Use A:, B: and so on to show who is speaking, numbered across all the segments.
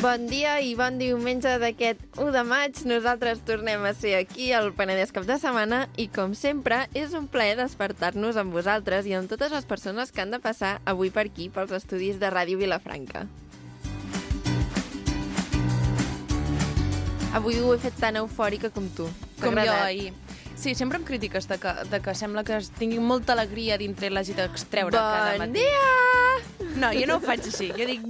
A: Bon dia i bon diumenge d'aquest 1 de maig. Nosaltres tornem a ser aquí al Penedès Cap de Setmana i, com sempre, és un plaer despertar-nos amb vosaltres i amb totes les persones que han de passar avui per aquí pels estudis de Ràdio Vilafranca. Avui ho he fet tan eufòrica com tu. T'ha
B: com jo
A: agradat?
B: ahir. Sí, sempre em critiques de que, de que sembla que es tingui molta alegria dintre l'hagi d'extreure cada
A: Bon
B: matí.
A: dia!
B: No, jo no ho faig així. Jo dic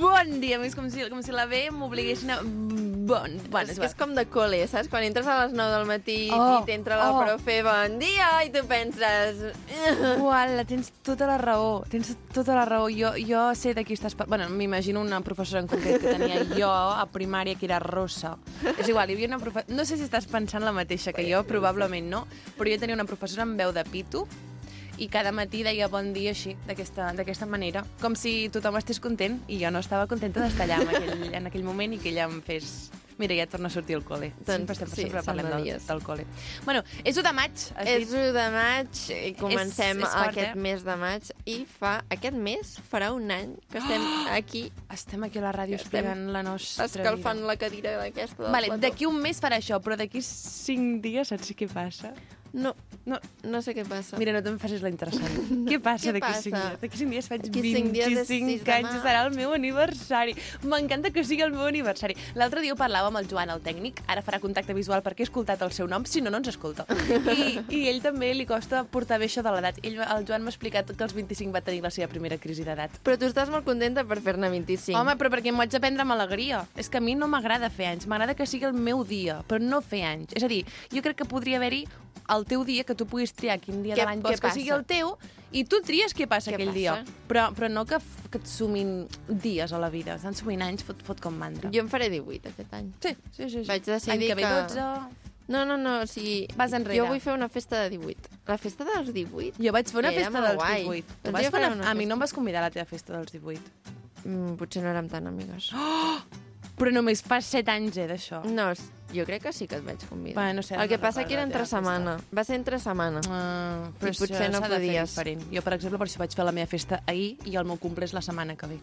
B: bon dia, més com si, com si la B m'obliguessin a... Bon, bon,
A: és, que és com de col·le, saps? Quan entres a les 9 del matí
B: Oh,
A: i t'entra la
B: oh.
A: profe, bon dia, i tu penses...
B: Uala, tens tota la raó, tens tota la raó. Jo, jo sé de qui estàs parlant. Bueno, m'imagino una professora en concret que tenia jo a primària, que era rossa. És igual, hi havia una professora... No sé si estàs pensant la mateixa que jo, probablement no, però jo tenia una professora amb veu de pitu i cada matí deia bon dia així, d'aquesta d'aquesta manera. Com si tothom estés content i jo no estava contenta d'estar allà en aquell, en aquell moment i que ella em fes... Mira, ja torna a sortir el col·le.
A: Doncs
B: sempre, sempre,
A: sí,
B: sempre
A: són
B: parlem
A: de
B: del,
A: dies.
B: del col·le. Bueno, és 1 de maig. has
A: És
B: dit.
A: 1 de maig i comencem
B: és fort,
A: aquest
B: eh?
A: mes de maig i fa aquest mes farà un any que estem
B: Ah!
A: aquí
B: Estem aquí a la ràdio
A: Que estem
B: explicant la nostra
A: escalfant
B: vida.
A: la cadira d'aquesta del
B: Vale,
A: plató.
B: d'aquí un mes farà això, però d'aquí cinc dies saps què passa?
A: No,
B: No,
A: no sé què passa.
B: mira, no te'n facis la interessant. què passa
A: Què
B: d'aquí
A: passa?
B: cinc dies? D'aquí cinc dies faig
A: D'aquí
B: 25
A: cinc dies és sis de
B: anys,
A: maig.
B: serà el meu aniversari. M'encanta que sigui el meu aniversari. L'altre dia ho parlava amb el Joan, el tècnic, ara farà contacte visual perquè he escoltat el seu nom, si no, no ens escolta. I, i ell també li costa portar bé això de l'edat. Ell, el Joan m'ha explicat que als 25 va tenir la seva primera crisi d'edat.
A: Però tu estàs molt contenta per fer-ne 25.
B: Home, però perquè m'ho haig de prendre amb alegria. És que a mi no m'agrada fer anys, m'agrada que sigui el meu dia, però no fer anys. És a dir, jo crec que podria haver-hi el teu dia, que tu puguis triar quin dia
A: Què-
B: de l'any
A: què
B: vols que
A: passa?
B: sigui el teu, i tu tries què passa
A: Què
B: aquell
A: passa?
B: dia. Però, però no que, f- que et sumin dies a la vida. Estan sumint anys, fot, fot com mantra.
A: jo en faré 18 aquest any.
B: Sí, sí, sí. sí.
A: Vaig decidir
B: any que... Ve
A: que-
B: 12...
A: No, no, no, o sigui...
B: Vas enrere.
A: Jo vull fer una festa de 18. La festa dels 18?
B: Jo vaig fer una
A: Era
B: festa
A: molt
B: dels
A: guai.
B: 18. Tu
A: Doncs
B: vas
A: jo
B: fer
A: faré
B: una...
A: una
B: A mi
A: festa.
B: no em vas convidar a la teva festa dels 18.
A: Mm, potser no érem tan amigues. Oh!
B: Però només fa 7 anys, eh, d'això.
A: No, s- jo crec que sí que et vaig convidar.
B: Va, no sé,
A: El que
B: no
A: passa
B: recordo
A: que era
B: la
A: entre
B: teva festa.
A: setmana. Va ser entre setmana.
B: Ah,
A: I potser
B: això
A: no
B: s'ha de fer
A: podies.
B: diferent. Jo, per exemple, per això vaig fer la meva festa ahir i el meu cumple és la setmana que ve.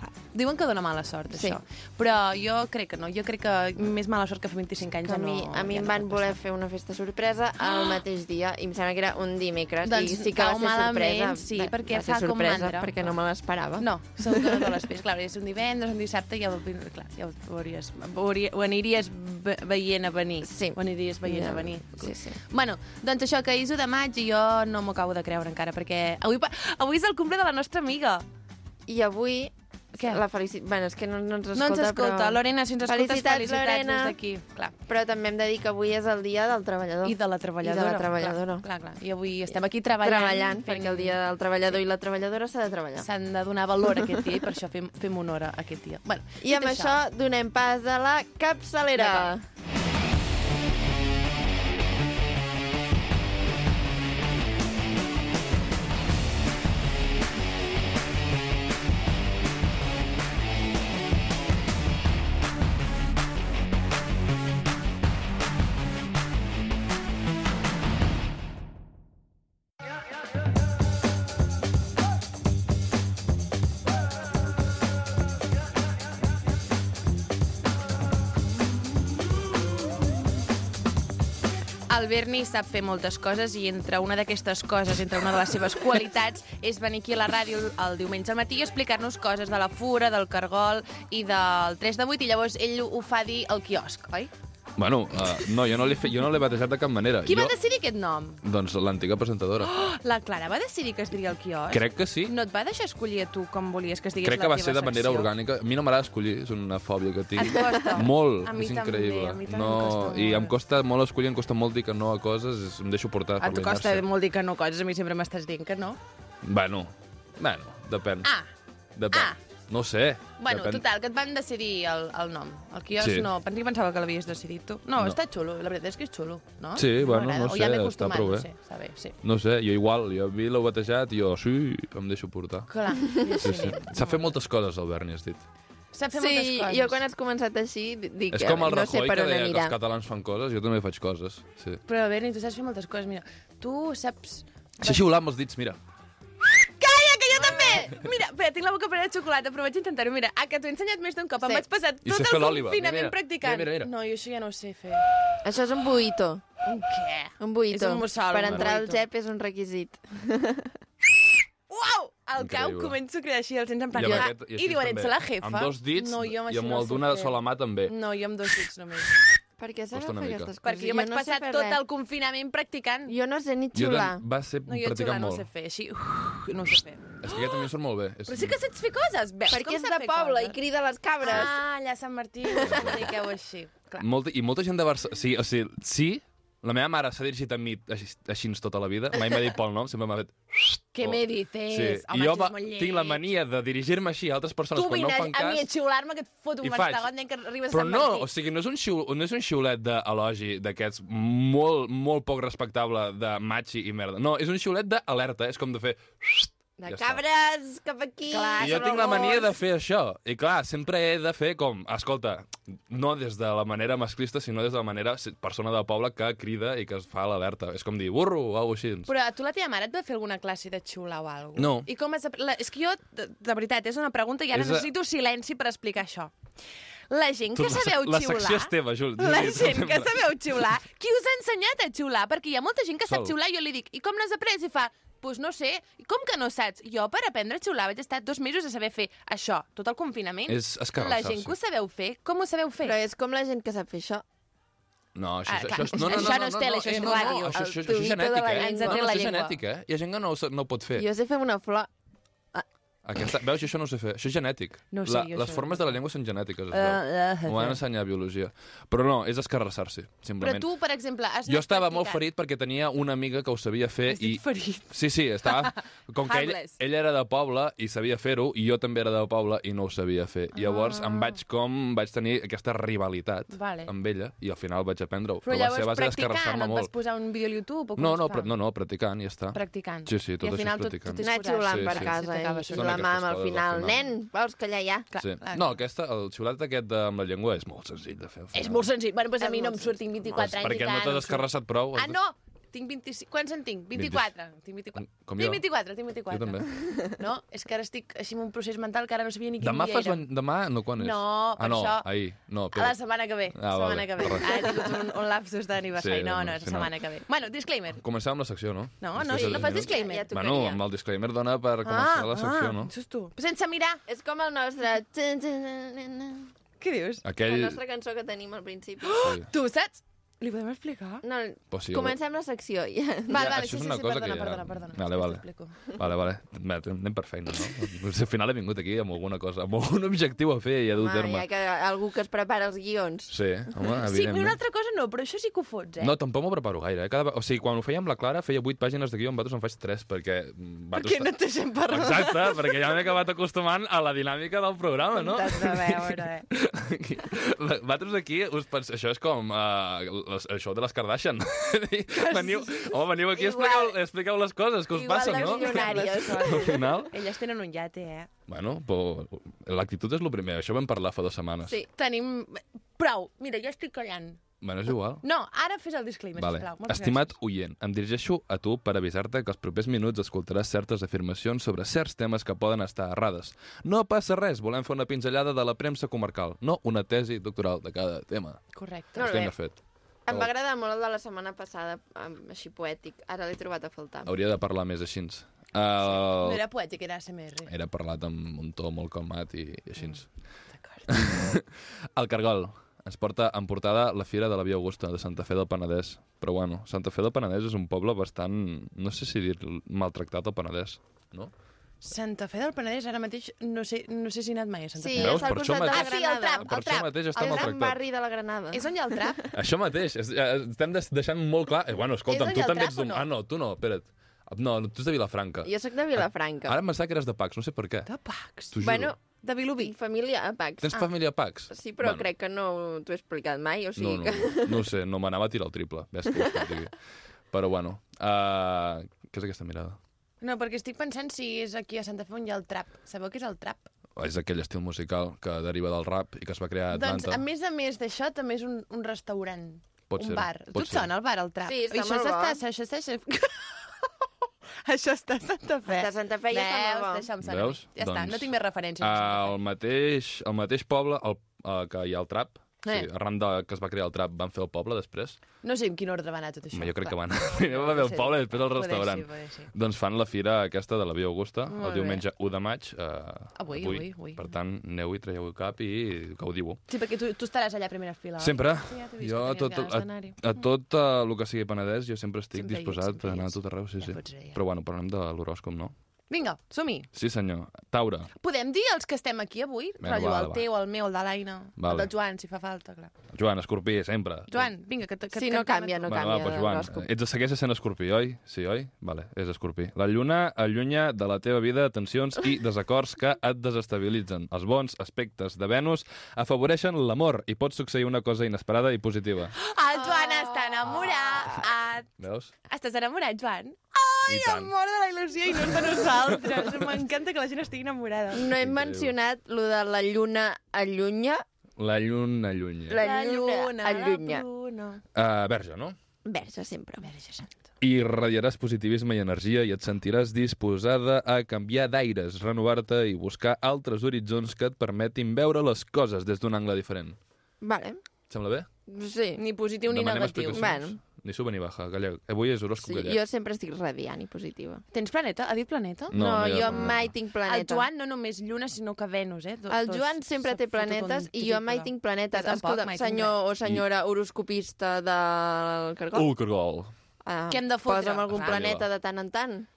B: Clar. Diuen que dona mala sort,
A: Sí.
B: sí. això. Però Eh, jo crec que no. Jo crec que més mala sort que fa 25 anys
A: que a
B: ja no...
A: mi, a mi
B: ja
A: em
B: no
A: van
B: pot
A: voler fer una festa sorpresa al mateix dia i em sembla que era un dimecres
B: Doncs
A: i sí que va
B: cau
A: ser sorpresa.
B: malament, sí,
A: va,
B: perquè
A: va ser
B: fa com
A: sorpresa
B: mandra.
A: perquè no me l'esperava.
B: No, segur que no te l'espers. Clar, és un divendres, un dissabte, ja ho, clar, ja ho, veuries, veuria, ho aniries ve- veient a venir.
A: Sí.
B: Ho aniries veient
A: Ja,
B: a venir.
A: sí, sí.
B: Bueno, doncs això, que és 1 de maig i jo no m'ho acabo de creure encara, perquè avui, pa- avui és el cumple de la nostra amiga.
A: I avui
B: Què?
A: la felicit... Bueno, és que no, no ens escolta,
B: No ens escolta.
A: però...
B: Lorena, si ens escoltes,
A: felicitats,
B: felicitats, felicitats
A: Lorena.
B: des d'aquí. Clar.
A: Però també hem de dir que avui és el dia del treballador.
B: I de la treballadora.
A: I de la treballadora.
B: Clar, clar, clar. I avui estem aquí treballant.
A: treballant perquè el dia del treballador sí. i la treballadora s'ha de treballar.
B: S'han de donar valor a aquest dia i per això fem, fem honor a aquest dia. Bueno,
A: I amb això, donem pas a la capçalera.
B: D'acord. El Berni sap fer moltes coses i entre una d'aquestes coses, entre una de les seves qualitats, és venir aquí a la ràdio el diumenge al matí i explicar-nos coses de la fura, del cargol i del 3 de 8 i llavors ell ho fa dir al quiosc, oi?
C: Bueno, uh, no, jo no l'he fe... jo no l'he batejat de cap manera.
B: Qui
C: Eh, jo...
B: va decidir aquest nom?
C: Doncs l'antiga presentadora. Oh,
B: La Clara va decidir que es diria el quiosc?
C: Crec que sí.
B: No et va deixar escollir a tu com volies que es digués
C: Crec
B: la
C: que va
B: teva
C: ser de manera
B: secció?
C: orgànica. A mi no m'agrada escollir, és una fòbia que tinc.
B: Et costa?
C: Molt,
B: A mi
C: és
B: també,
C: increïble.
B: a mi també
C: no,
B: em
C: I
B: costa molt.
C: em costa molt escollir, em costa molt dir que no a coses, és... em deixo portar
B: Et
C: per la
B: costa
C: inèrcia.
B: molt dir que no coses, a mi sempre m'estàs dient que no.
C: Bueno, bueno, depèn.
B: Ah,
C: depèn.
B: ah.
C: No ho sé.
B: bueno,
C: depèn.
B: total, que et van decidir el, el nom. El quiosc
C: Sí.
B: sí. no, pensava, pensava que l'havies decidit tu. No,
C: No.
B: no, està xulo, la veritat és que és xulo, no?
C: Sí, bueno,
B: M'agrada,
C: no
B: o ja
C: sé,
B: m'he
C: està
B: acostumat,
C: prou bé.
B: No sé, està bé, sí.
C: No ho sé, jo igual, jo a mi l'heu batejat i jo sí, em deixo portar.
B: Clar, i
C: Sí,
B: així
C: sí.
B: anem.
C: S'ha fet moltes coses, el Berni, has dit.
B: Sap fer moltes
A: Sí,
B: coses.
A: jo quan has començat així dic
C: és com el
A: no sé
C: Rajoy
A: per
C: que
A: on
C: deia que
A: anirà.
C: els catalans fan coses, jo també faig coses. Sí.
B: Però, Berni, tu saps fer moltes coses, mira. Tu saps...
C: Sé xiular amb els dits, mira.
B: Calla, que jo també! Eh, mira, espera, tinc la boca plena de xocolata, però vaig intentar-ho. Mira, ah, que t'ho he ensenyat més d'un cop.
A: Sí.
B: Em vaig passar
C: I saps
B: tot
C: fer
B: el
C: l'òliba.
B: confinament
C: Mira, mira.
B: practicant.
C: Mira, mira, mira.
B: No, jo això ja no ho sé fer.
A: Això és un buito.
B: Un què?
A: Un buito.
B: És un mussol,
A: Per
B: un
A: entrar al
B: buito.
A: GEP és un requisit.
B: Uau! Al cau
C: Increïble.
B: començo a crear així els nens en plan...
C: I, amb
B: ah,
C: aquest,
B: I diuen, ets la jefa.
C: Amb dos dits
B: no, jo
C: i
B: això
C: amb
B: no
C: el
B: sé
C: d'una
B: fer.
C: sola mà també.
B: No, jo amb dos dits només.
A: Per què s'ha de
C: Costa una
A: fer
C: mica.
A: aquestes coses?
B: Perquè jo vaig
A: no sé
B: passar
A: fer
B: tot
A: res.
B: el confinament practicant.
A: Jo no sé ni
C: Jo
A: xiular.
C: tant- va ser
B: No, jo
C: practicant
B: xular no ho
C: molt.
B: sé fer, així... Uf, no ho sé fer.
C: És que aquest també surt molt bé. És...
B: Però sí que saps fer coses, veus?
A: Perquè
B: com
A: és
B: sap
A: de
B: fer
A: poble i
B: coses?
A: crida les cabres.
B: Ah, allà a Sant Martí, una mica o així. Clar.
C: Molta, I molta gent de Barcelona... Sí, o sigui, sí, la meva mare s'ha dirigit a mi així, així tota la vida. Mai m'ha dit pel nom, sempre m'ha fet...
B: Què
C: Oh,
B: me dices?
C: Sí.
B: Home,
C: I jo
B: això és
C: va,
B: molt lleig.
C: tinc la mania de dirigir-me així a altres persones
B: Tu
C: quan
B: vine
C: no em fan
B: a mi a
C: cas.
B: xiular-me que et foto
C: I
B: un
C: faig.
B: mastegon que arribes
C: Però
B: a Sant
C: no, o
B: Martí.
C: sigui, no és un, xiu, no és un xiulet d'elogi d'aquests molt, molt poc respectable de machi i merda. No, és un xiulet d'alerta, és com de fer...
A: De
C: ja està.
A: cabres, cap aquí.
B: Clar, Ah,
C: I jo
B: sobre
C: tinc la
B: el
C: mania
B: gos.
C: de fer això. I clar, sempre he de fer com... Escolta, no des de la manera masclista, sinó des de la manera si- persona del poble que crida i que es fa l'alerta. És com dir, burro, o alguna així.
B: Però a tu la teva mare et va fer alguna classe de xiular o alguna cosa?
C: No.
B: I com has... apr- La... És que jo, de, de veritat, és una pregunta i ara
C: És a-
B: necessito silenci per explicar això. La gent que
C: Tu, la-
B: sabeu
C: la
B: xiular...
C: secció és teva, Juli.
B: La
C: Sí, sí,
B: gent que
C: sempre.
B: sabeu xiular, qui us ha ensenyat a xiular? Perquè hi ha molta gent que sap
C: Sol.
B: xiular i jo li dic, i com n'has après? I fa, pues no sé, I com que no saps? Jo per aprendre a xiular vaig estar dos mesos a saber fer això, tot el confinament.
C: És
B: La
C: escarrassar-se.
B: gent que ho sabeu fer, com ho sabeu fer?
A: Però és com la gent que sap fer això.
C: No, això,
B: Ah,
C: és-
B: clar,
C: això, és- no, no, no,
B: això no és tele,
C: no,
B: això
C: eh,
B: és
C: no, no,
B: ràdio.
C: Això,
A: El
C: això, això
A: tubito
C: és
A: de la
C: genètica, eh?
A: llengua.
B: Ens
C: No, no,
B: atén la
C: això és
B: llengua.
C: genètica, eh? Hi ha gent que no, ho sa- no ho pot fer.
A: Jo sé fer una flor.
C: Aquesta, veus, jo això no ho sé fer. Això és genètic.
B: No Eh, ho sé,
C: la,
B: jo
C: les
B: això.
C: formes de la llengua són genètiques,
A: Ah,
C: es veu. M'ho van ensenyar a biologia. Però no, és escarrassar-se,
B: Però
C: simplement.
B: tu, per exemple, has
C: jo
B: anat
C: estava molt ferit
B: practicant.
C: perquè tenia una amiga que ho sabia fer
B: Estic
C: i...
B: ferit.
C: Sí, sí, estava... Com que ell,
B: Harmless.
C: ell era de poble i sabia fer-ho, i jo també era de poble i no ho sabia fer.
B: Ah.
C: I llavors em vaig com... Vaig tenir aquesta rivalitat
B: Vale.
C: amb ella i al final vaig aprendre-ho.
B: Però,
C: Però, va ser a
B: llavors,
C: base
B: practicant,
C: d'escarrassar-me
B: et vas
C: molt.
B: posar un vídeo a YouTube? O com
C: No,
B: es
C: no,
B: fa?
C: pra, no, no, practicant, ja està.
B: Practicant.
C: Sí, sí, tot
B: I
C: això
B: al
C: és
B: final tot,
C: practicant.
B: tot és
A: Anar xiulant
C: Sí,
A: per
C: sí.
A: casa i
C: Són aquestes
A: xiular mà al
C: coses al
A: final.
C: final.
A: Nen, vols que allà hi ha?
C: Sí. No, aquesta, el xiulat aquest de, amb la llengua és molt senzill de fer. al
B: És
C: final.
B: molt senzill. Bueno, doncs a
A: És
B: mi no em
A: molt
B: surtin 24 anys
C: Perquè
B: i
C: no
B: tant.
C: t'has escarrassat prou.
B: Ah, no! Tinc 25... Quants en tinc? 24. Tinc 24.
C: Com
B: tinc
C: jo.
B: 24, tinc 24.
C: Jo també.
B: No, és que ara estic així en un procés mental que ara no sabia ni quin
C: Demà
B: dia
C: fas...
B: era.
C: Van... Demà? No, quan és?
B: No, per
C: ah, no,
B: això-
C: ahir. No,
B: A
C: però...
B: la setmana que ve.
C: Ah, vale,
B: setmana que ve.
C: correcte.
B: Ara he tingut un, un lapsus d'aniversari.
C: Sí,
B: no,
C: no,
B: no, és la
C: si no.
B: setmana que ve. Bueno, disclaimer.
C: Començàvem la secció, no?
B: No,
C: Després
B: no,
C: de
B: no
C: deu
B: fas
C: minuts.
B: disclaimer. Ah,
A: Ja tocaria.
C: Bueno, amb el disclaimer dona per començar la secció, no?
B: Justo. Sense mirar.
A: És com el nostre... txin, txin, nan, nan, nan.
B: Què dius?
A: La
C: Aquell...
A: nostra cançó que tenim al principi.
C: Sí.
B: Tu saps? Li podem explicar?
A: No,
C: Però sí,
A: comencem la secció. Ja.
B: Val,
C: Ja,
B: vale,
C: això
B: sí,
C: és
B: sí,
C: una
B: sí,
C: cosa
B: perdona,
C: que ja-
B: perdona, perdona.
C: Vale,
B: després
C: vale.
B: t'explico.
C: Vale, vale. Va, Anem per feina, no? Doncs Al final he vingut aquí amb alguna cosa, amb algun objectiu a fer i a dur a
A: Home, hi
C: terme.
A: ha que, algú que es prepara els guions.
C: Sí, home,
B: Sí, però una
C: evidentment.
B: altra cosa no, però això sí que ho fots, eh?
C: No, tampoc m'ho preparo gaire. Eh? Cada... ve- O sigui, quan ho feia amb la Clara, feia 8 pàgines de guió, amb vosaltres en faig 3, perquè... mm,
B: Perquè
C: vosaltres-
B: no et deixem parlar.
C: Exacte, perquè ja m'he acabat acostumant a la dinàmica del programa, no?
B: T'has de veure, eh?
C: Aquí- Vosaltres aquí us penseu... Això és com uh, les, això de les Kardashian. veniu, home, veniu aquí i expliqueu, expliqueu les coses que us
A: igual
C: passen,
A: de
C: no?
A: milionàries.
C: Al final,
B: Elles tenen un yate, eh?
C: bueno, però l'actitud és el primer. Això vam parlar fa dues setmanes.
A: Sí.
B: Tenim... Prou. Mira, jo estic callant.
C: Bueno, és igual.
B: No, ara fes el disclaimer,
C: Vale.
B: sisplau. Moltes
C: Estimat oient, em dirigeixo a tu per avisar-te que els propers minuts escoltaràs certes afirmacions sobre certs temes que poden estar errades. No passa res, volem fer una pinzellada de la premsa comarcal, no una tesi doctoral de cada tema.
B: gràcies. Correcte.
A: No. Molt
C: Estem
A: bé.
C: de fet.
A: Em va agradar molt el de la setmana passada, amb- així poètic. Ara l'he trobat a faltar.
C: Hauria de parlar més així. Uh,
B: No era poètic, era ASMR.
C: era parlat amb un to molt calmat i, i així.
B: Mm, D'acord.
C: El Cargol ens porta en portada la Fira de la Via Augusta de Santa Fe del Penedès. Però bueno, Santa Fe del Penedès és un poble bastant, no sé si dir maltractat al Penedès, no?
B: Santa Fe del Penedès, ara mateix, no sé, no sé si he anat mai a Santa
A: Sí,
B: Fe.
C: Veus?
A: és al
C: Per això
A: costat de la
B: mateix- Ah, sí, el
A: Granada.
B: trap.
C: Per
B: El
C: això mateix està
A: El gran
C: maltractat.
A: barri de la Granada.
B: És on hi ha el trap?
C: Això mateix, és, eh, estem des- deixant molt clar... Eh, bueno, escolta'm,
B: És
C: tu
B: allà el
C: també
B: trap
C: ets d'un...
B: o no?
C: Ah, no, tu no, espera't. No, no, tu ets de Vilafranca.
A: Jo sóc de Vilafranca.
C: Ara em pensava que eres de Pax, no sé per què.
B: De ah. Pax.
C: T'ho juro.
A: Bueno,
B: De Vilobí.
A: tinc família a Pax.
C: Tens família a Pax?
A: Sí, però
C: Bueno.
A: crec que no t'ho he explicat mai, o
C: No,
A: sigui
C: no,
A: que...
C: no, no ho sé, no m'anava a tirar el triple. Ves que us digui. Però bueno, uh, què és aquesta mirada?
B: No, perquè estic pensant si és aquí a Santa Fe on hi ha el trap. Sabeu què és el trap?
C: Oh, És aquell estil musical que deriva del rap i que es va crear a
B: Doncs,
C: Atlanta.
B: a més a més d'això, també és un, un restaurant.
C: Pot
B: un
C: ser,
B: bar.
C: pot
B: tu et
C: ser.
B: sona el bar, el trap?
A: Sí, està
B: I això
A: molt bo.
B: s'està- Això està... Això està a Santa Fe.
A: Està a Santa Fe i està molt bo.
B: Veus? Deixa'm sonar.
C: Veus?
B: Ja està,
C: Doncs,
B: no tinc més referències.
C: Al mateix, al mateix poble el, eh, que hi ha el trap, sí,
B: Eh.
C: arran de, que es va crear el trap, van fer el poble després.
B: No sé en quin ordre va anar tot això.
C: Home, jo crec que van... Primer va haver el
B: Sí.
C: poble, després el
B: Poder
C: restaurant.
B: Sí, poder sí.
C: Doncs fan la fira aquesta de la Via Augusta, Molt
B: Molt
C: el
B: bé.
C: diumenge 1 de maig. Eh,
B: Avui, avui, avui.
C: Per tant, aneu-hi, traieu-hi cap i gaudiu-ho.
B: sí, perquè tu, tu estaràs allà a primera fila. oi?
C: Sempre.
B: Sí, ja t'he vist,
C: jo
B: que
C: a
B: tenies
C: tot,
B: ganes
C: a,
B: d'anar-hi.
C: a tot eh, el que sigui Penedès jo sempre estic
B: Sempre hi ets,
C: disposat
B: sempre
C: a
B: hi
C: anar a
B: ets.
C: tot arreu, sí,
B: Ja
C: sí.
B: fots reia.
C: Però bueno, parlem de l'horòscop, no?
B: Vinga, som-hi.
C: Sí, senyor. Taura.
B: Podem dir els que estem aquí avui?
C: Vinga,
B: Rotllo,
C: va,
B: el
C: va.
B: teu, el meu, el de l'Aina,
C: Vale.
B: el del Joan, si fa falta, clar.
C: Joan, escorpí, sempre.
B: Joan, vinga, que... que
A: Sí,
B: que
A: no
B: et toca
A: canvia,
B: tu.
A: no
C: Bueno, va,
A: canvia
C: doncs,
A: de
C: Joan,
A: l'horòscop.
C: ets, segueixes sent escorpí, oi? Sí, oi? Vale, és escorpí. La lluna allunya de la teva vida tensions i desacords que et desestabilitzen. Els bons aspectes de Venus afavoreixen l'amor i pot succeir una cosa inesperada i positiva.
B: El Joan està enamorat.
C: Veus?
B: Estàs enamorat, Joan?
C: Ah. I
B: Ai,
C: tant.
B: amor de la il·lusió i no és de nosaltres. M'encanta que la gent estigui enamorada.
A: No hem
C: Increïble.
A: mencionat lo de la lluna allunya.
C: La lluna allunya. La...
A: La- lluna allunya.
B: La lluna.
C: Uh, verge, no?
A: Verge, sempre.
B: Verge santa.
C: I radiaràs positivisme i energia i et sentiràs disposada a canviar d'aires, renovar-te i buscar altres horitzons que et permetin veure les coses des d'un angle diferent.
A: Vale.
C: Et Sembla bé?
A: Sí.
B: Ni positiu ni
C: Demanem
B: negatiu.
C: explicacions.
A: Bueno.
C: Ni suba ni baja, gallec. Avui és horòscop
A: sí
C: gallec.
A: jo sempre estic radiant i positiva.
B: Tens planeta? Ha dit planeta?
C: No, no hi ha
A: jo
C: planeta.
A: mai tinc planeta.
B: El Joan no només lluna, sinó que Venus, eh? Do-
A: El
B: dos-
A: Joan sempre
B: s'ha
A: té
B: fotut
A: planetes
B: un
A: i jo mai
B: triple.
A: tinc planetes.
B: Jo tampoc,
A: Escolta,
B: mai tinc
A: senyor o senyora horoscopista del Cargol,
C: Ul, Mm. Uh, cargol.
A: ah,
B: Què hem de fotre?
A: posa'm algun
B: Va.
A: planeta de tant en tant.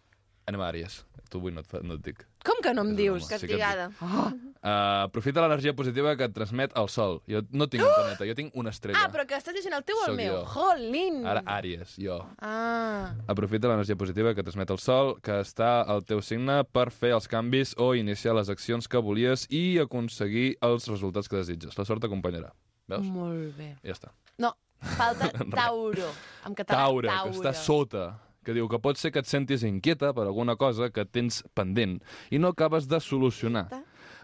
C: Anem a Àries. Tu avui no et, fa- no et dic.
B: Com que no em
C: És
B: dius?
C: broma.
B: Que...
C: Sí que et dic.
A: Castigada.
C: Uh, aprofita l'energia positiva que et transmet el sol. Jo no tinc un planeta, jo tinc una estrella.
B: Ah, però que estàs llegint el teu o el
C: Sóc
B: meu?
C: jo.
B: Jolín!
C: Ara Àries, jo.
B: Ah,
C: Aprofita l'energia positiva que transmet el sol, que està al teu signe per fer els canvis o iniciar les accions que volies i aconseguir els resultats que desitges. La sort t'acompanyarà. Veus?
B: molt bé.
C: Ja està.
B: No, falta Tauro. En català,
C: Taure,
B: Tauro.
C: que està sota, que diu que pot ser que et sentis inquieta per alguna cosa que tens pendent i no acabes de solucionar.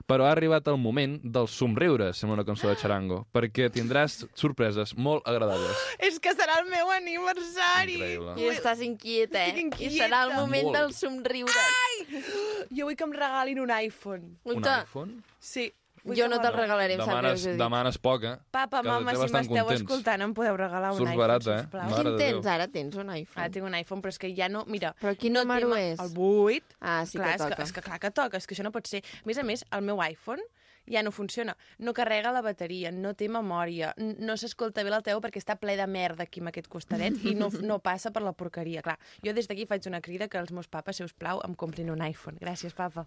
C: Però ha arribat el moment del somriure, sembla una cançó de Charango, perquè tindràs sorpreses molt agradables.
B: És que serà el meu aniversari!
C: Increïble.
A: I estàs inquieta, eh?
B: Estic
A: I serà el
B: inquieta.
A: moment
C: Molt.
A: del somriure.
B: Jo vull que em regalin un iPhone.
C: Un
A: Escolta,
C: iPhone?
B: Sí. vull
A: jo
B: que
A: no
B: me'l
A: te'l
B: regalin.
A: regalaré, em sap greu,
C: Demanes,
A: Judit.
C: demanes poca.
B: Papa,
C: que els
B: mama,
C: té
B: si
C: bastant
B: m'esteu
C: contents.
B: escoltant, em podeu regalar un
C: Surts
B: iPhone,
C: barat, eh?
B: sisplau.
C: Mare
A: Quin
C: de
A: tens
C: Déu.
A: ara? Tens un
B: Ara
A: iPhone.
B: tinc un iPhone, però és que ja no... Mira,
A: Però quin
B: no
A: número
B: té-
A: és?
B: El 8.
A: Ah, sí
B: clar,
A: que
B: és
A: toca.
B: que, és que clar que toca, és que això no pot ser. A més a més, el meu iPhone ja no funciona. No carrega la bateria, no té memòria, n- no s'escolta bé el teu perquè està ple de merda aquí amb aquest costadet i no, no passa per la porqueria. Clar, jo des d'aquí faig una crida que els meus papes, si us plau, em comprin un iPhone. Gràcies, papa.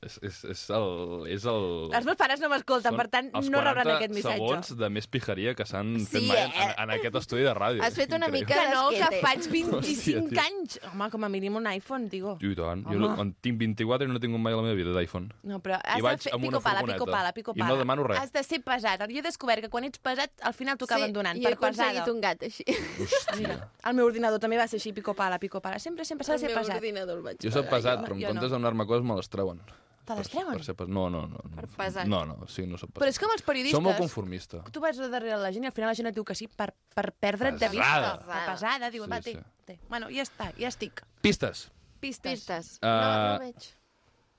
C: És, és, és el... És el...
B: Els meus pares no m'escolten, per tant,
C: els
B: no rebran
C: 40
B: aquest missatge.
C: segons de més pijeria que s'han fet
A: Sí,
C: mai en,
A: eh?
C: en, en aquest estudi de ràdio.
A: Has fet una
C: Increïble.
A: mica-
B: Que no, que
A: Cadasquete.
B: faig 25
C: Hòstia, tio.
B: anys. Home, com a mínim un iPhone, digo.
C: I tant. Jo
B: Home.
C: en tinc 24 i no he tingut mai a la meva vida d'iPhone.
B: No, però has
C: I vaig
B: de fer
C: amb
B: pico
C: una
B: pala,
C: furgoneta.
B: pico pala, pico
C: I no
B: pala.
C: demano res.
B: Has de ser pesat. Jo he descobert que quan ets pesat, al final t'ho acaben donant.
A: i
B: per
A: he aconseguit
B: pesada.
A: un gat així.
C: Hòstia.
B: El meu ordinador també va ser així, pico pala, pico pala. Sempre, sempre s'ha
A: El
B: de ser
A: meu
B: pesat.
A: ordinador el vaig
C: Jo soc
A: pagar.
C: pesat,
B: jo-
C: però en
B: jo
C: comptes
B: no.
C: d'anar-me coses me les treuen.
B: Te les
C: Per-
B: treuen?
C: Per ser pes... No, no, no. no.
A: pesat.
C: No, no, sí, no soc pesat.
B: Però és com els periodistes.
C: Som molt conformista.
B: Tu vas darrere la gent i al final la gent et diu que sí per, per perdre't de vista.
C: Pesada.
B: Per pesada. Diu,
C: Sí,
B: va, té,
C: sí.
B: té. Bueno, ja està, ja estic.
C: Pistes.
B: Pistes.
A: Pistes.
C: Eh,
A: No, no veig.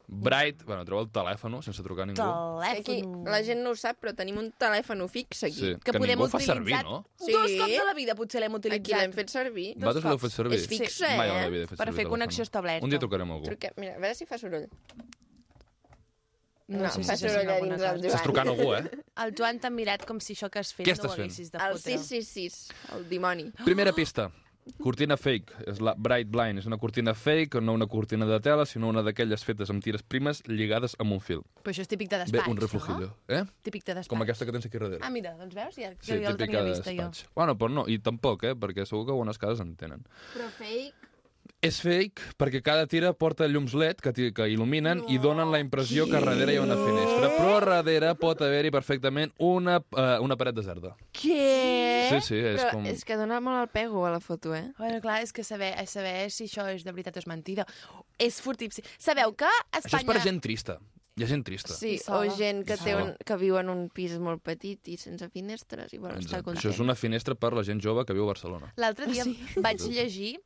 C: Bright, bueno, treu el telèfon sense trucar a ningú.
A: Aquí
B: Telèfon.
A: la gent no ho sap, però tenim un telèfon fix aquí.
C: Sí,
B: que,
C: que
B: podem
C: ningú ho fa
B: utilitzar
C: servir, no?
A: Sí.
B: Dos cops a la vida potser l'hem
A: Aquí
B: utilitzat.
A: l'hem fet servir.
B: Dos
C: Vosaltres l'heu
B: cops.
C: fet servir?
A: És fixa,
C: Mai a la
A: eh?
C: meva vida he fet
B: Per
C: servir
B: fer
C: el
B: connexió
C: telèfon.
B: establerta.
C: Un dia trucarem a algú.
A: Truquem, mira, a veure si fa soroll.
B: No, sé
A: fa
B: si sent
A: soroll a
B: alguna
A: dins el
B: cosa.
A: Joan.
C: Estàs trucant a algú, eh?
B: El Joan t'ha mirat com si això que has fet
C: Què
B: no
C: estàs
B: ho
C: fent?
B: haguessis de
A: El
B: fotre.
A: 666, el dimoni.
C: Primera pista. Cortina fake, és la Bright Blind. És una cortina fake, no una cortina de tela, sinó una d'aquelles fetes amb tires primes lligades amb un fil.
B: Però això és típic de
C: Bé,
B: despatx,
C: un reflujillo,
B: no?
C: eh?
B: Típic de despatx.
C: Com aquesta que tens aquí darrere.
B: Ah, mira, doncs veus? Ja,
C: Sí,
B: sí, jo el
C: típica
B: tenia
C: de
B: vista, jo.
C: despatx. Bueno, però no, i tampoc, eh? Perquè segur que algunes cases en tenen.
A: Però fake...
C: És fake perquè cada tira porta llums LED que, ti- que il·luminen i donen la impressió que darrere hi ha una finestra. Però darrere pot haver-hi perfectament una, uh, una paret deserta.
B: Què?
C: Sí, sí, és
A: Però
C: com...
A: és que dona molt el pego a la foto, eh?
B: Bueno, clar, és que saber, és saber si això és de veritat o és mentida és furtiu. Sí. Sabeu que a
C: Això
B: Espanya...
C: és per gent trista. Hi ha gent trista.
A: Sí, o
B: sola.
A: gent que, té
C: Sola.
A: un, que viu en un pis molt petit i sense finestres i vol estar
C: Exacte.
A: content. Ah,
C: Això és una finestra per la gent jove que viu a Barcelona.
B: L'altre dia sí. vaig llegir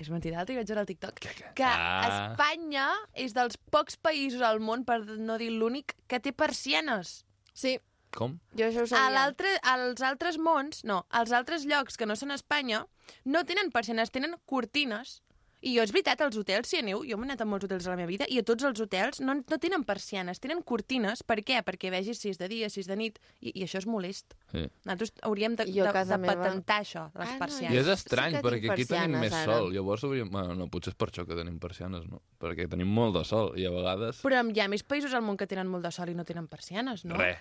B: És mentida, l'altre dia vaig veure al TikTok que
C: Ah.
B: Espanya és dels pocs països al món, per no dir l'únic, que té persianes.
A: Sí,
C: Com?
A: jo això ho
B: A
A: sabia.
B: l'altre, als altres mons, no, als altres llocs que no són Espanya, no tenen persianes, tenen cortines. I jo, és veritat, als hotels, si aneu, jo m'he anat a molts hotels a la meva vida, i a tots els hotels no, no tenen persianes, tenen cortines. Per què? Perquè vegis si és de dia, si és de nit, i, i això és molest.
C: Sí.
B: Nosaltres hauríem de,
A: Jo a
B: de,
A: casa
B: de
A: meva-
B: patentar això,
A: Ah,
B: les
A: no,
C: I
B: persianes.
A: jo-
C: és estrany,
A: que tinc
C: perquè aquí tenim
A: persianes,
C: més
A: ara.
C: sol. Llavors hauríem... Bueno, no, potser és per això que tenim persianes, no? Perquè tenim molt de sol i a vegades...
B: Però hi ha més països al món que tenen molt de sol i no tenen persianes, no?
C: Re.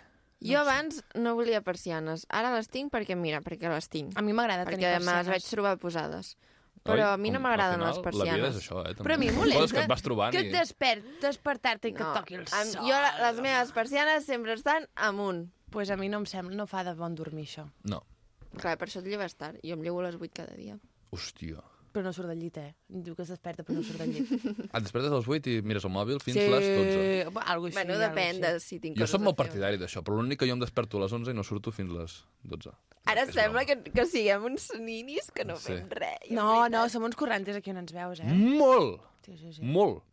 A: Jo abans no volia persianes. Ara les tinc perquè, mira, perquè les tinc.
B: A mi m'agrada tenir
A: Perquè me les
B: persianes.
A: vaig trobar posades. Però
C: Oi?
A: a mi no
C: Com- al
A: m'agraden
C: final,
A: les
C: La vida
A: persianes.
C: és això, eh? També.
B: Però a mi em
C: Coses que
B: molesta
C: et vas trobant
B: que
C: i...
B: et despert, despertar-te i que et toqui el
A: Em-
B: sol.
A: Jo, la- les meves persianes sempre estan amunt.
B: Pues a mi no em sembla, no fa de bon dormir això.
C: No.
A: Clar, per això et lleves tard. Jo em llevo a les 8 cada dia.
C: Hòstia.
B: Però no surt del llit, eh? Diu que es desperta però no surt del llit. Eh,
C: Et despertes a les 8 i mires el mòbil fins les 12.
B: Algo així,
A: bueno,
B: algo
A: depèn de
B: així.
A: si tinc
C: Jo
A: coses
C: sóc
A: a
C: molt
A: fer.
C: partidari d'això, però l'únic que jo em desperto a les 11 i no surto fins les 12.
A: Ara
C: És broma.
A: sembla que, que siguem uns ninis que no
C: Sí.
A: fem res. jo
B: No,
A: em
B: no, som uns corrantes aquí on ens veus, eh?
C: Molt!
B: Sí, sí, sí.
C: Molt!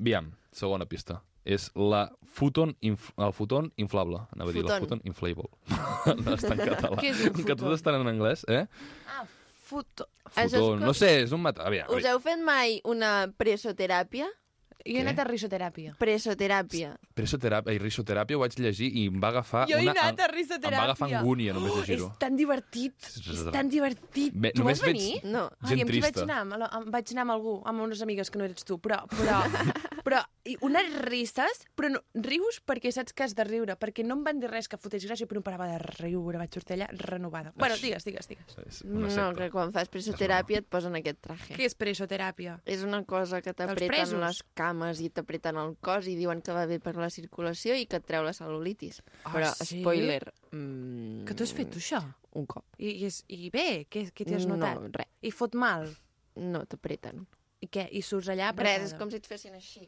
C: Aviam, segona pista. És la futon, inf el futon inflable. Anava a dir la
A: Futon.
C: futon inflable. no està en català.
B: Què és un
C: Com Que
B: futon?
C: tot està en anglès, eh?
B: Ah, futo.
A: Això és
C: Futon,
A: com-
C: no sé, és un mata... Aviam,
A: Us heu fet mai una presoteràpia?
B: Jo he
C: Què?
B: anat a risoteràpia.
A: Presoteràpia.
C: Presoteràpia i risoteràpia ho vaig llegir i em va agafar
B: Jo he
C: una...
B: anat a
C: Em va agafar
B: risoteràpia.
C: angúnia només
B: Oh, és
C: llegir-ho.
B: tan divertit,
C: Sí, sí,
B: és
C: sí.
B: tan divertit.
C: Bé,
B: tu
C: només
B: vols
C: veig-
B: venir?
A: No.
B: Ai,
C: Gent
B: amb qui vaig
C: trista.
B: anar? Amb, la- amb, vaig anar amb algú, amb unes amigues que no eres tu, però... però, però i unes risses, però no, rius perquè saps que has de riure, perquè no em van dir res que fotés gràcia, però no parava de riure, vaig sortir allà renovada. Bueno, digues, digues, digues.
C: És una
A: No,
C: secta.
A: que quan fas presoteràpia et posen aquest traje.
B: Què és presoteràpia?
A: És una cosa que
B: presos.
A: t'apreten les cames i t'apreten el cos i diuen que va bé per la circulació i que et treu la cel·lulitis.
B: Ah,
A: Però,
B: sí?
A: spoiler... Mm,
B: Que tu has fet, tu, això?
A: Un cop.
B: I, i, és, i bé, què, què t'hi has notat?
A: No, res.
B: I fot mal?
A: No, t'apreten.
B: I què? I surts allà
A: Res, és
B: apretada?
A: com si et fessin així.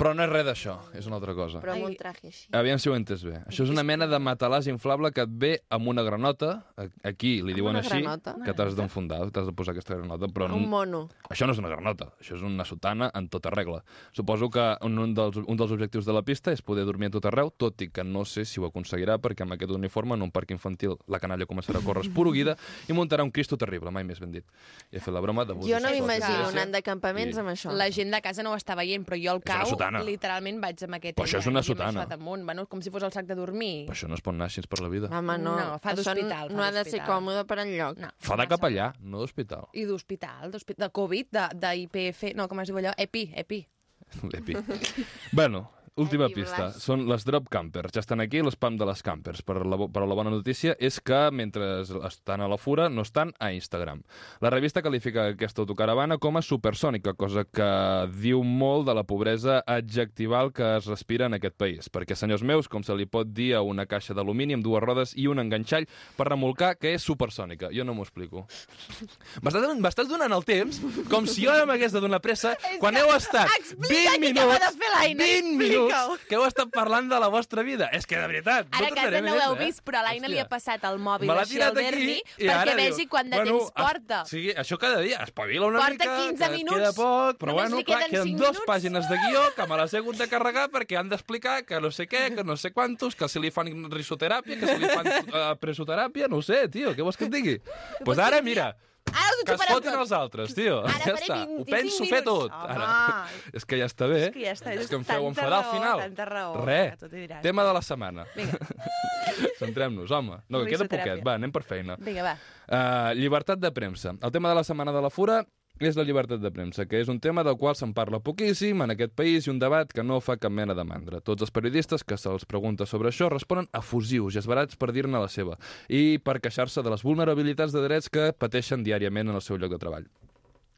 C: Però no és res d'això, és una altra cosa.
A: Però amb
B: Ai.
A: un traje així.
C: Aviam si ho he entès bé. Això és una mena de matalàs inflable que et ve amb una granota, a- aquí li
A: Amb
C: diuen
A: una
C: així,
A: granota?
C: que t'has d'enfundar, t'has de posar aquesta granota, però
A: Un
C: no,
A: mono.
C: això no és una granota, això és una sotana en tota regla. Suposo que un, un, dels, un dels objectius de la pista és poder dormir a tot arreu, tot i que no sé si ho aconseguirà, perquè amb aquest uniforme en un parc infantil la canalla començarà a córrer esporuguida i muntarà un cristo terrible, mai més ben dit. I he fet la broma d'abús.
A: Jo no
C: sexual a
A: m'imagino
C: l'església.
A: anant d'acampaments
C: I-
A: amb això.
B: La gent de casa no ho està veient, però jo al
C: una
B: cau,
C: sotana.
B: literalment vaig amb aquest...
C: Però això és
B: allà,
C: una
B: i amb
C: sotana.
B: això damunt, bueno, com si fos el sac de dormir.
C: Però això no es pot anar així per la vida.
A: Home, no.
B: No, fa
A: Això no,
B: d'hospital, fa
A: no ha de ser
B: d'hospital.
A: còmode per enlloc.
B: No,
C: Fa de
B: massa.
C: capellà, no d'hospital.
B: I d'hospital, d'hospi- de Covid, de, de IPF, no, com es diu allò? E EPI, EPI.
C: L'epi. bueno, última
A: Epi
C: pista.
A: Blas.
C: Són les drop campers. Ja estan aquí, l'espam de les campers. Per la, bo- però la bona notícia és que mentre estan a la fura no estan a Instagram. La revista qualifica aquesta autocaravana com a supersònica, cosa que diu molt de la pobresa adjectival que es respira en aquest país. Perquè, senyors meus, com se li pot dir a una caixa d'alumini amb dues rodes i un enganxall per remolcar que és supersònica? Jo no m'ho explico. M'estàs donant, m'estàs donant el temps com si jo m'hagués de donar pressa quan heu estat 20
B: Explica què
C: minuts,
B: acaba de fer l'Aina,
C: 20
B: explica-ho.
C: minuts que heu estat parlant de la vostra vida. És que, de veritat,
B: Ara a
C: no
B: casa
C: tornaré
B: no ho
C: més,
B: heu
C: eh?
B: vist, però a l'Aina li
C: Hòstia.
B: ha passat el mòbil
C: Me l'ha
B: així
C: tirat
B: al Berni
C: i
B: perquè
C: ara
B: vegi
C: diu,
B: quant de
C: bueno,
B: temps porta.
C: Es, sí, això cada dia, espavila una
B: Porta
C: mica,
B: 15
C: que
B: minuts.
C: queda poc, però
B: Només
C: bueno,
B: li
C: clar,
B: queden
C: queden
B: cinc
C: dues
B: minuts.
C: pàgines de guió que me les he hagut de carregar perquè han d'explicar que no sé què, que no sé quantos, que si li fan risoteràpia, que si li fan eh, presoteràpia, no ho sé, tio, què vols que et digui? Doncs pues ara, mira,
B: Ara us
C: que
B: ho
C: es
B: xuparem
C: fotin
B: tot.
C: els altres, tio.
B: Ara
C: ja
B: faré
C: està.
B: 25
C: Ho penso fer
B: minuts.
C: tot.
B: Home.
C: Ara. És que ja està bé.
B: És que ja està,
C: És
B: és
C: que em feu
B: tanta
C: enfadar al
B: raó,
C: final.
B: tanta raó, que tot hi
C: Re.
B: diràs.
C: Tema de la setmana. Centrem-nos, home. No, que queda
B: Risoteràpia.
C: poquet. Va, anem per feina.
B: Vinga, va.
C: Uh, llibertat de premsa. El tema de la setmana de la fura és la llibertat de premsa, que és un tema del qual se'n parla poquíssim en aquest país i un debat que no fa cap mena de mandra. Tots els periodistes que se'ls pregunta sobre això responen efusius i esbarats per dir-ne la seva i per queixar-se de les vulnerabilitats de drets que pateixen diàriament en el seu lloc de treball.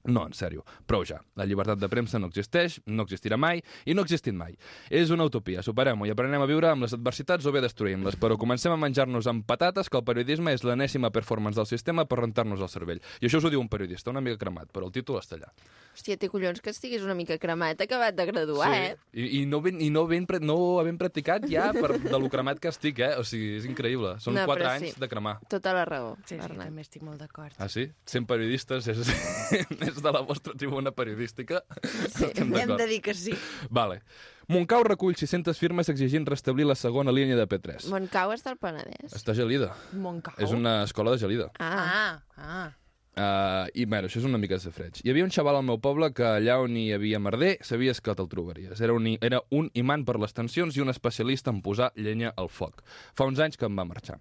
C: No, en sèrio, prou ja. La llibertat de premsa no existeix, no existirà mai i no ha existit mai. És una utopia, superem-ho i aprenem a viure amb les adversitats o bé destruïm-les, però comencem a menjar-nos amb patates que el periodisme és l'enèsima performance del sistema per rentar-nos el cervell. I això us ho diu un periodista, una mica cremat, però el títol està allà.
A: Hòstia, té collons que estiguis una mica cremat, acabat de graduar, eh?
C: I, i, no, ben, i no, ben, pre- no ho havent practicat ja per de lo cremat que estic, eh? O sigui, és increïble. Són
A: No,
C: quatre
A: però sí.
C: anys de cremar.
A: Tota la raó,
B: Sí, sí,
A: Bernat.
B: també estic molt d'acord.
C: Ah, sí? 100 periodistes és, és des de la vostra tribuna periodística. Sí,
D: Hem de dir que sí.
C: Vale. Montcau recull 600 firmes exigint restablir la segona línia de P3.
A: Montcau està al Penedès.
C: Està gelida.
B: Montcau.
C: És una escola de gelida.
A: Ah,
B: Ah, ah.
C: Uh, I, bueno, això és una mica de freig. Hi havia un xaval al meu poble que allà on hi havia merder sabies que te'l trobaries. Era un, i- era un imant per les tensions i un especialista en posar llenya al foc. Fa uns anys que em va marxar.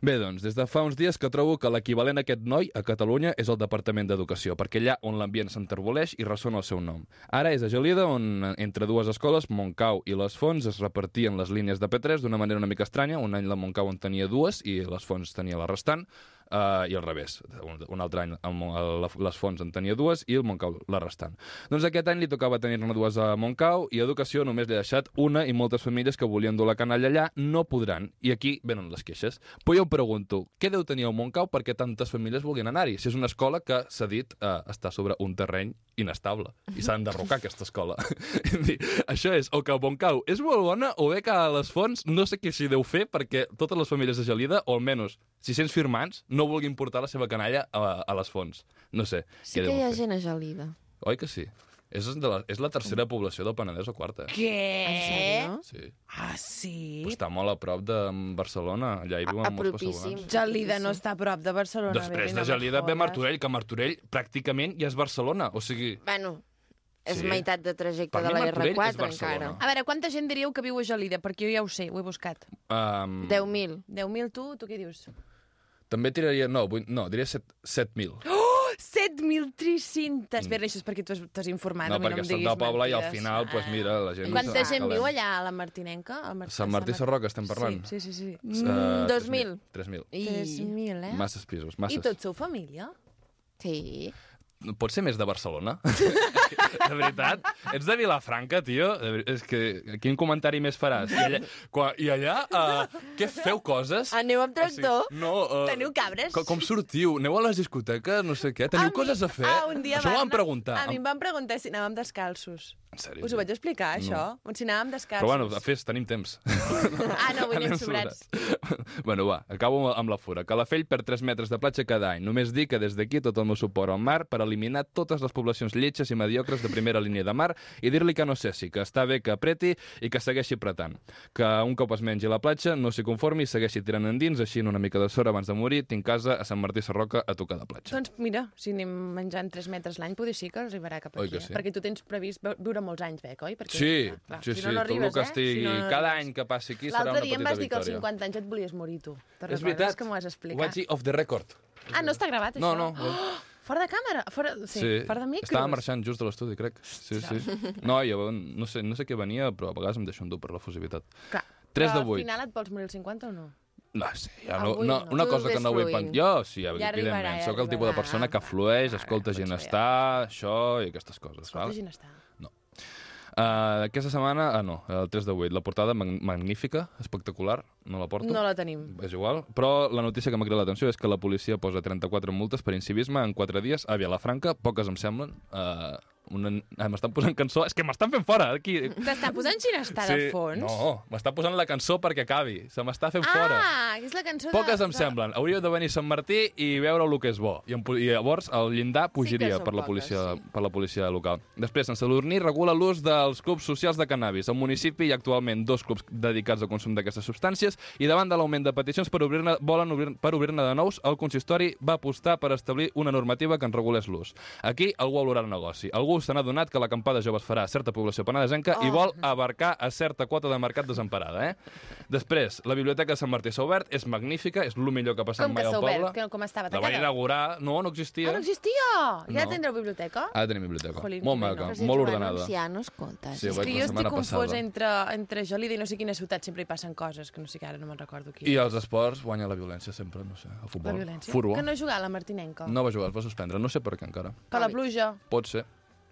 C: Bé, doncs, des de fa uns dies que trobo que l'equivalent a aquest noi a Catalunya és el Departament d'Educació, perquè allà on l'ambient s'enterboleix i ressona el seu nom. Ara és a Gelida, on entre dues escoles, Montcau i les Fonts, es repartien les línies de P3 d'una manera una mica estranya. Un any la Montcau en tenia dues i les Fonts tenia la restant. Uh, I al revés, un, un altre any el, Mon- el, les Fonts en tenia dues i el Montcau la restant. Doncs aquest any li tocava tenir-ne dues a Montcau i Educació només li ha deixat una i moltes famílies que volien dur la canalla allà no podran. I aquí venen les queixes. Però jo em pregunto, què deu tenir el Montcau perquè tantes famílies vulguin anar-hi? Si és una escola que s'ha dit eh, està sobre un terreny inestable i s'ha d'enderrocar aquesta escola. És dir, Això és, o que Montcau és molt bona o bé que a les fonts no sé què s'hi deu fer perquè totes les famílies de Gelida, o almenys 600 firmants, no vulguin portar la seva canalla a, a les fonts. No sé.
A: sí
C: què
A: que
C: deu
A: hi ha
C: fer.
A: gent a Gelida.
C: Oi que sí? És, de la, és la tercera població del Penedès o quarta. eh?
D: Què?
B: No?
C: Sí.
D: Ah, sí?
C: Però està molt a prop de Barcelona, allà hi viuen
A: A, a
C: molts
A: Ah, propíssim.
C: pessoans.
D: Gelida no està a prop de Barcelona.
C: Després
D: bé,
C: de
D: no
C: Gelida
D: me
C: ve
D: jodes.
C: Martorell, que Martorell pràcticament ja és Barcelona. O sigui,
A: Bueno, és
C: Sí.
A: sí. meitat de trajecte
C: Per
A: de
C: mi
A: la
C: Martorell és
A: R4
C: Barcelona.
A: encara.
B: A veure, quanta gent diríeu que viu a Gelida? Perquè jo ja ho sé, ho he buscat.
C: um,
A: 10.000.
B: 10.000 tu, tu què dius?
C: també tiraria... No, vull, no diria set- 7.000.
B: Oh, 7.300! Mm. Bé, això és perquè tu has- t'has informat,
C: no,
B: a mi Ah, no
C: perquè
B: em
C: som
B: diguis
C: del poble i al
B: mentides.
C: final, doncs mira, la gent...
B: Quanta
C: s'ha-
B: gent
C: calem.
B: viu allà a la Martinenca? A Mart-
C: Sant Martí Sarroca estem parlant.
B: Sí, sí, sí. sí.
C: Eh, 3.000.
A: Mm, 2.000.
C: 3.000.
A: I...
B: 3.000, eh?
C: Masses pisos,
B: I
C: masses.
B: tot sou família?
A: Sí.
C: Pots ser més de Barcelona? de veritat? Ets de Vilafranca, tio? De ver- És que quin comentari més faràs? I allà, qua, i allà uh, què feu coses?
A: Aneu amb tractor?
C: O sigui, no, uh,
B: Teniu cabres?
C: Com, com sortiu? Aneu a les discoteques? No sé què? Teniu
B: mi-
C: coses a fer?
B: Ah, un dia
C: Això ho
B: van
C: van
B: anar-
C: preguntar.
B: A mi em van preguntar si anàvem descalços.
C: En sèrio?
B: Us ho vaig explicar, això? No. Si anàvem descalços.
C: Però bueno, a fes, tenim temps.
B: Ah, no, avui anem
C: Anem
B: sobrats.
C: sobrats. bueno, va, acabo amb la fura. Calafell per 3 metres de platja cada any. Només dir que des d'aquí tot el meu suport al mar per eliminar totes les poblacions lletges i mediocres de primera línia de mar i dir-li que no cessi, que està bé que apreti i que segueixi apretant. Que un cop es mengi la platja, no s'hi conformi i segueixi tirant endins, així en una mica de sort abans de morir, tinc casa a Sant Martí Sarroca a tocar de platja.
B: Doncs mira, si anem menjant 3 metres l'any, potser sí que arribarà cap
C: Oi
B: aquí.
C: que sí?
B: eh? Perquè tu tens previst veu- viure molts anys, Bec, oi? Perquè,
C: Sí,
B: clar,
C: sí,
B: si
C: sí,
B: no, no
C: tot el
B: arribes,
C: que
B: eh?
C: estigui,
B: Si no, no
C: cada
B: arribes.
C: any que passi aquí serà una
B: L'altre
C: petita
B: dia em vas dir que als
C: victòria.
B: 50 anys et volies morir, tu. Te
C: És
B: recordes
C: veritat,
B: que m'ho vas explicar?
C: ho vaig dir off the record.
B: Ah, no està gravat,
C: No,
B: això?
C: no.
B: Oh, fora de càmera? Fora, sí, fora de micros?
C: Estava marxant just de l'estudi, crec. Sí, sí. No, jo no sé, no sé què venia, però a vegades em deixo endur per la fusivitat.
B: Clar.
C: Tres de
B: Però
C: vuit.
B: al final et vols morir als 50 o no?
C: No, sí, ja no,
B: Avui
C: no,
B: no.
C: una
A: Tu
C: cosa que
A: ves
C: no vull
A: fluint.
C: pensar. Jo, sí,
B: Ja
C: evidentment.
B: arribarà, ja
C: Sóc el tipus de
B: arribarà.
C: persona que
B: Va,
C: flueix,
B: va,
C: escolta
B: pots
C: gent
B: fer.
C: estar, això i aquestes coses.
B: Escolta,
C: val?
B: gent està.
C: Uh, aquesta setmana, ah no, el 3 de 8, la portada mag magnífica, espectacular, no la porto.
B: No la tenim.
C: És igual, però la notícia que m'ha cridat l'atenció és que la policia posa 34 multes per incivisme en 4 dies a Vilafranca, poques em semblen. Uh, una... ah, M'estan posant cançó... És que m'estan fent fora, aquí.
B: T'està posant ginestà sí, de fons?
C: No, m'està posant la cançó perquè acabi. Se m'està fent fora.
B: Ah, que és la cançó
C: Poques
B: de...
C: em semblen. Hauríeu de venir a Sant Martí i veure el que és bo. I, em, pu- i llavors el llindar pujaria
A: són
C: per, la
A: poques,
C: policia, per la policia local. Després, Sant Sadurní regula l'ús dels clubs socials de cannabis. Al municipi hi ha actualment dos clubs dedicats al consum d'aquestes substàncies i davant de l'augment de peticions per obrir-ne volen obrir, per obrir-ne de nous, el consistori va apostar per establir una normativa que en regulés l'ús. Aquí algú olorarà el negoci. Algú se n'ha donat que l'acampada joves farà a certa població penadesenca
B: Ah.
C: oh. i vol abarcar a certa quota de mercat desemparada, eh? Després, la biblioteca de Sant Martí s'ha obert, és magnífica, és el millor que ha passat
B: Com
C: mai
B: que
C: al
B: s'ha
C: poble.
B: obert? Que, com estava?
C: La van
B: Tancada?
C: inaugurar, no, no existia.
B: Ah, no existia! Ja
C: No.
B: tindreu biblioteca?
C: Ara tenim biblioteca.
B: Jolín,
C: molt
B: que bé,
C: maca,
B: no?
A: Però si
C: molt
A: t'ho van
C: ordenada.
A: anunciar, no escoltes.
C: Sí,
A: Sí,
C: ho vaig la
B: que jo estic
C: setmana
B: confosa
C: passada.
B: entre, entre Jolida i no sé quina ciutat sempre hi passen coses, que no sé que ara no me'n recordo qui.
C: I els esports guanya la violència sempre, no sé, a
B: la
C: futbol.
B: violència.
C: Furbo.
B: Que no jugar a la Martinenca.
C: no va jugar, es va suspendre, no sé per què encara.
B: Que la pluja.
C: Pot ser.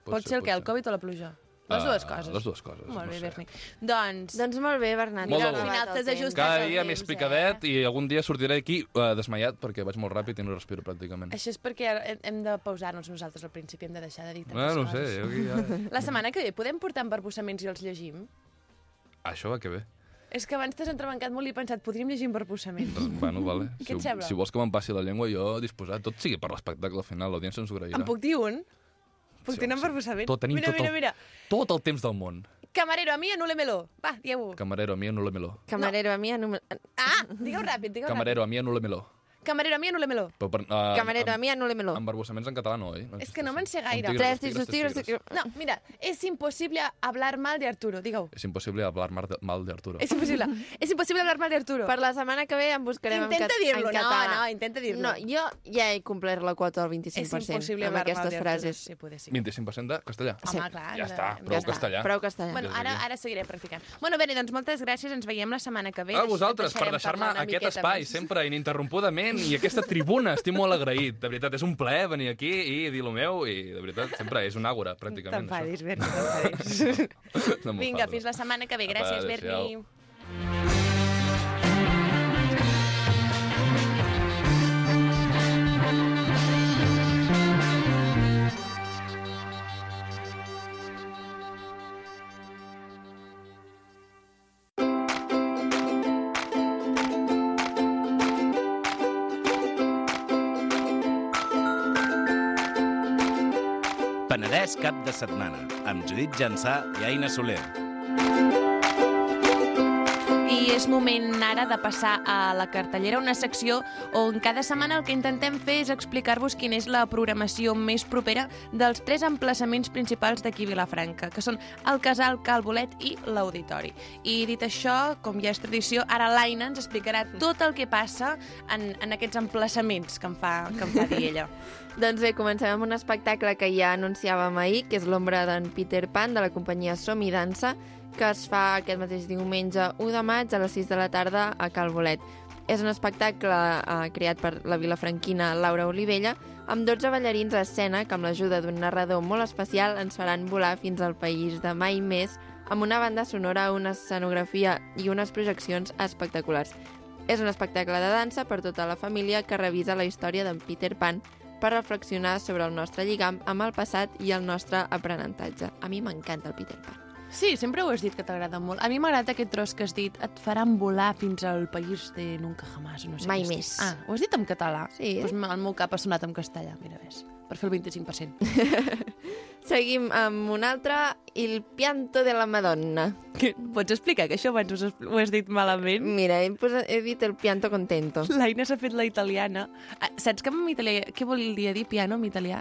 B: Pot, pot ser, el que, el Covid o la pluja? Les
C: Ah,
B: dues coses.
C: les dues coses,
B: Molt
C: no
B: bé,
C: sé.
B: Berni. Doncs...
A: Doncs molt bé, Bernat.
C: Molt
A: ja
C: de
A: ha
C: gust.
A: acabat el
B: Finaltes ajustes.
A: temps.
C: Cada dia
B: Temps,
C: més
B: eh?
C: picadet i algun dia sortiré aquí eh, desmaiat perquè vaig molt ràpid i no respiro pràcticament.
B: Això és perquè ara hem- hem de pausar-nos nosaltres al principi, hem de deixar de dir tantes
C: Ah, no ho sé,
B: coses.
C: jo aquí ja...
B: La setmana que ve podem portar embarbussaments i els llegim?
C: Això va que bé.
B: És que abans t'has entrebancat molt i he pensat, podríem llegir embarbussaments.
C: Doncs, bueno, vale.
B: Què
C: Si,
B: et sembla?
C: si vols que me'n passi la llengua, jo disposat, tot sigui per l'espectacle final, l'audiència ens ho agrairà.
B: Em puc dir un?
D: Puc tenir un professament?
C: Tot, tenim
D: mira,
C: tot,
D: mira,
C: el,
D: mira.
C: tot el temps del món.
D: Camarero, a mi anule-me-lo. Va, digueu-ho.
C: Camarero, a mi anule-me-lo.
A: Camarero, a mi... Anul...
D: Ah, digueu ràpid, digueu
C: Camarero, a mi anule-me-lo.
D: ràpid. Camarero, a mi anule-me-lo.
C: Però per, uh,
A: Camarero, a mi anule-me-lo.
C: Amb embarbussaments en català no, eh? oi?
D: És que no me'n sé gaire.
A: Tres tigres, dos tigres,
C: tigres.
A: tigres.
D: No, mira, és impossible hablar mal de Arturo, digueu.
C: És impossible hablar mar- de- mal d'Arturo.
D: És impossible. és impossible hablar mal de Arturo.
A: Per la setmana que ve em buscarem en
D: Intenta
A: cat- en
D: dir-lo, no,
A: català.
D: no, intenta dir-lo.
A: No, jo ja he complert la quota del
D: és
A: 25%
D: impossible
A: amb
D: hablar mal
A: aquestes
D: de Arturo.
A: frases.
D: Sí, poder sí.
C: 25% de castellà.
D: Home, clar.
C: Ja està,
D: hem de-
C: prou
D: ja està.
C: castellà.
A: Prou castellà.
D: Bueno,
C: Des
D: ara,
C: d'aquí.
D: ara seguirem practicant. Bueno, Beni, doncs moltes gràcies, ens veiem la setmana que ve.
C: A
D: Deixa-
C: vosaltres, per
D: deixarem
C: deixar-me
D: parlar una
C: aquest
D: miqueta
C: espai,
D: més.
C: sempre ininterrompudament, i aquesta tribuna, estic molt agraït. De veritat, és un plaer venir aquí i dir lo meu, i de veritat, sempre és un àgora, pràcticament.
D: T'enfadis, Berni, t'enfadis.
C: això. No
D: Vinga, fins la setmana que ve.
C: Apa,
D: Gràcies,
C: adéu-siau.
D: Berni.
E: Penedès cap de setmana, amb Judit Jansà i Aina Soler.
B: I és moment ara de passar a la cartellera, una secció on cada setmana el que intentem fer és explicar-vos quina és la programació més propera dels tres emplaçaments principals d'aquí a Vilafranca, que són el Casal, Calbolet i l'Auditori. I dit això, com ja és tradició, ara l'Aina ens explicarà tot el que passa en, en aquests emplaçaments que em fa, que em fa dir ella.
A: Doncs bé, comencem amb un espectacle que ja anunciàvem ahir, que és l'ombra d'en Peter Pan, de la companyia Som i Dansa, que es fa aquest mateix diumenge 1 de maig a les 6 de la tarda a Cal Bolet. És un espectacle eh, creat per la vilafranquina Laura Olivella, amb 12 ballarins a escena que amb l'ajuda d'un narrador molt especial ens faran volar fins al país de mai més, amb una banda sonora, una escenografia i unes projeccions espectaculars. És un espectacle de dansa per tota la família que revisa la història d'en Peter Pan per reflexionar sobre el nostre lligam amb el passat i el nostre aprenentatge. A mi m'encanta el Peter Pan.
B: Sí, sempre ho has dit que t'agrada molt. A mi m'agrada aquest tros que has dit et faran volar fins al país de nunca jamás. o No sé
A: Mai
B: què has dit.
A: més.
B: Ah, ho has dit en català?
A: Sí. eh?
B: Pues el meu cap ha sonat en castellà, mira, ves. Per fer el 25%.
A: Seguim amb un altre, Il pianto de la Madonna.
B: Què? Pots explicar que això abans us, ho has dit malament?
A: Mira, he, posat, he dit el pianto contento.
B: L'Aina s'ha fet la italiana. Ah, Saps que en italià... Què volia dir piano en italià?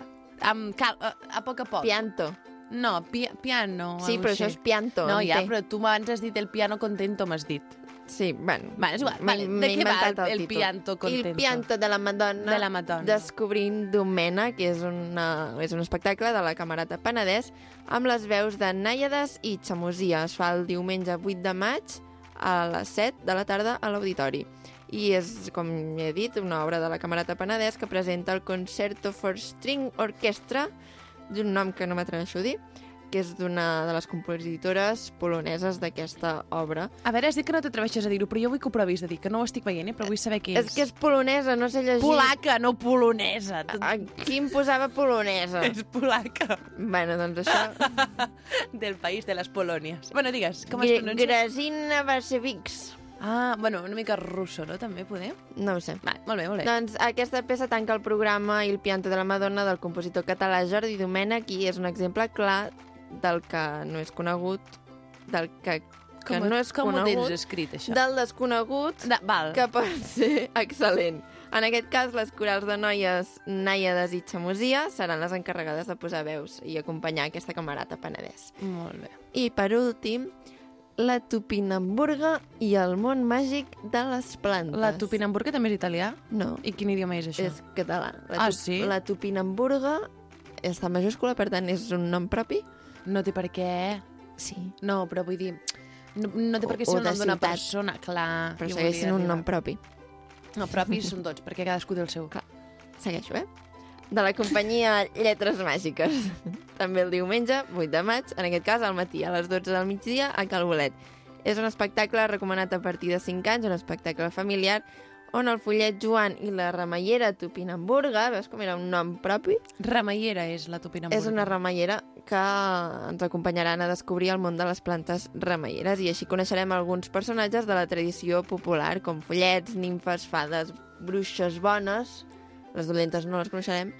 B: Um, cal, a, a poc a poc.
A: Pianto.
B: No, pi, piano.
A: Sí,
B: algo
A: però
B: així.
A: això és pianto.
B: No,
A: en
B: ja,
A: té.
B: però tu abans has dit el piano contento, m'has dit.
A: Sí, bueno.
B: Vale, és igual.
A: m'he-
B: Vale, de
A: m'he
B: què va
A: inventat
B: el
A: títol.
B: pianto contento?
A: Il pianto de la Madonna.
B: De la Madonna.
A: Descobrint Domena, que és, una, és un espectacle de la Camerata Penedès, amb les veus de Nàiades i Xamosia. Es fa el diumenge 8 de maig a les 7 de la tarda a l'Auditori. I és, com he dit, una obra de la Camerata Penedès que presenta el Concerto for String Orchestra, d'un nom que no m'atreveixo a dir, que és d'una de les compositores poloneses d'aquesta obra.
B: A veure, has dit que no t'atreveixes a dir-ho, però jo vull que ho provis de dir, que no ho estic veient, eh, però vull saber què és.
A: És que és polonesa, no sé llegir.
B: Polaca, no polonesa. Tu...
A: Aquí em posava polonesa.
B: És polaca.
A: bueno, doncs això...
B: Del país de les Polònies. Bueno, digues, com es
A: Gre-
B: pronuncia?
A: Grazina Vasevics.
B: Ah, bueno, una mica russo, no? També podem?
A: No ho sé.
B: Va, molt bé, molt bé.
A: Doncs aquesta peça tanca el programa Il pianto de la Madonna del compositor català Jordi Domènech i és un exemple clar del que no és conegut, del que, que
B: ho-
A: no és
B: com ho tens
A: conegut,
B: escrit, això?
A: del desconegut
B: De... Val.
A: que pot ser excel·lent. En aquest cas, les corals de noies Nàiades i Xamosia seran les encarregades de posar veus i acompanyar aquesta camarata penedès.
B: Molt bé.
A: I per últim, la tupinamburga i el món màgic de les plantes.
B: La tupinamburga també és italià?
A: No,
B: I quin idioma és això?
A: és català. La
B: Ah,
A: tup-
B: sí?
A: La tupinamburga està majúscula, per tant, és un nom propi.
B: No té per què...
A: Sí.
B: No, però vull dir... No, no té per què
A: O- o
B: ser el
A: de
B: nom d'una
A: ciutat.
B: persona, clar.
A: Però
B: jo
A: segueix sent
B: volia
A: un
B: dir-
A: nom propi.
B: No, propis són tots, perquè cadascú té el seu.
A: Clar. Segueixo, eh? De la companyia Lletres Màgiques. També el diumenge, 8 de maig, en aquest cas al matí, a les 12 del migdia, a Cal Bolet. És un espectacle recomanat a partir de 5 anys, un espectacle familiar, on el follet Joan i la ramallera Tupinamburga, veus com era un nom propi?
B: Ramallera és la tupinamburga.
A: És una ramallera que ens acompanyaran a descobrir el món de les plantes ramalleres i així coneixerem alguns personatges de la tradició popular, com follets, nimfes, fades, bruixes bones, les dolentes no les coneixerem,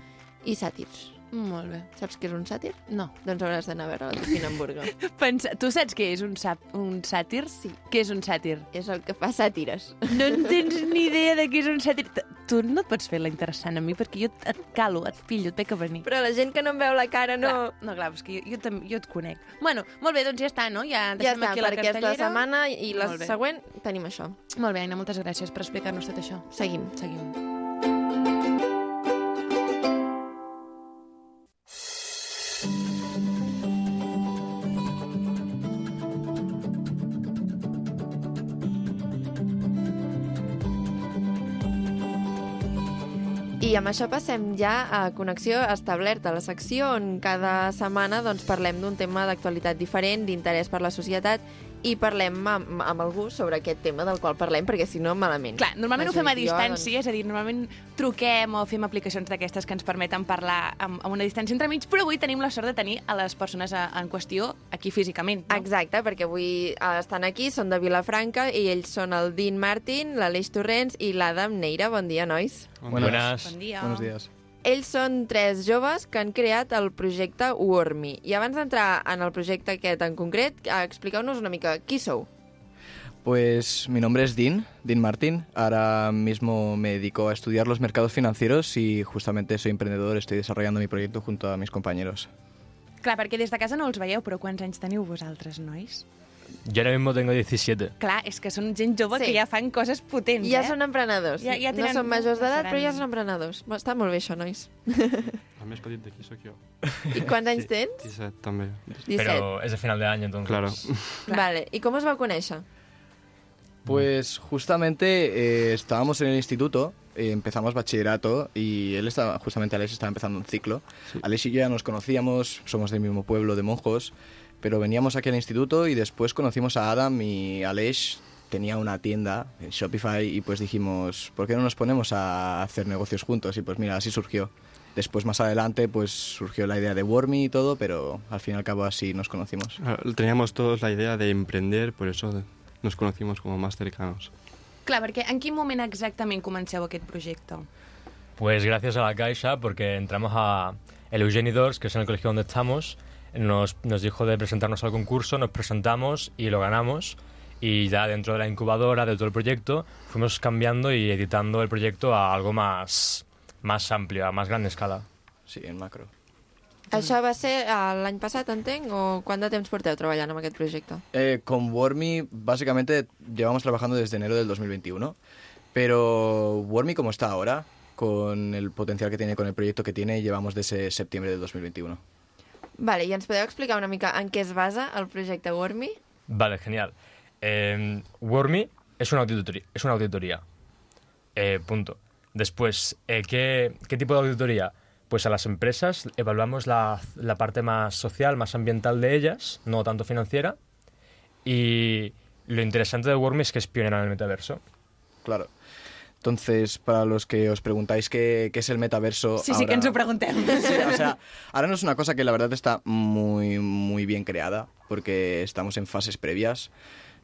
A: i sàtirs.
B: Molt bé.
A: Saps què és un sàtir?
B: No.
A: Doncs hauràs d'anar a veure la Tifina Hamburgo.
B: Pensa... Tu saps què és un, sap... un sàtir?
A: Sí.
B: Què és un sàtir?
A: és el que fa sàtires.
B: No en tens ni idea de què és un sàtir. T- Tu no et pots fer la interessant a mi perquè jo et- et calo, et pillo, et veig a venir.
A: Però la gent que no em veu la cara no...
B: Clar, no, clar, és que jo, jo, tam- jo et conec. Bueno, molt bé, doncs ja està, no? Ja
A: Ja
B: deixem
A: està,
B: aquí la
A: perquè és la
B: cartellera.
A: setmana i la
B: Molt bé.
A: següent tenim això.
B: Molt bé, Aina, moltes gràcies per explicar-nos tot això.
A: Seguim.
B: Seguim.
A: I amb això passem ja a Connexió Establerta, la secció on cada setmana doncs, parlem d'un tema d'actualitat diferent, d'interès per la societat, i parlem amb, amb algú sobre aquest tema del qual parlem, perquè si no, malament.
B: Clar, normalment ho
A: Vaig
B: fem a
A: dir jo, doncs,
B: distància, és a dir, normalment truquem o fem aplicacions d'aquestes que ens permeten parlar amb, amb una distància entre mig, però avui tenim la sort de tenir a les persones a, en qüestió aquí físicament. No?
A: Exacte, perquè avui eh, estan aquí, són de Vilafranca, i ells són el Dean Martin, l'Aleix Torrents i l'Adam Neira. Bon dia, nois.
F: Buenas.
B: Bon dia.
D: Ah.
F: Buenos días.
A: Ells són tres joves que han creat el projecte Wormy. I abans d'entrar en el projecte aquest en concret, eh, expliqueu-nos una mica qui sou.
F: Pues mi nombre es Dean, Dean Martín. Ahora mismo me dedico a estudiar los mercados financieros y justamente soy emprendedor, estoy desarrollando mi proyecto junto a mis compañeros.
B: Clar, perquè des de casa no els veieu, però quants anys teniu vosaltres, nois?
G: Yo ahora mismo tengo 17.
B: Clar, és que són gent jove
A: Sí.
B: sí. que ja fan coses potents,
A: Ja
B: eh?
A: són emprenedors.
B: Ja- ja
A: no
B: tenen-
A: són majors d'edat,
B: seran-
A: però ja són emprenedors. Bo, Està Ah, doncs, molt bé això, nois.
H: El més petit d'aquí sóc jo.
A: I quants anys tens?
H: 17, també.
A: 17.
G: Pero es de final de año, entonces.
H: Claro.
A: Vale. I com es va conèixer?
F: Pues justamente eh, estábamos en el instituto, eh, empezamos bachillerato y él estaba, justamente Alex estaba empezando un ciclo. Alex y yo ya nos conocíamos, somos del mismo pueblo de monjos, pero veníamos aquí al instituto y después conocimos a Adam y Alex tenía una tienda en Shopify y pues dijimos, ¿por qué no nos ponemos a hacer negocios juntos? Y pues mira, así surgió. Después más adelante pues surgió la idea de Wormy y todo, pero al fin y al cabo así nos conocimos.
H: Teníamos todos la idea de emprender, por eso nos conocimos como más cercanos.
B: Clar, perquè en quin moment exactament comenceu aquest projecte?
G: Pues gracias a la Caixa, porque entramos a el Eugeni Dors, que es en el colegio donde estamos, nos, nos dijo de presentarnos al concurso, nos presentamos y lo ganamos. Y ya dentro de la incubadora, de todo el proyecto, fuimos cambiando y editando el proyecto a algo más, más amplio, a más gran escala.
F: Sí, en macro.
A: Això va ser eh, l'any passat, entenc? O quant de temps porteu treballant amb aquest projecte?
F: Eh, con Wormy, básicamente llevamos trabajando desde enero del 2021. Pero Wormy, como está ahora, con el potencial que tiene, con el proyecto que tiene, llevamos desde septiembre del 2021.
A: Vale, i ens podeu explicar una mica en què es basa el projecte Wormy?
G: Vale, genial. Eh, Wormy es una auditoría. Es una auditoría. Eh, punto. Después, eh, ¿qué, qué tipo de auditoría? Pues a las empresas evaluamos la, la parte más social, más ambiental de ellas, no tanto financiera. Y lo interesante de Wormy es que es pionera en el metaverso.
F: Claro. Entonces, para los que os preguntáis qué, qué es el metaverso...
B: Sí, sí, que
F: ahora-
B: ens ho preguntem.
F: Sí, o sea, ahora no es una cosa que la verdad está muy, muy bien creada, porque estamos en fases previas,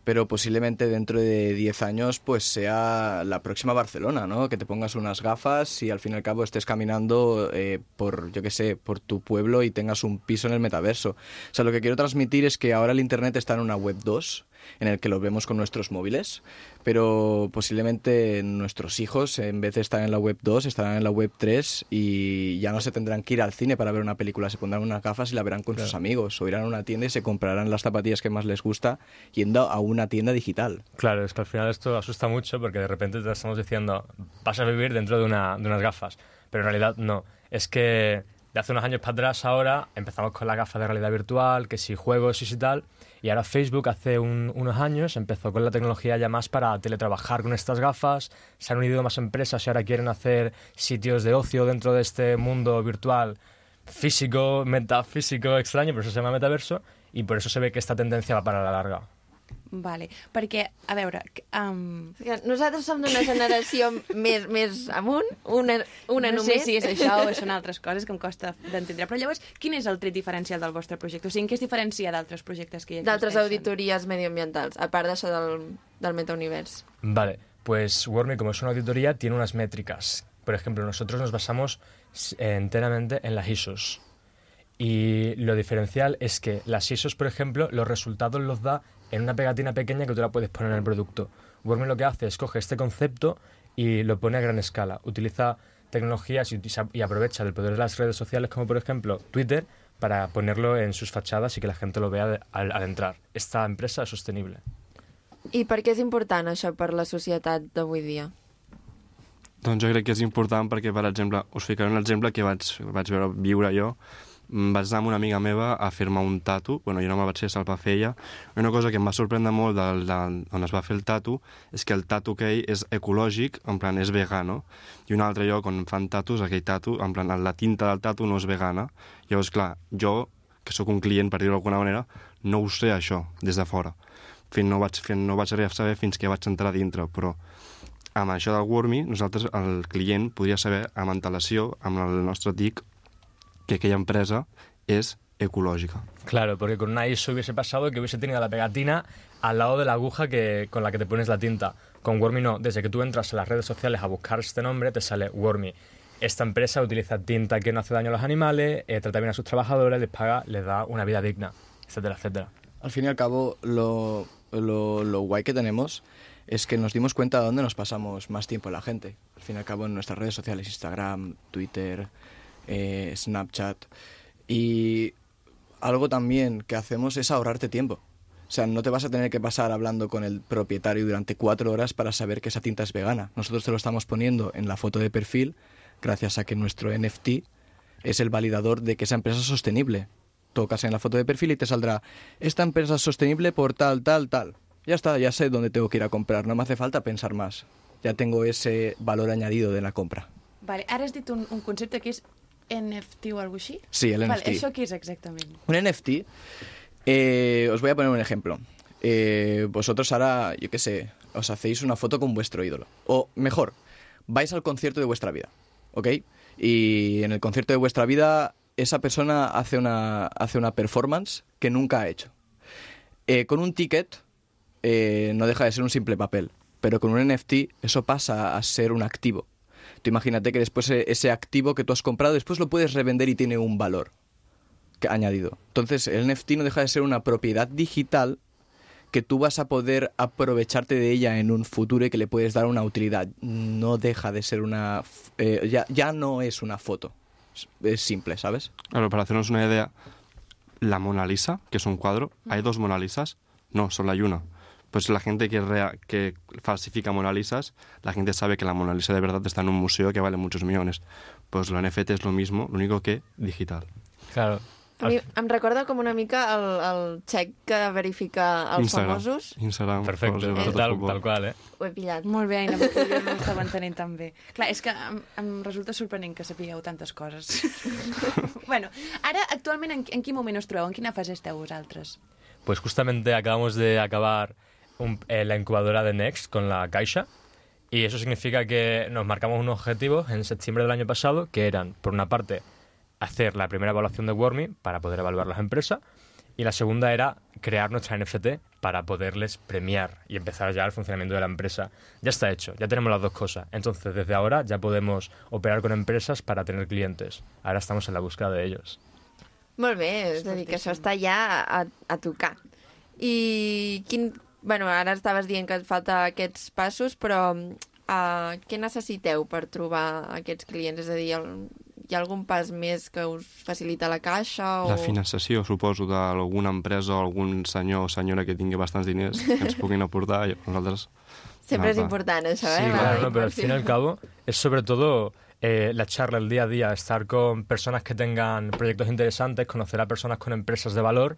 F: pero posiblemente dentro de 10 años pues sea la próxima Barcelona, ¿no? Que te pongas unas gafas y al fin y al cabo estés caminando eh, por, yo qué sé, por tu pueblo y tengas un piso en el metaverso. O sea, lo que quiero transmitir es que ahora el Internet está en una web 2 en el que lo vemos con nuestros móviles, pero posiblemente nuestros hijos, en vez de estar en la web 2, estarán en la web 3 y ya no se tendrán que ir al cine para ver una película, se pondrán unas gafas y la verán con sus amigos, o irán a una tienda y se comprarán las zapatillas que más les gusta yendo a una tienda digital.
G: Claro, es que al final esto asusta mucho porque de repente te estamos diciendo, vas a vivir dentro de, una- de unas gafas, pero en realidad no. Es que de hace unos años para atrás ahora empezamos con las gafas de realidad virtual, que si juegos y si tal, y ahora Facebook hace un- unos años empezó con la tecnología ya más para teletrabajar con estas gafas, se han unido más empresas y ahora quieren hacer sitios de ocio dentro de este mundo virtual físico, metafísico, extraño, por eso se llama metaverso, y por eso se ve que esta tendencia va para la larga.
B: Vale, perquè, a veure... que, Um,
A: És que Nosaltres som d'una generació més, més amunt, una, una
B: no
A: només.
B: sé si és això o són altres coses que em costa d'entendre. Però llavors, quin és el tret diferencial del vostre projecte? O sigui, en què es diferencia d'altres projectes que hi existeixen?
A: d'altres auditories mediambientals, a part d'això del, del metaunivers.
G: Vale, pues Wormy, como es una auditoría, tiene unas métricas Por ejemplo, nosotros nos basamos s- enteramente en las ISOs. Y lo diferencial es que las ISOs, por ejemplo, los resultados los da en una pegatina pequeña que tú la puedes poner en el producto. Wormy lo que hace es coge este concepto y lo pone a gran escala. Utiliza tecnologías y, utiliza- y aprovecha del poder de las redes sociales, como por ejemplo Twitter, para ponerlo en sus fachadas y que la gente lo vea de- al, al entrar. Esta empresa es sostenible.
A: I per què és important això per la societat d'avui dia?
H: Doncs jo crec que és important perquè, per exemple, us ficaré un exemple que vaig, vaig veure viure jo. Mm, Vaig anar amb una amiga meva a fer-me un tatu, bueno, jo no me vaig fer, se'l va fer ella. Una cosa que em va sorprendre molt del, de, on es va fer el tatu és que el tatu que ell és ecològic, en plan, és vegano. I un altre lloc on fan tatus, aquell tatu, en plan, la tinta del tatu no és vegana. Llavors, clar, jo, que sóc un client, per dir-ho d'alguna manera, no ho sé això, des de fora. Fins no vaig, fins, no vaig arribar a saber fins que vaig entrar a dintre, però amb això del Wormy, nosaltres, el client, podria saber amb antelació, amb el nostre TIC, que aquella empresa és ecològica.
G: Claro, porque con una ISO hubiese pasado que hubiese tenido la pegatina al lado de la aguja que, con la que te pones la tinta. Con Wormy no, desde que tú entras a las redes sociales a buscar este nombre, te sale Wormy. Esta empresa utiliza tinta que no hace daño a los animales, eh, trata bien a sus trabajadores, les paga, les da una vida digna, etcétera, etcétera.
F: Al fin y al cabo, lo, lo, lo guay que tenemos es que nos dimos cuenta de dónde nos pasamos más tiempo la gente. Al fin y al cabo, en nuestras redes sociales, Instagram, Twitter, eh, Snapchat. Y algo también que hacemos es ahorrarte tiempo. O sea, no te vas a tener que pasar hablando con el propietario durante cuatro horas para saber que esa tinta es vegana. Nosotros te lo estamos poniendo en la foto de perfil gracias a que nuestro NFT es el validador de que esa empresa es sostenible. Tocas en la foto de perfil y te saldrá, esta empresa es sostenible por tal, tal, tal. Ya está, ya sé dónde tengo que ir a comprar, no me hace falta pensar más. Ya tengo ese valor añadido de la compra.
D: Vale, ara has dit un, un concepte que és NFT o alguna així?
F: Sí, el
D: Vale,
F: NFT.
D: això què és exactament?
F: Un NFT, eh, os voy a poner un ejemplo. Eh, vosotros ahora, yo qué sé, os hacéis una foto con vuestro ídolo. O mejor, vais al concierto de vuestra vida, ¿ok? Y en el concierto de vuestra vida, esa persona hace una, hace una performance que nunca ha hecho. Eh, con un ticket eh, no deja de ser un simple papel, pero con un NFT eso pasa a ser un activo. Tú imagínate que después eh, ese activo que tú has comprado, después lo puedes revender y tiene un valor que- añadido. Entonces, el NFT no deja de ser una propiedad digital que tú vas a poder aprovecharte de ella en un futuro y que le puedes dar una utilidad. No deja de ser una... f- eh, ya, ya no es una foto. Es- Es simple, ¿sabes?
H: Claro, para hacernos una idea, la Mona Lisa, que es un cuadro, ¿hay dos Mona Lisas? No, solo hay una. Pues la gente que, rea- que falsifica Mona Lisas, la gente sabe que la Mona Lisa de verdad está en un museo que vale muchos millones. Pues lo NFT es lo mismo, lo único que digital.
G: Claro.
A: A
H: Ah.
A: mi em recorda com una mica el, el xec que verifica els famosos.
H: Instagram.
G: Perfecto,
H: famosos,
G: tal-
H: nosotros
G: tal,
H: fútbol.
G: cual, ¿eh?
A: Ho he pillat.
D: Molt bé, Aina, perquè jo no ho estava entenent tan bé. Clar, és que em, em resulta sorprenent que sapigueu tantes coses. bueno, ara, actualment, en, en quin moment us trobeu? En quina fase esteu vosaltres?
G: Pues justamente acabamos de acabar un- eh, la incubadora de Next con la Caixa y eso significa que nos marcamos unos objetivos en septiembre del año pasado que eran, por una parte, hacer la primera evaluación de Wormy para poder evaluar las empresas y la segunda era crear nuestra NFT para poderles premiar y empezar ya el funcionamiento de la empresa. Ya está hecho, ya tenemos las dos cosas. Entonces, desde ahora ya podemos operar con empresas para tener clientes. Ahora estamos en la búsqueda de ellos.
A: Molt bé, és a dir, que això està ja a, a tocar. I quin... Bueno, ara estaves dient que et falta aquests passos, però uh, què necessiteu per trobar aquests clients? És a dir, el, hi ha algun pas més que us facilita la caixa? O...
H: La finançació, suposo, d'alguna empresa o algun senyor o senyora que tingui bastants diners que ens puguin aportar. i Nosaltres
A: Sempre és
H: Nada.
A: important, això,
G: Sí,
A: eh? la
G: claro, no, pero al
A: inversió.
G: fin y al cabo es sobre todo eh, la charla, el día a día, estar con personas que tengan proyectos interesantes, conocer a personas con empresas de valor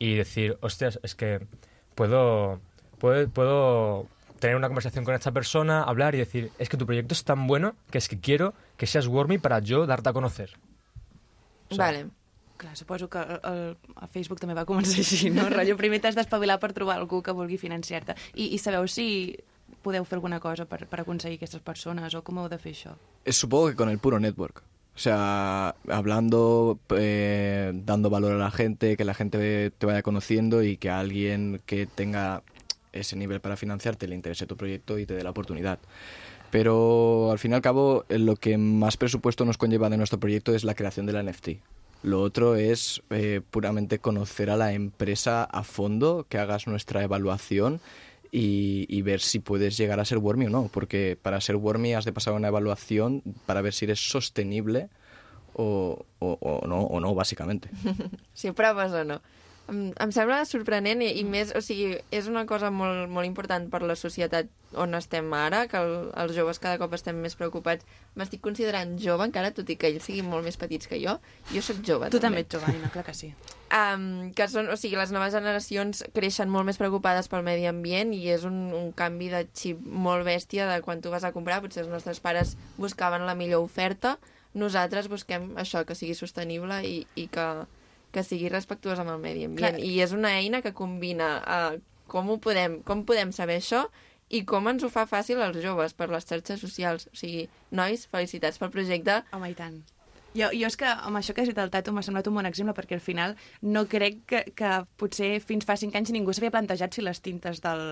G: y decir, hostias, es que puedo, puedo, puedo tener una conversación con esta persona, hablar y decir, es que tu proyecto es tan bueno que es que quiero que seas Wormy para yo darte a conocer. O sea,
A: Vale.
D: Clar, suposo que el, el, el Facebook també va començar així, no? Rotllo, primer t'has d'espavilar per trobar algú que vulgui financiar-te. I, I sabeu si podeu fer alguna cosa per, per aconseguir aquestes persones o com heu de fer això?
F: Eh, Supongo que con el puro network. O sea, hablando, eh, dando valor a la gente, que la gente te vaya conociendo y que a alguien que tenga ese nivel para financiarte le interese tu proyecto y te dé la oportunidad. Pero al fin y al cabo, eh, lo que más presupuesto nos conlleva de nuestro proyecto es la creación de la NFT. Lo otro es eh, puramente conocer a la empresa a fondo, que hagas nuestra evaluación y, y ver si puedes llegar a ser Wormy o no. Porque para ser Wormy has de pasar una evaluación para ver si eres sostenible o, o- o no, o no, básicamente.
A: si proves o no. Em, em sembla sorprenent i, i més, o sigui, és una cosa molt, molt important per la societat on estem ara, que el, els joves cada cop estem més preocupats. M'estic considerant jove encara, tot i que ells siguin molt més petits que jo. Jo sóc jove,
B: Tu també ets jove, Nina, clar que sí.
A: um, que són, o sigui, les noves generacions creixen molt més preocupades pel medi ambient i és un, un canvi de xip molt bèstia de quan tu vas a comprar, potser els nostres pares buscaven la millor oferta, nosaltres busquem això, que sigui sostenible i, i que, que sigui respectuós amb el medi ambient.
B: Clar.
A: I és una eina que combina uh, com, ho podem, com podem saber això i com ens ho fa fàcil als joves per les xarxes socials. O sigui, nois, felicitats pel projecte.
B: Home, i tant. Jo, jo és que amb això que has dit del tatu m'ha semblat un bon exemple perquè al final no crec que, que potser fins fa 5 anys ningú s'havia plantejat si les tintes del,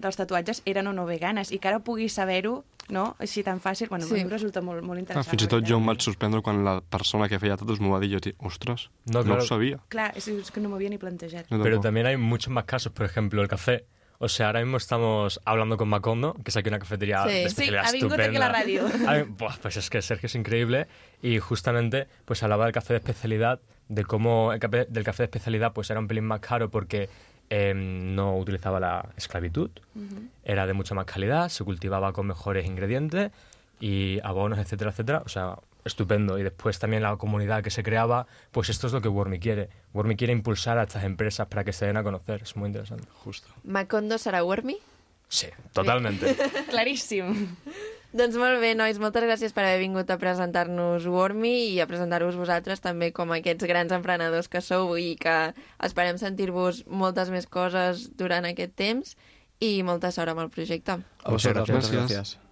B: dels tatuatges eren o no veganes i que ara puguis saber-ho no? així tan fàcil, bueno,
A: Sí.
B: sí. resulta molt,
H: Ah,
B: molt interessant.
H: fins i
B: la
H: tot jo
B: veritat.
H: em vaig sorprendre quan la persona que feia tatus m'ho va dir. Yo dije, ostras,
G: No,
H: no,
G: claro.
H: lo sabía.
B: Clar, és, és que no m'ho havia ni plantejat.
H: Yo
G: Pero
H: tampoco.
G: también hay muchos más casos, por ejemplo, el café. O sea, ahora mismo estamos hablando con Macondo, que es aquí una cafetería
A: Sí.
G: de
A: Sí,
G: especialidad
B: ha vingut
G: estupenda.
B: aquí a la radio.
G: Ay, buah, pues es que Sergio es increíble y justamente pues hablaba del café de especialidad, de cómo el café, del café de especialidad pues era un pelín más caro porque eh, no utilizaba la esclavitud, era de mucha más calidad, se cultivaba con mejores ingredientes y abonos, etcétera, etcétera. O sea, estupendo. Y después también la comunidad que se creaba, pues esto es lo que Wormy quiere. Wormy quiere impulsar a estas empresas para que se den a conocer, es muy interesante.
F: Justo.
A: Macondo serà Wormy?
G: Sí, totalmente.
B: Claríssim.
A: Doncs molt bé, nois, moltes gràcies per haver vingut a presentar-nos Wormy i a presentar-vos vosaltres també com aquests grans emprenedors que sou i que esperem sentir-vos moltes més coses durant aquest temps i molta sort amb el projecte.
F: A vosotros,
H: Muchas
F: muchas
H: gracias.
F: gracias.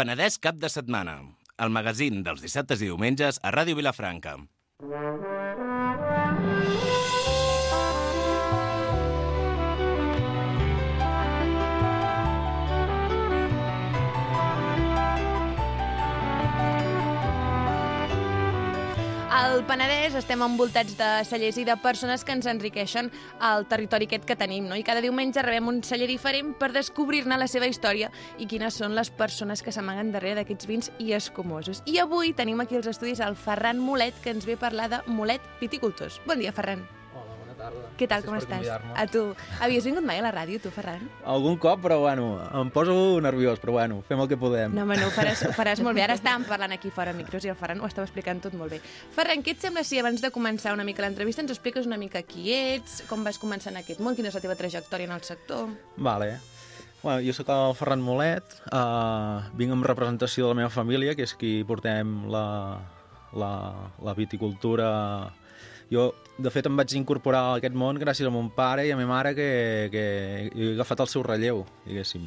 E: Penedès cap de setmana. El magazín dels dissabtes i diumenges a Ràdio Vilafranca.
B: Al Penedès estem envoltats de cellers i de persones que ens enriqueixen el territori aquest que tenim, no? I cada diumenge rebem un celler diferent per descobrir-ne la seva història i quines són les persones que s'amaguen darrere d'aquests vins i escumosos. I avui tenim aquí els estudis el Ferran Molet, que ens ve a parlar de Molet Viticultors. Bon dia, Ferran.
I: Hola, bona tarda.
B: Què tal,
I: Gràcies
B: com
I: per
B: estàs?
I: convidar-me.
B: A tu. Havies vingut mai a la ràdio, tu, Ferran?
I: Algun cop, però bueno, em poso nerviós, però bueno, fem el que podem.
B: No, home, no, ho faràs, ho faràs molt bé. Ara estàvem parlant aquí fora a micros i el Ferran ho estava explicant tot molt bé. Ferran, què et sembla si abans de començar una mica l'entrevista ens expliques una mica qui ets, com vas començar en aquest món, quina és la teva trajectòria en el sector?
I: Vale. Bueno, jo sóc el Ferran Molet, uh, vinc amb representació de la meva família, que és qui portem la, la, la viticultura... Jo, de fet, em vaig incorporar a aquest món gràcies a mon pare i a ma mare, que, que jo he agafat el seu relleu, diguéssim.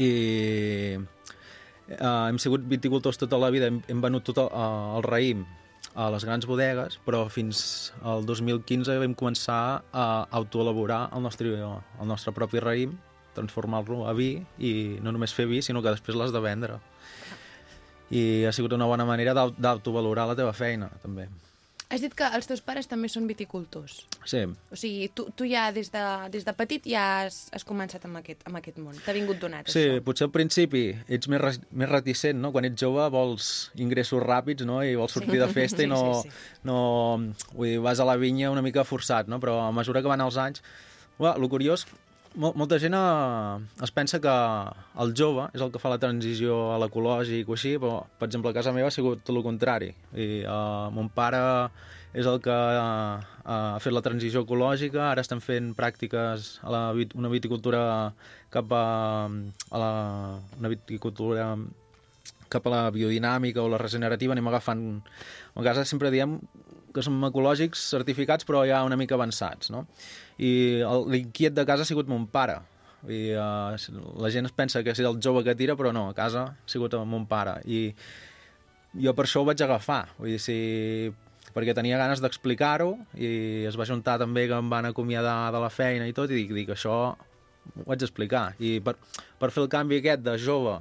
I: I uh, hem sigut viticultors tota la vida, hem, hem venut tot el, uh, el raïm a les grans bodegues, però fins al 2015 vam començar a autoelaborar el nostre, el nostre propi raïm, transformar-lo a vi i no només fer vi, sinó que després l'has de vendre. I ha sigut una bona manera d'au- d'autovalorar la teva feina, també.
B: Has dit que els teus pares també són viticultors.
I: Sí,
B: O sigui, tu, tu ja des de, des de petit ja has, has començat amb aquest, amb aquest món. T'ha vingut donat,
I: sí
B: això.
I: potser al principi ets més, res- més reticent, no? Quan ets jove vols ingressos ràpids, no? I vols sortir de festa
B: Sí,
I: i no,
B: sí, sí.
I: no... Vull dir, vas a la vinya una mica forçat, no? Però a mesura que van els anys... Uà, lo curiós, mol molta gent eh, es pensa que el jove és el que fa la transició a l'ecològic o així, però, per exemple, a casa meva ha sigut tot el contrari. I, eh, mon pare és el que eh, ha fet la transició ecològica, ara estem fent pràctiques a la, vit- una viticultura cap a, a la, una viticultura cap a la biodinàmica o la regenerativa anem agafant... A vegades sempre diem que som ecològics certificats però ja una mica avançats, no? I el- l'inquiet de casa ha sigut mon pare. I uh, la gent es pensa que és el jove que tira, però no, a casa ha sigut mon pare. I jo per això ho vaig agafar, vull dir, si... perquè tenia ganes d'explicar-ho i es va juntar també que em van acomiadar de la feina i tot i dic, dic això ho vaig explicar i per, per fer el canvi aquest de jove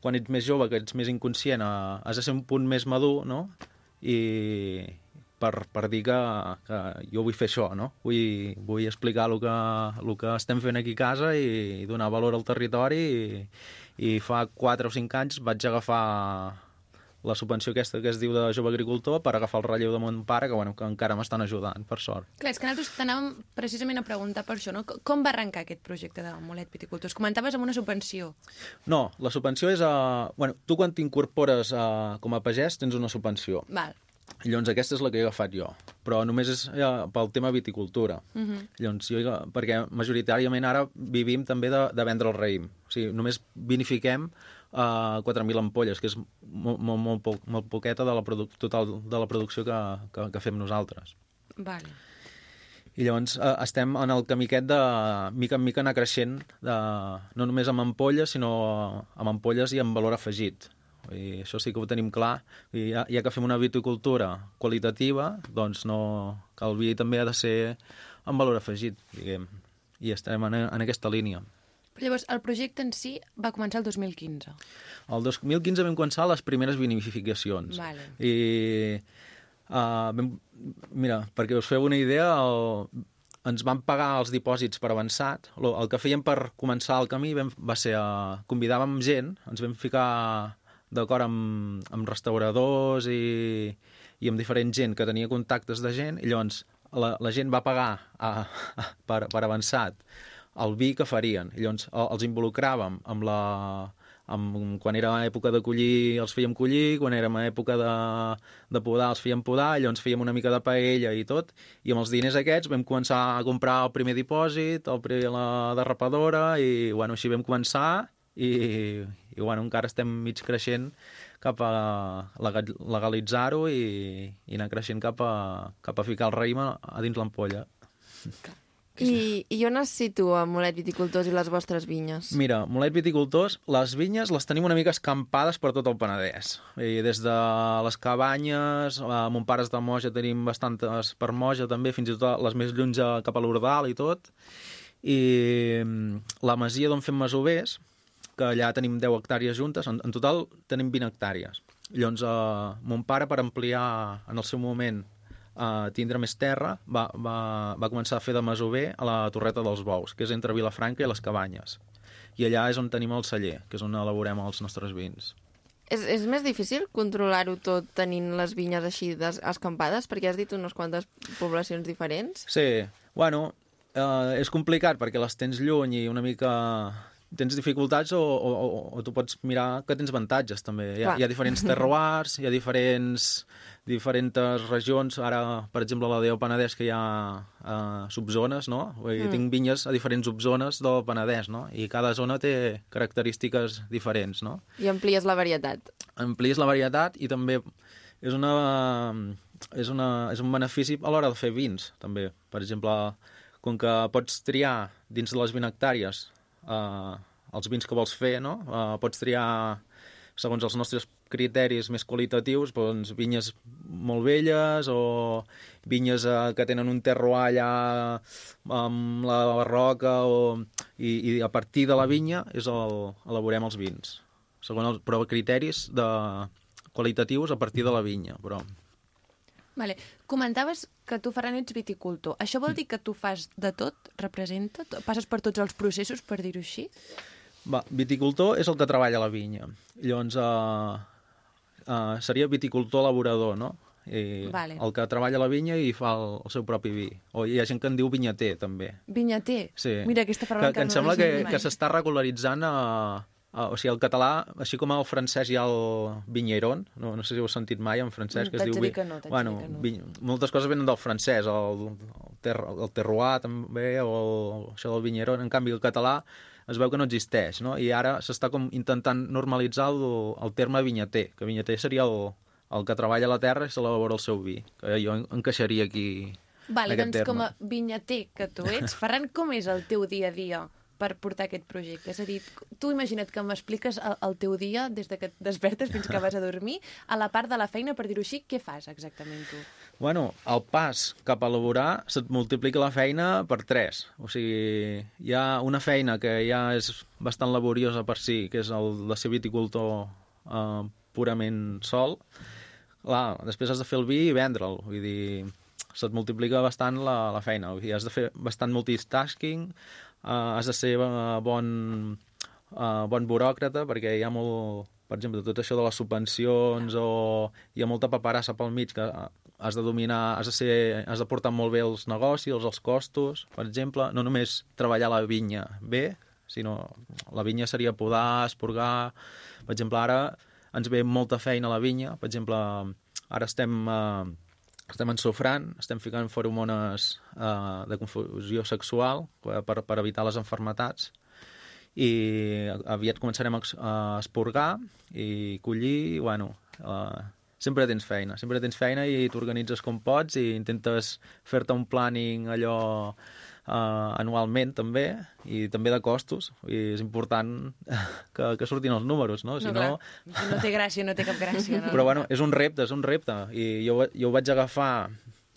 I: quan ets més jove, que ets més inconscient a, has de ser un punt més madur no? i per, per dir que, que jo vull fer això no? vull, vull explicar el que, el que estem fent aquí a casa i, donar valor al territori i, i fa 4 o 5 anys vaig agafar la subvenció aquesta que es diu de jove agricultor per agafar el relleu de mon pare, que, bueno, que encara m'estan ajudant, per sort.
D: Clar, és que nosaltres t'anàvem precisament a preguntar per això, no? C- Com va arrencar aquest projecte de Molet Viticultors? Comentaves amb una subvenció.
I: No, la subvenció és... A... Bueno, tu quan t'incorpores a... com a pagès tens una subvenció.
D: Val.
I: I Llavors aquesta és la que he agafat jo, però només és eh, pel tema viticultura. Uh -huh. Llavors jo, he aga- perquè majoritàriament ara vivim també de, de vendre el raïm. O sigui, només vinifiquem eh, 4.000 ampolles, que és molt, molt, molt, poc, molt poqueta de la produ- total de la producció que, que, que fem nosaltres.
D: Vale.
I: I llavors eh, estem en el camí aquest de mica en mica anar creixent, de, no només amb ampolles, sinó amb ampolles i amb valor afegit. I això sí que ho tenim clar. I ja, ja que fem una viticultura qualitativa, doncs no, que el vi també ha de ser amb valor afegit, diguem. I estarem en, en aquesta línia.
D: Però llavors, el projecte en si va començar el 2015.
I: El 2015 vam començar les primeres vinificacions.
D: Vale.
I: I, uh, vam, mira, perquè us feu una idea, el, ens van pagar els dipòsits per avançat. Lo- El que fèiem per començar el camí vam, va ser... Uh, convidàvem gent, ens vam ficar d'acord amb, amb restauradors i, i amb diferent gent que tenia contactes de gent, i llavors la, la gent va pagar a, per, per avançat el vi que farien. I llavors el- els involucràvem amb la, amb, quan era època de collir els fèiem collir, quan érem a època de, de podar els fèiem podar, i llavors fèiem una mica de paella i tot, i amb els diners aquests vam començar a comprar el primer dipòsit, el, pri- la derrapadora, i bueno, així vam començar, i, i bueno, encara estem mig creixent cap a legal- legalitzar-ho i, i anar creixent cap a, cap a ficar el raïm a, a dins l'ampolla.
A: I, I on es situa Molet Viticultors i les vostres vinyes?
I: Mira, Molet Viticultors, les vinyes les tenim una mica escampades per tot el Penedès. I des de les cabanyes, eh, a Montpares de Moja tenim bastantes per Moja també, fins i tot a les més lluny a- cap a l'Ordal i tot. I mm, la masia d'on fem masovers, que allà tenim 10 hectàrees juntes, en, en total tenim 20 hectàrees. Llavors, eh, mon pare, per ampliar en el seu moment a eh, tindre més terra, va, va, va començar a fer de masover a la Torreta dels Bous, que és entre Vilafranca i les Cabanyes. I allà és on tenim el celler, que és on elaborem els nostres vins.
A: És, és més difícil controlar-ho tot tenint les vinyes així des, escampades? Perquè has dit unes quantes poblacions diferents.
I: Sí, bueno, eh, és complicat perquè les tens lluny i una mica tens dificultats o, o, o, o tu pots mirar que tens avantatges també. Hi ha,
A: Clar.
I: hi ha diferents terroirs, hi ha diferents, diferents regions. Ara, per exemple, a la del Penedès, que hi ha eh, subzones, no? Vull dir, Tinc vinyes a diferents subzones del Penedès, no? I cada zona té característiques diferents, no?
A: I amplies la varietat.
I: amplies la varietat i també és, una, és, una, és un benefici a l'hora de fer vins, també. Per exemple, com que pots triar dins de les 20 hectàrees eh, els vins que vols fer, no? Eh, pots triar, segons els nostres criteris més qualitatius, doncs, vinyes molt velles o vinyes eh, que tenen un terroir allà amb la barroca o... I, i a partir de la vinya és el, elaborem els vins segons els, però criteris de qualitatius a partir de la vinya, però...
D: Vale. Comentaves que tu, Ferran, ets viticultor. Això
I: Mm.
D: vol dir que tu fas de tot, representa, to- passes per tots els processos, per dir-ho així?
I: Va, viticultor és el que treballa a la vinya. Llavors, eh, eh, seria viticultor elaborador, no? I
D: Vale.
I: El que treballa a la vinya i fa el, el seu propi vi. O hi ha gent que en diu vinyater, també.
D: Vinyater.
I: Sí.
D: Mira, aquesta paraula
I: que, que em
D: no
I: sembla
D: l'he
I: que,
D: sentit mai.
I: que s'està regularitzant a, a, o sigui, el català, així com el francès hi ha el vinyeron, no, no sé si ho heu sentit mai en francès,
D: Mm,
I: que es
D: t'haig
I: diu...
D: de dir
I: vi-
D: que no, t'haig de
I: bueno,
D: dir que no.
I: vin- moltes coses venen del francès, el, el, ter, el terroir també, o el, això del vinyeron. En canvi, el català es veu que no existeix, no? I ara s'està com intentant normalitzar el, el terme vinyater, que vinyater seria el, el que treballa a la terra i s'elabora el seu vi, que jo en- encaixaria aquí
D: Vale,
I: en aquest
D: doncs
I: terme.
D: com a vinyater que tu ets, Ferran, com és el teu dia a dia per portar aquest projecte? És a dir, tu imagina't que m'expliques el, el teu dia des de que et despertes fins que vas a dormir, a la part de la feina, per dir-ho així, què fas exactament tu?
I: Bueno, el pas cap a elaborar se't multiplica la feina per 3. O sigui, hi ha una feina que ja és bastant laboriosa per si, que és el de ser viticultor eh, purament sol. Clar, després has de fer el vi i vendre'l. Vull dir, se't multiplica bastant la, la feina. Vull dir, has de fer bastant multitasking, eh, has de ser eh, bon, eh, bon buròcrata, perquè hi ha molt... Per exemple, tot això de les subvencions o hi ha molta paperassa pel mig que eh, has de dominar, has de, ser, has de portar molt bé els negocis, els, els costos, per exemple. No només treballar la vinya bé, sinó la vinya seria podar, esporgar... Per exemple, ara ens ve molta feina a la vinya. Per exemple, ara estem, eh, estem ensofrant, estem ficant feromones eh, de confusió sexual eh, per, per evitar les enfermetats i aviat començarem a ex- a esporgar i collir, i, bueno, eh, sempre tens feina, sempre tens feina i t'organitzes com pots i intentes fer-te un planning allò eh, anualment també i també de costos i és important que, que surtin els números, no? Si no,
D: clar, no té gràcia, no té cap gràcia. No?
I: però bueno, és un repte, és un repte. I jo, ho- jo ho vaig agafar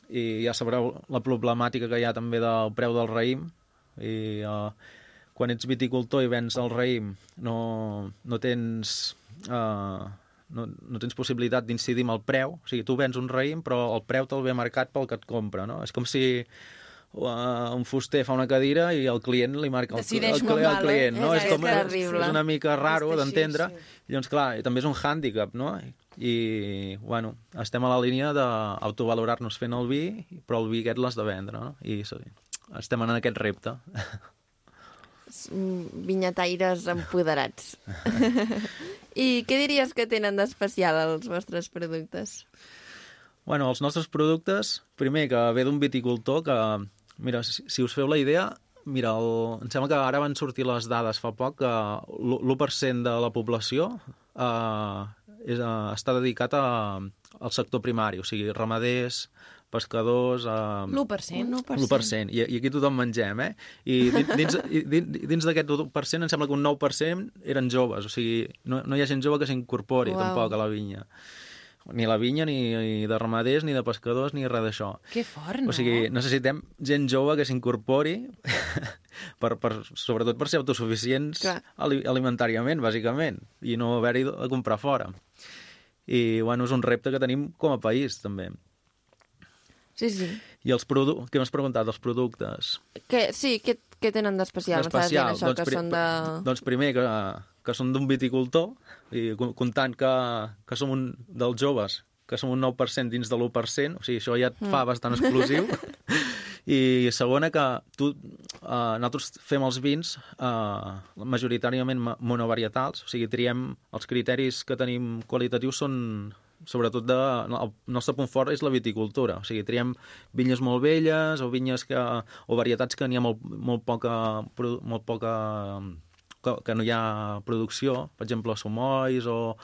I: i ja sabreu la problemàtica que hi ha també del preu del raïm. I uh, quan ets viticultor i vens el raïm no, no tens... Uh, no, no tens possibilitat d'incidir amb el preu. O sigui, tu vens un raïm, però el preu te'l ve marcat pel que et compra, no? És com si uh, un fuster fa una cadira i el client li marca el, el, el,
B: Decideix com
I: el,
B: va, no?
I: client, no?
A: És- és
I: com, és,
A: terrible.
I: és una mica raro
D: És així,
I: d'entendre.
D: sí.
I: I Llavors, clar, i també és un hàndicap, no? I, bueno, estem a la línia d'autovalorar-nos fent el vi, però el vi aquest l'has de vendre, no? I sí, estem en aquest repte.
A: Mm, Vinyataires empoderats. I què diries que tenen d'especial els vostres productes?
I: Bueno, els nostres productes, primer, que ve d'un viticultor que, mira, si, si us feu la idea, mira, el, em sembla que ara van sortir les dades fa poc que l'u- l'1% de la població eh, és, eh, està dedicat a, al sector primari, o sigui, ramaders, pescadors... Eh,
D: L'1%?
I: 1%. 1%. I, I aquí tothom mengem, eh? I din- dins, i din- dins d'aquest 1% em sembla que un 9% eren joves, o sigui, no, no hi ha gent jove que s'incorpori
A: Uau.
I: tampoc a la vinya. Ni la vinya, ni, ni de ramaders, ni de pescadors, ni res d'això.
D: Que fort, no?
I: O sigui,
A: eh?
I: necessitem gent jove que s'incorpori, per, per, sobretot per ser autosuficients
A: Clar.
I: ali- alimentàriament, bàsicament, i no haver-hi de comprar fora. I, bueno, és un repte que tenim com a país, també.
A: Sí, sí.
I: I els productes... Què m'has preguntat? Els productes.
A: Que, sí, què, què tenen d'especial? M'estaves dient això, que
I: pri-
A: són de...
I: doncs primer que, que són d'un viticultor, i co- comptant que, que som un dels joves, que som un 9% dins de l'1%, o sigui, això ja et fa bastant exclusiu. I segona, que tu, eh, nosaltres fem els vins eh, majoritàriament ma- monovarietals, o sigui, triem els criteris que tenim qualitatius són sobretot de, el nostre punt fort és la viticultura, o sigui, triem vinyes molt velles o vinyes que, o varietats que n'hi ha molt, molt poca, produ- molt poca que, que no hi ha producció, per exemple, sumois o...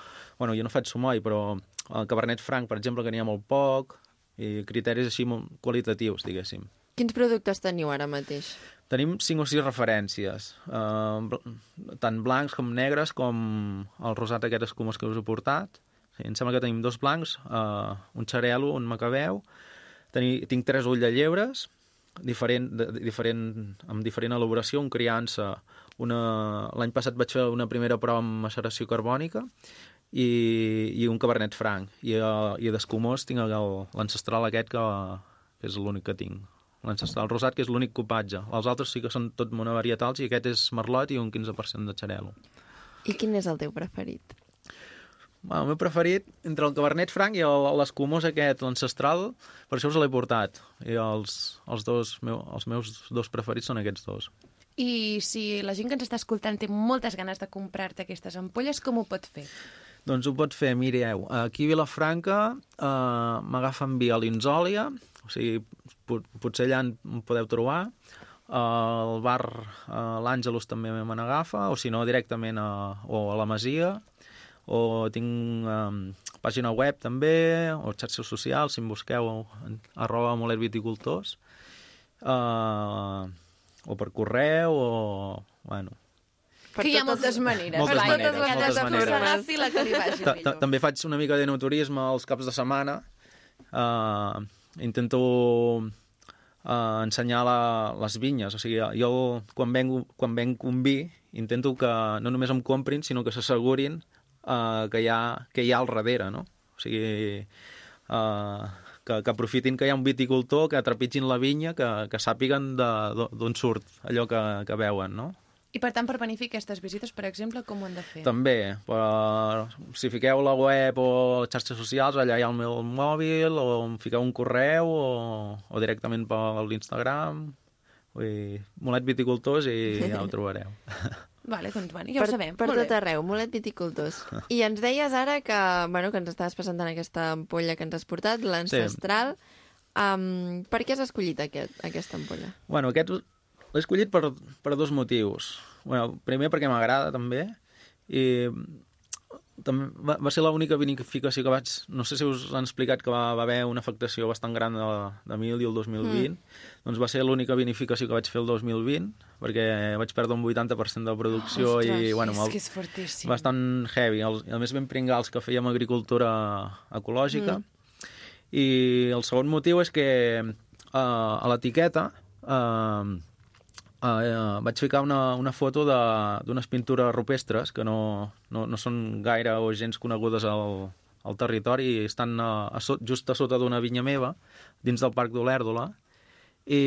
I: Bueno, jo no faig sumoi, però el Cabernet Franc, per exemple, que n'hi ha molt poc, i criteris així molt qualitatius, diguéssim.
A: Quins productes teniu ara mateix?
I: Tenim cinc o sis referències, eh, bl- tant blancs com negres, com el rosat aquest escumós que us he portat. Sí, em sembla que tenim dos blancs, eh, un xarelo, un macabeu. Teni, tinc tres ull de llebres, diferent, de, de, diferent, amb diferent elaboració, un criança. una- L'any passat vaig fer una primera prova amb maceració carbònica i, i un cabernet franc. I, eh, i d'escumós tinc el- l'ancestral aquest que, que és l'únic que tinc. L'ancestral rosat, que és l'únic copatge. Els altres sí que són tot monovarietals i aquest és merlot i un 15% de xarel·lo.
A: I quin és el teu preferit?
I: Bueno, el meu preferit, entre el cabernet franc i el- l'escumós aquest, l'ancestral, per això us l'he portat. I els, els, dos, meu, els meus dos preferits són aquests dos.
D: I si la gent que ens està escoltant té moltes ganes de comprar-te aquestes ampolles, com ho pot fer?
I: Doncs ho pot fer, mireu, aquí a Vilafranca eh, m'agafen via l'Inzòlia, o sigui, pot, potser allà en podeu trobar, al bar uh, l'Àngelus també me n'agafa, o si no directament a, o a la Masia, o tinc um, pàgina web també, o xarxes socials, si em busqueu, arroba Moler Viticultors, uh, o per correu, o... Bueno,
A: Per
D: que hi ha moltes
A: totes-
D: maneres.
I: Moltes
D: Clar,
I: maneres,
D: totes les
I: moltes
D: plataformes.
I: maneres.
D: Agafi la que li vagi
I: Ta- ta-
D: millor.
I: També faig una mica de naturisme els caps de setmana. Uh, intento uh, ensenyar la, les vinyes. O sigui, jo quan venc, quan venc un vi intento que no només em comprin, sinó que s'assegurin uh, que, hi ha, que hi ha al darrere, no? O sigui, uh, que, que aprofitin que hi ha un viticultor, que trepitgin la vinya, que, que sàpiguen de- d'o- d'on surt allò que, que veuen, no?
D: I per tant, per planificar aquestes visites, per exemple, com ho han de fer?
I: També, però si fiqueu la web o les xarxes socials, allà hi ha el meu mòbil, o em fiqueu un correu, o, o directament per l'Instagram, vull dir, Molet Viticultors i ja ho trobareu.
D: Vale, doncs, bueno, ja ho sabem.
A: Per
D: Molt
A: tot
I: tota
D: bé.
A: arreu, Molet Viticultors. I ens deies ara que, bueno, que ens estaves presentant aquesta ampolla que ens has portat, l'ancestral. Um, per què has escollit aquest, aquesta ampolla?
I: Bueno, aquest l'he escollit per, per dos motius. Bueno, primer perquè m'agrada, també, i també va, va ser l'única vinificació que vaig... No sé si us han explicat que va, va haver una afectació bastant gran de, de Mildi el 2020. Mm. Doncs va ser l'única vinificació que vaig fer el 2020, perquè vaig perdre un 80% de producció i... Bueno,
B: és
I: me'l-
B: que és fortíssim.
I: bastant heavy. Els, a més, vam pringar els que fèiem agricultura ecològica. Mm. I el segon motiu és que uh, a l'etiqueta uh, uh, vaig ficar una, una foto de- d'unes pintures rupestres que no, no, no són gaire o gens conegudes al, al territori i estan a, a sot, just a sota d'una vinya meva, dins del Parc d'Olèrdola, i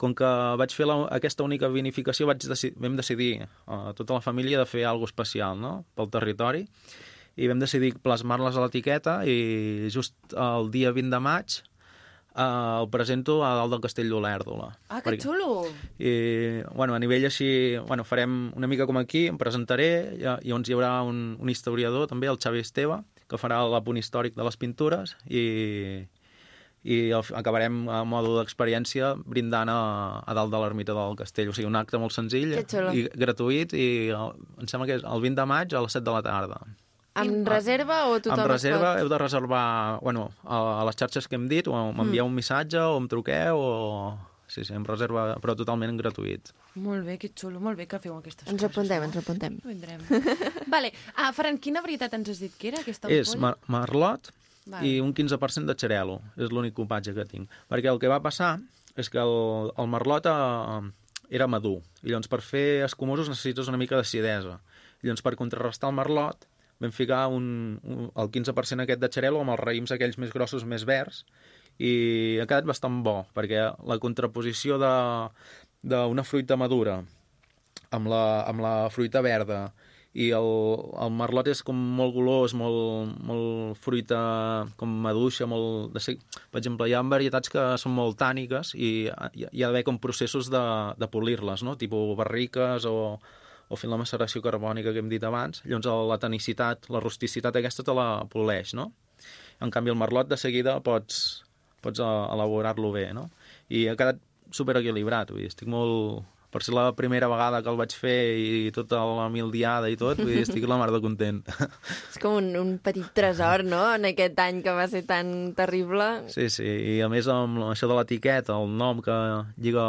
I: com que vaig fer la, aquesta única vinificació vaig deci vam decidir eh, tota la família de fer alguna especial no? pel territori i vam decidir plasmar-les a l'etiqueta i just el dia 20 de maig eh, el presento a dalt del Castell d'Olèrdola.
D: Ah, que xulo!
I: I, bueno, a nivell així, bueno, farem una mica com aquí, em presentaré, i, i on hi haurà un, un historiador també, el Xavi Esteve, que farà l'apunt històric de les pintures i, i al fi- acabarem a modo d'experiència brindant a, a dalt de l'ermita del castell. O sigui, un acte molt senzill
A: Que xulo.
I: i gratuït i el, em sembla que és el 20 de maig a les 7 de la tarda.
A: Amb reserva o tothom
I: Amb reserva
A: es pot...
I: heu de reservar bueno, a, a les xarxes que hem dit, o m'envieu
A: Mm.
I: un missatge o em truqueu o... Sí, sí, amb reserva, però totalment gratuït.
B: Molt bé, que xulo, molt bé que feu aquestes
A: Ens
B: coses.
A: apuntem, ens apuntem.
D: Vindrem. vale. Ah, Ferran, quina varietat ens has dit que era aquesta
I: És
D: ampolla?
I: mar marlot
D: Val.
I: i un 15% de xarelo. És l'únic copatge que tinc. Perquè el que va passar és que el, el marlot eh, era madur. I llavors per fer escumosos necessites una mica d'acidesa. I llavors per contrarrestar el marlot vam ficar un, un, el 15% aquest de xarelo amb els raïms aquells més grossos, més verds, i ha quedat bastant bo, perquè la contraposició de- d'una fruita madura amb la, amb la fruita verda i el, el merlot és com molt golós, molt, molt fruita com maduixa, molt... De ser, per exemple, hi ha varietats que són molt tàniques i hi, hi ha d'haver com processos de, de polir-les, no? tipus barriques o, o fent la maceració carbònica que hem dit abans. Llavors el- la tanicitat, la rusticitat aquesta te la poleix, no? En canvi, el merlot de seguida pots, pots eh, elaborar-lo bé, no? I ha quedat superequilibrat, vull dir, estic molt... Per ser la primera vegada que el vaig fer i tota la mildiada i tot, vull dir, estic la mar de content.
A: És com un, un petit tresor, no?, en aquest any que va ser tan terrible.
I: Sí, sí, i a més amb això de l'etiqueta, el nom que lliga...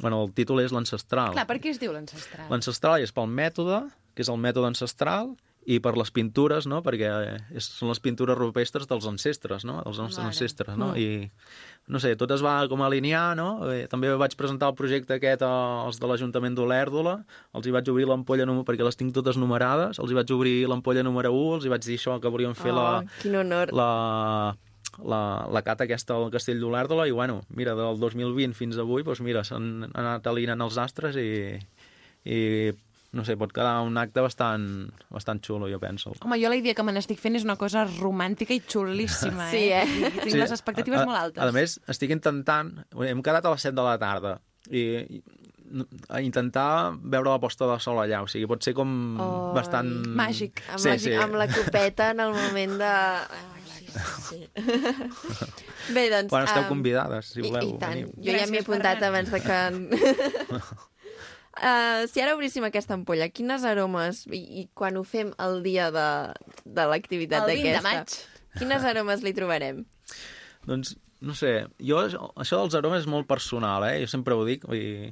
I: Bueno, el títol és l'ancestral.
D: Clar, per què es diu l'ancestral?
I: L'ancestral és pel mètode, que és el mètode ancestral, i per les pintures, no? Perquè és, són les pintures rupestres dels ancestres, no? Dels nostres
D: Mare.
I: ancestres, no? I, no sé, tot es va com alinear, no? Eh, també vaig presentar el projecte aquest als de l'Ajuntament d'Olèrdola, els hi vaig obrir l'ampolla, num- perquè les tinc totes numerades, els hi vaig obrir l'ampolla número 1, els hi vaig dir això, que volíem fer la,
A: Oh, quin honor.
I: la, la, la cata aquesta al Castell d'Olèrdola i, bueno, mira, del 2020 fins avui, doncs mira, s'han anat alinant els astres i, i no sé, pot quedar un acte bastant, bastant xulo, jo penso.
B: Home, jo la idea que me n'estic fent és una cosa romàntica i xulíssima, eh?
A: Sí, eh?
B: I
I: Sí,
B: tinc les expectatives
I: a-
B: molt altes.
I: A, a més, estic intentant... Hem quedat a les 7 de la tarda i, i no- a intentar veure la posta de sol allà. O sigui, pot ser com
A: Oi.
I: bastant...
B: Màgic.
A: Amb, sí, la, sí. amb la copeta en el moment de... Ah, sí, sí. Bé, doncs...
I: Quan esteu
A: em,
I: convidades, si voleu.
A: I, i tant.
I: veniu.
A: Jo ja m'hi he
D: Gràcies,
A: apuntat
D: Ferran.
A: abans de que... Uh, si ara obríssim aquesta ampolla, quines aromes, i, i quan ho fem el dia de, de l'activitat
D: El 20 de
A: d'aquesta... Quines aromes li trobarem?
I: Doncs, no sé, jo, això dels aromes és molt personal, eh? Jo sempre ho dic, vull dir,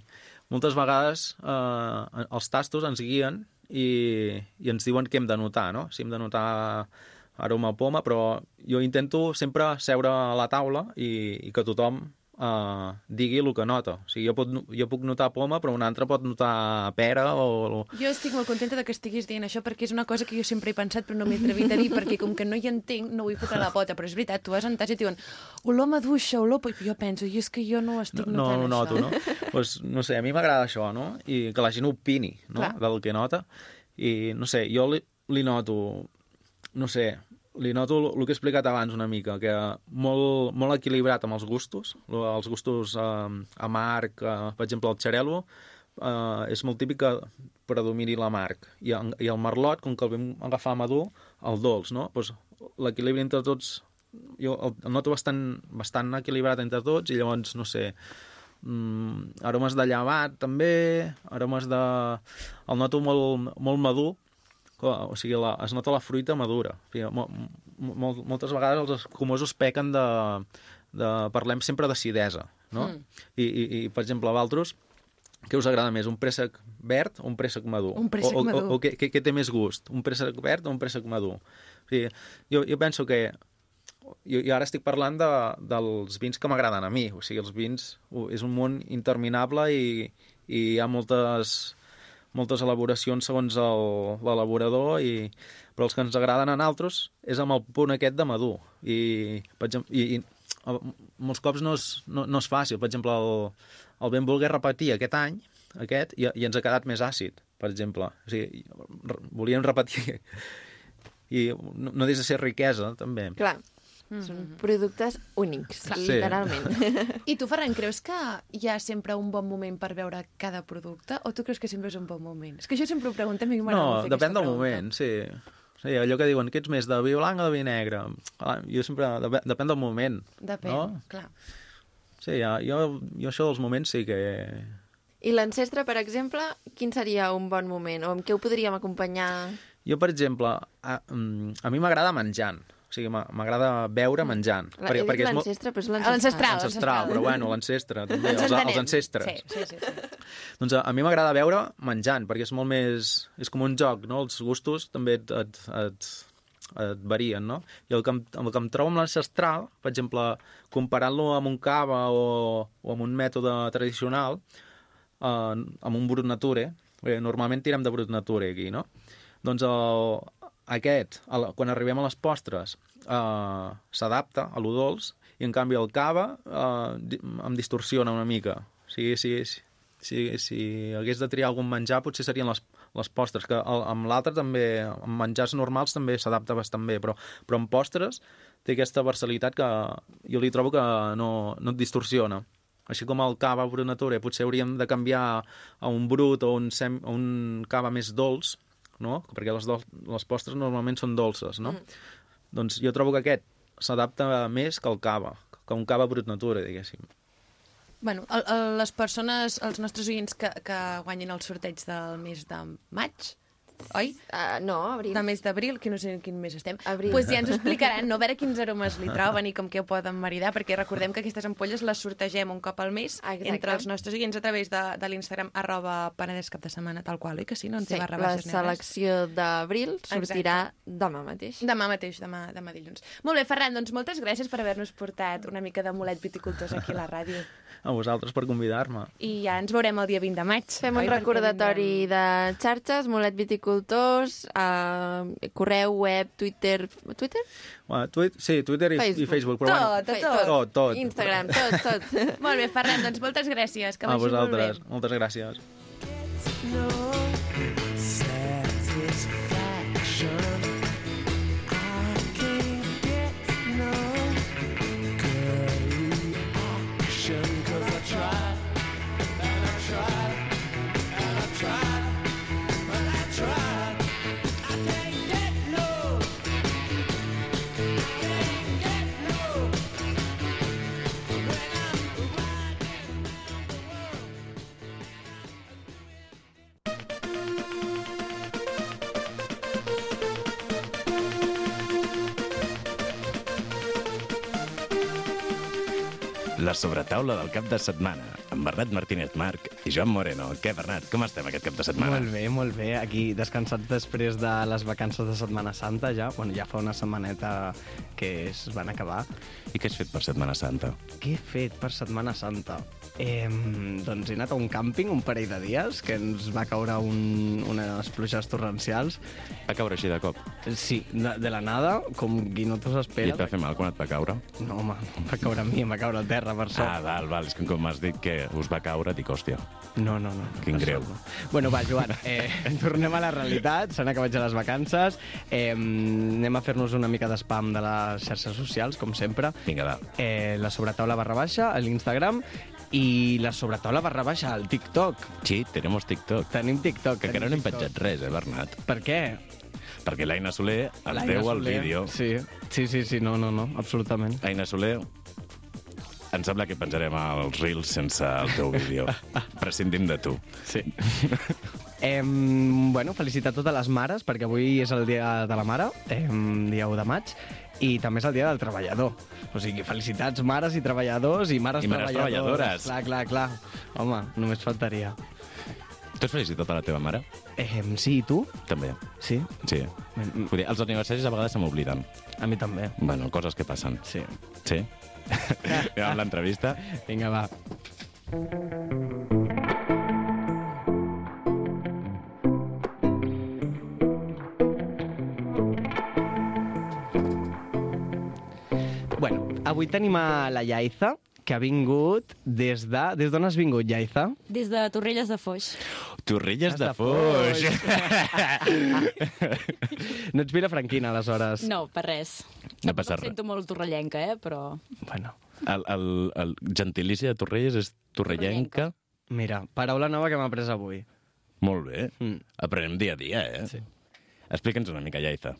I: moltes vegades eh, els tastos ens guien i, i ens diuen què hem de notar, no? Si hem de notar aroma a poma, però jo intento sempre seure a la taula i, i que tothom eh, digui el que nota. O sigui, jo, pot, jo puc notar poma, però un altre pot notar pera o... o...
B: Jo estic molt contenta de que estiguis dient això perquè és una cosa que jo sempre he pensat però no m'he atrevit a dir perquè com que no hi entenc no vull fotre la pota, però és veritat, tu vas en tas i et diuen olor a maduixa, olor... a po-". Jo penso, i és que jo no ho estic
I: no, no
B: notant
I: ho noto,
B: això.
I: no? pues, no sé, a mi m'agrada això, no? I que la gent opini, no?
A: Clar.
I: Del que nota. I, no sé, jo li, li noto, no sé, li noto el que he explicat abans una mica, que molt, molt equilibrat amb els gustos, lo- els gustos eh, amarg, eh, per exemple, el xarel·lo, eh, és molt típic que predomini l'amarg. I, en- I el merlot, com que el vam agafar madur, el dolç, no? Pues, L'equilibri entre tots jo el, el noto bastant, bastant equilibrat entre tots i llavors, no sé, mm, aromes de llevat també, aromes de... El noto molt, molt madur, Clar, o sigui, la, es nota la fruita madura. O sigui, mo, mo, moltes vegades els escumosos pequen de, de... Parlem sempre d'acidesa, no? Mm. I, i, I, per exemple, a Valtros, què us agrada més, un préssec verd o un préssec madur?
B: Un préssec
I: o, o,
B: madur.
I: O, o què, què, què té més gust, un préssec verd o un préssec madur? O sigui, jo, jo penso que jo, jo ara estic parlant de, dels vins que m'agraden a mi. O sigui, els vins ho- és un món interminable i, i hi ha moltes, moltes elaboracions segons el- l'elaborador, i... però els que ens agraden en altres és amb el punt aquest de madur. I, per exemple, i, i a- molts cops no és, no, no és fàcil. Per exemple, el, el vam voler repetir aquest any, aquest, i, i ens ha quedat més àcid, per exemple. O sigui, re- volíem repetir... I no, no deixa de ser riquesa, també.
A: Clar, mm -hmm. són productes únics,
I: Sí.
A: literalment.
B: I tu, Ferran, creus que hi ha sempre un bon moment per veure cada producte o tu creus que sempre és un bon moment? És que jo sempre ho pregunto, a mi m'agrada
I: No,
B: fer
I: depèn
B: aquesta
I: del moment, sí. Sí, allò que diuen, que ets més de vi blanc o de vi negre? Ah, Jo sempre... dep- Depèn del moment.
B: Depèn,
I: No?
B: clar.
I: Sí, ja, jo, jo això dels moments sí que...
A: I l'ancestre, per exemple, quin seria un bon moment? O amb què ho podríem acompanyar?
I: Jo, per exemple, a, mm, a mi m'agrada menjant. O sigui, m'a- m'agrada beure menjant.
A: La, perquè, perquè
I: és molt-
A: l'ancestre, però és l'ancestral.
B: L'ancestral.
I: ancestral, però bueno, l'ancestre, també,
B: Ens
I: els, els
B: entenem.
I: ancestres.
B: Sí, sí, sí. sí.
I: Doncs a, a mi m'agrada veure menjant, perquè és molt més... És com un joc, no? Els gustos també et, et, et, et varien, no? I el que, em, el que em trobo amb l'ancestral, per exemple, comparant-lo amb un cava o, o amb un mètode tradicional, eh, amb un brut nature, perquè normalment tirem de brut nature aquí, no? Doncs el, aquest, el, quan arribem a les postres, eh, s'adapta a lo dolç, i en canvi el cava eh, di- em distorsiona una mica. O sigui, si, si, si, si hagués de triar algun menjar, potser serien les, les postres, que el, amb l'altre també, amb menjars normals també s'adapta bastant bé, però, però amb postres té aquesta versalitat que jo li trobo que no, no et distorsiona. Així com el cava brunatura, potser hauríem de canviar a un brut o un, sem, o un cava més dolç, no? perquè les, dol les postres normalment són dolces, no? Mm. Doncs jo trobo que aquest s'adapta més que el cava, que un cava brut natura, diguéssim.
B: Bueno, el, el, les persones, els nostres oients que, que guanyin el sorteig del mes de maig, oi?
A: Uh, no, abril.
B: De mes d'abril, que no sé en quin mes estem,
A: Abril.
B: pues ja ens ho explicaran, no? a veure quins aromes li troben i com que ho poden maridar, perquè recordem que aquestes ampolles les sortegem un cop al mes
A: Exacte.
B: entre els nostres oients a través de, de l'Instagram arroba Penedès cap de setmana, tal qual, oi que sí? No ens
A: Sí,
B: hi va
A: la
B: rebaixes ni res.
A: selecció d'abril sortirà demà mateix.
B: Demà mateix, demà, demà dilluns. Molt bé, Ferran, doncs moltes gràcies per haver-nos portat una mica de mulet viticultors aquí a la ràdio.
I: A vosaltres per convidar-me.
B: I ja ens veurem el dia 20 de maig.
A: Fem un
B: oi? Perquè
A: recordatori de xarxes, Molet Viticultors, eh, correu, web, Twitter... Twitter?
I: Bueno, tuit, sí, Twitter i Facebook, i
A: Facebook.
I: Facebook però
B: Tot,
I: bueno,
B: tot, tot.
I: Tot, tot.
A: Instagram, tot, tot.
B: vindrem. Molt bé, Ferran, doncs moltes gràcies. Que
I: a
B: vagi
I: vosaltres.
B: molt bé.
I: Ah, Moltes gràcies.
J: I
E: La sobretaula del cap de setmana, amb Bernat Martínez Marc i Joan Moreno. Què, Bernat, com estem aquest cap de setmana?
J: Molt bé, molt bé. Aquí descansats després de les vacances de Setmana Santa, ja, bueno, ja fa una setmaneta que es van acabar.
E: I què has fet per Setmana Santa?
J: Què he fet per Setmana Santa? Eh, doncs he anat a un càmping un parell de dies, que ens va caure un, unes pluges torrencials.
E: Va caure així de cop.
J: Sí, de, de la nada, com qui no t'ho
E: I et va
J: espera.
E: fer mal quan et va caure?
J: No, home, em va caure a mi, em va caure a terra, per sort.
E: Ah, val, val, és que com m'has dit que us va caure, dic, hòstia,
J: No, no, no.
E: quin greu.
J: Bueno, va, Joan, eh, tornem a la realitat. S'han acabat ja les vacances. Eh, anem a fer-nos una mica d'espam de les xarxes socials, com sempre.
E: Vinga, va.
J: Eh, la sobretaula barra baixa a l'Instagram i la sobretaula barra baixa al TikTok.
E: Sí, tenemos TikTok.
J: Tenim TikTok.
E: Que encara no
J: tenim
E: hem penjat res, eh, Bernat?
J: Per què?
E: Perquè l'Aina Soler ens
J: L'Aina
E: deu el
J: Soler.
E: vídeo.
J: Sí. sí, sí, sí, no, no, no, absolutament.
E: Aina Soler, em sembla que penjarem els Reels sense el teu vídeo. Prescindim de tu.
J: Sí. Em, bueno, felicitar totes les mares, perquè avui és el dia de la mare, em, dia 1 de maig, i també és el dia del treballador. O sigui, felicitats mares i treballadors i mares,
E: I mares treballadores.
J: Clar, clar, clar. Home, només faltaria.
E: Tu has felicitat a tota la teva mare?
J: Em, sí, i tu?
E: També.
J: Sí?
E: Sí.
J: Mm,
E: Vull dir, els aniversaris a vegades se m'obliden.
J: A mi també.
E: Bueno, coses que passen.
J: Sí.
E: Sí? Anem amb l'entrevista.
J: Vinga, va. Bueno, avui tenim a la Iaiza, que ha vingut des de... Des d'on has vingut, Iaiza?
K: Des de Torrelles de Foix.
E: Torrelles de
J: de
E: foix.
J: No ets vilafranquina, aleshores.
K: No, per res.
E: No passa
K: Em
E: res.
K: sento molt torrellenca, eh? Però...
J: Bueno,
E: El, el, el gentilici de Torrelles és torrellenca.
J: mira, paraula nova que m'ha après avui.
E: Molt bé.
J: Mm.
E: Aprenem dia a dia, eh? Sí. Explica'ns una mica, Iaiza.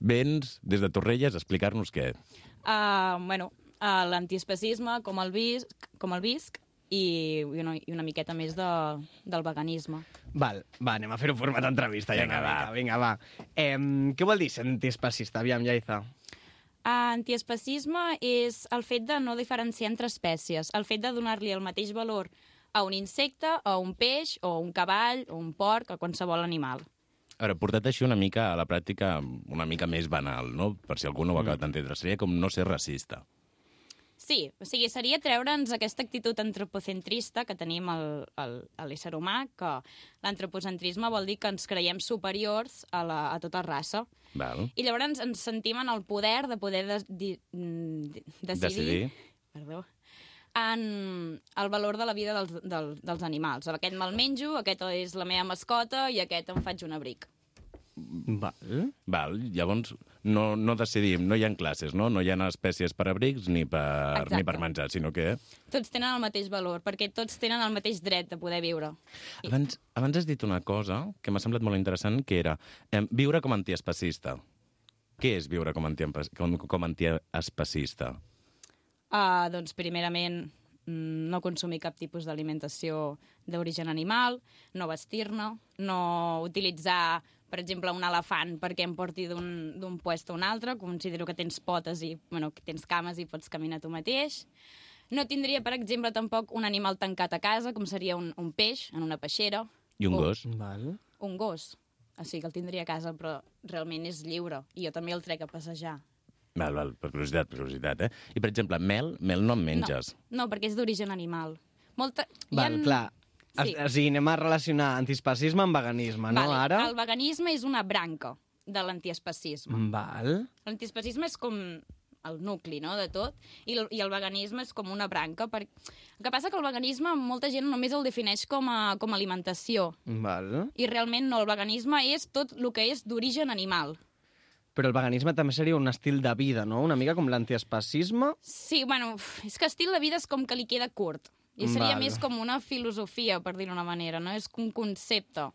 E: Vens des de Torrelles a explicar-nos què.
K: Uh, bueno, uh, l'antiespecisme, com el visc, com el visc i, i, una, i una miqueta més de, del veganisme.
J: Val, va, anem a fer un format d'entrevista. Ja,
E: Vinga,
J: vinga,
E: va.
J: va. Vinga, va. Em, què vol dir ser antiespacista? Aviam, Iaiza.
K: Uh, antiespecisme és el fet de no diferenciar entre espècies, el fet de donar-li el mateix valor a un insecte, o a un peix, o a un cavall, o a un porc, a qualsevol animal.
E: A veure, portat així una mica a la pràctica una mica més banal, no? Per si algú no ho ha
J: Mm.
E: acabat d'entendre. Seria com no ser racista.
K: Sí, o sigui, seria treure'ns aquesta actitud antropocentrista que tenim al- al- a l'ésser humà, que l'antropocentrisme vol dir que ens creiem superiors a, la, a tota raça.
E: Val?
K: I llavors ens sentim en el poder de poder de, di, mm, de, decidir,
E: Decidir.
K: Perdó, en el valor de la vida dels, del, dels animals. Aquest me'l menjo, aquest és la meva mascota i aquest em faig un abric.
J: Val.
E: Val, llavors no, no decidim, no hi ha classes, no? No hi ha espècies per abrics ni per,
K: Exacte.
E: ni per menjar, sinó que...
K: Tots tenen el mateix valor, perquè tots tenen el mateix dret de poder viure.
E: Abans, abans has dit una cosa que m'ha semblat molt interessant, que era eh, viure com a antiespacista. Què és viure com a antiempa- com, com a antiespacista?
K: Uh, doncs, primerament, mm, no consumir cap tipus d'alimentació d'origen animal, no vestir-ne, no utilitzar, per exemple, un elefant perquè em porti d'un d'un puesto a un altre. Considero que tens potes i bueno, que tens cames i pots caminar tu mateix. No tindria, per exemple, tampoc un animal tancat a casa, com seria un, un peix en una peixera.
E: I un
K: Oh.
E: gos?
J: Val.
K: Un gos. O sigui que el tindria a casa, però realment és lliure. I jo també el trec a passejar.
E: Val, val, per curiositat, per curiositat, eh? I, per exemple, mel, mel no en menges.
K: No, perquè és d'origen animal. Molta... hi
J: Val,
K: ha-
J: clar. Sí.
K: Sí.
J: O sigui, anem a relacionar antiespacisme amb veganisme, no,
K: vale,
J: ara?
K: El veganisme és una branca de l'antiespecisme.
J: Val.
K: L'antiespecisme és com el nucli, no?, de tot, i el, i el veganisme és com una branca. Per... El que passa que el veganisme molta gent només el defineix com a, com a alimentació,
J: Val.
K: i realment no, el veganisme és tot el que és d'origen animal.
J: Però el veganisme també seria un estil de vida, no? Una mica com l'antiespacisme.
K: Sí, bueno, uf, és que estil de vida és com que li queda curt. I seria
J: Val.
K: més com una filosofia, per dir-ho d'una manera, no? És un concepte.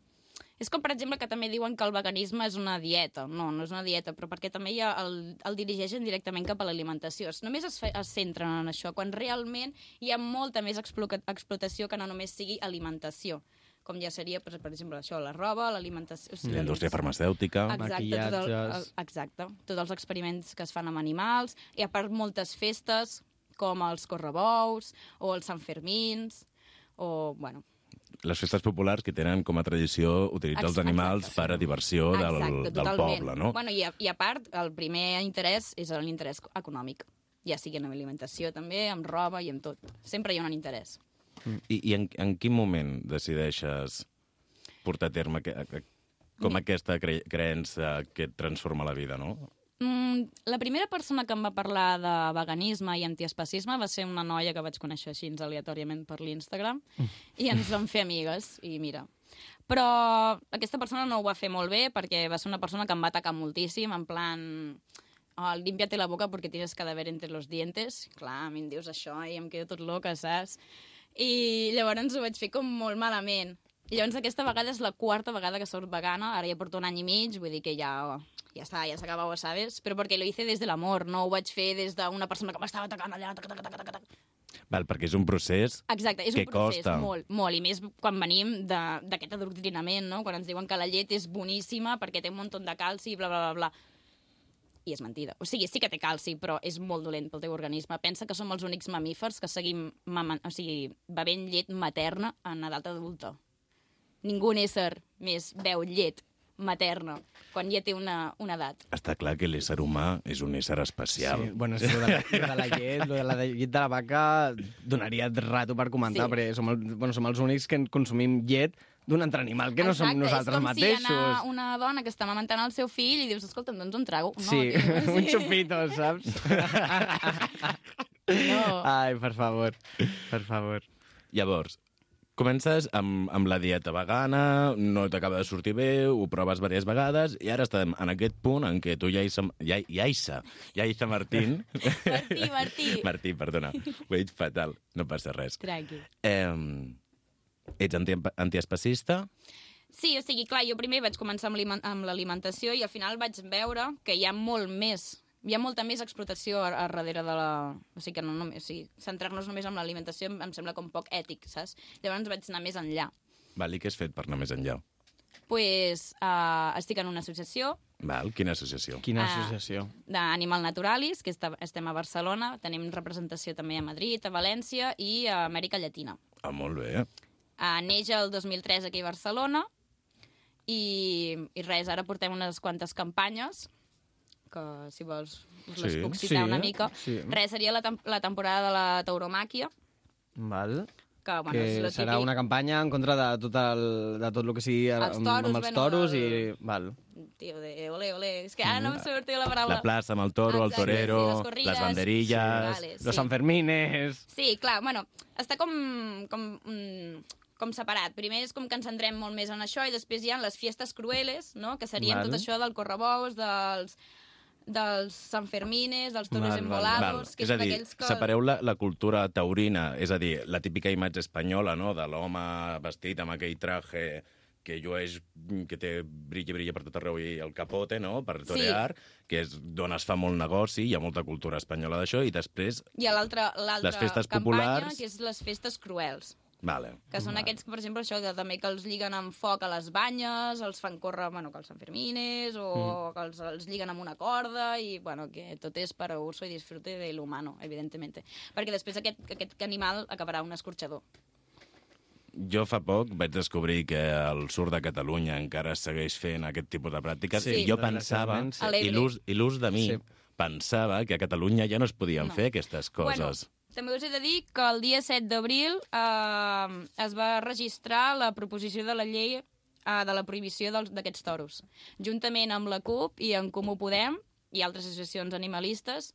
K: És com, per exemple, que també diuen que el veganisme és una dieta. No, no és una dieta, però perquè també hi ha el, el dirigeixen directament cap a l'alimentació. Es- Només es, fe, es centren en això, quan realment hi ha molta més exploca- explotació que no només sigui alimentació. Com ja seria, per, per exemple, això, la roba, l'alimentació... O sigui,
E: La indústria farmacèutica...
K: Exacte, tot el, el,
J: maquillatges.
K: exacte, tots els experiments que es fan amb animals, i a part moltes festes com els correbous o els sanfermins, o, bueno,
E: Les festes populars que tenen com a tradició utilitzar els
K: Exacte,
E: animals
K: sí.
E: per a diversió del,
K: Exacte,
E: del
K: totalment.
E: poble, no?
K: Bueno, i, a, I a part, el primer interès és l'interès econòmic. Ja sigui en alimentació també, amb roba i amb tot. Sempre hi ha un interès.
E: Mm, I, i en, en quin moment decideixes portar a terme que, a- a- com aquesta cre creença que et transforma la vida, no?
K: Mm, la primera persona que em va parlar de veganisme i antiespacisme va ser una noia que vaig conèixer així aleatòriament per l'Instagram i ens vam fer amigues, i mira... Però aquesta persona no ho va fer molt bé perquè va ser una persona que em va atacar moltíssim, en plan... Oh, límpiate la boca perquè tienes cadáver entre los dientes. Clar, a mi em dius això i em quedo tot loca, saps? I llavors ho vaig fer com molt malament. Llavors aquesta vegada és la quarta vegada que sóc vegana, ara ja porto un any i mig, vull dir que ja, ja està, ja s'ha acabat, ¿sabes? Però perquè lo hice des de l'amor, no ho vaig fer des d'una persona que m'estava atacant allà, tac, tac, tac, tac, tac.
E: Val, perquè és un procés...
K: Exacte, és
E: Que
K: un procés
E: costa.
K: molt, molt, i més quan venim de- d'aquest adoctrinament, no? Quan ens diuen que la llet és boníssima perquè té un munt de calci i bla, bla, bla, bla. I és mentida. O sigui, sí que té calci, però és molt dolent pel teu organisme. Pensa que som els únics mamífers que seguim mama, o sigui, bevent llet materna en edat adulta. Ningú ésser més beu llet materna quan ja té una, una edat.
E: Està clar que l'ésser humà és un ésser especial.
J: Sí, bueno, és que lo de, la, lo de la llet, lo de la llet de la vaca, donaria rato per comentar, sí.
K: Sí.
J: perquè som, el, bueno, som els únics que en consumim llet d'un altre animal, que no som nosaltres
K: Exacte, és
J: mateixos.
K: com si anar una dona que està amamentant el seu fill i dius, escolta'm, doncs un trago. No,
J: Sí,
K: tio,
J: un xupito, saps?
K: No.
J: Ai, per favor, per favor.
E: Llavors, comences amb, amb la dieta vegana, no t'acaba de sortir bé, ho proves diverses vegades, i ara estem en aquest punt en què tu, Iaissa, ja, Iaissa, Iaissa Martín...
K: Martí, Martí.
E: Martí, perdona, ho he dit fatal, no passa res.
K: Tranqui.
E: Eh, ets anti, antiespacista?
K: Sí, o sigui, clar, jo primer vaig començar amb l'alimen- amb l'alimentació i al final vaig veure que hi ha molt més hi ha molta més explotació a, a darrere de la... O sigui, que no, només, o sigui, centrar-nos només en l'alimentació em, em sembla com poc ètic, saps? Llavors vaig anar més enllà.
E: Val, i què has fet per anar més enllà?
K: pues, uh, estic en una associació
E: Val, quina associació?
J: Quina
K: Ah.
J: associació.
K: d'Animal Naturalis, que esta, estem a Barcelona, tenim representació també a Madrid, a València i a Amèrica Llatina.
E: Ah, molt bé.
K: Uh, neix el 2003 aquí a Barcelona i, i res, ara portem unes quantes campanyes que si vols us les
E: Sí,
K: puc citar
J: sí,
K: una mica.
J: sí.
K: Res, seria la, tem la temporada de la tauromàquia,
J: Val.
K: que, bueno, és
J: que
K: lo
J: serà
K: típic.
J: una campanya en contra de tot, el, de tot el que sigui
K: Els
J: amb,
K: toros,
J: amb els
K: bueno,
J: toros
K: el-
J: i... Val.
K: Tio, de ole, ole. És que ara no em surt la paraula.
E: La plaça amb el toro, el
K: Exacte,
E: torero,
K: sí, les corrides.
E: les banderilles...
K: Vale,
J: Los Sanfermines...
K: Sí, clar, bueno, està com, com, mm, com separat. Primer és com que ens centrem molt més en això i després hi ha les fiestes crueles, no? que serien
J: Val.
K: tot això del correbous, dels dels Sanfermines, dels toros
J: Val, val,
K: embolados, que
E: és a dir,
K: d'aquells que...
E: separeu la, la cultura taurina, és a dir, la típica imatge espanyola, no?, de l'home vestit amb aquell traje que llueix, que té brilla, brilla per tot arreu i el capote, no?, per torear, sí. que és d'on es fa molt negoci, hi ha molta cultura espanyola d'això, i després...
K: Hi ha l'altra l'altra
E: Les festes
K: campanya,
E: populars.
K: que és les festes cruels,
E: Vale.
K: que són
E: vale.
K: aquests que, per exemple, això, que també que els lliguen amb foc a les banyes, els fan córrer, bueno, que els Sanfermines, o mm. que els, els lliguen amb una corda, i, bueno, que tot és per a uso i disfrute de l'humano, evidentment. Perquè després aquest, aquest animal acabarà un escorxador.
E: Jo fa poc vaig descobrir que el sur de Catalunya encara segueix fent aquest tipus de pràctiques
K: Sí.
E: i jo pensava,
J: Desgraciadament,
K: sí.
E: i l'ús- i l'ús de mi,
J: Sí.
E: pensava que a Catalunya ja no es podien
K: No.
E: fer aquestes coses.
K: Bueno, també us he de dir que el dia 7 d'abril eh, es va registrar la proposició de la llei eh, de la prohibició dels- d'aquests toros, juntament amb la CUP i en Comú Podem i altres associacions animalistes.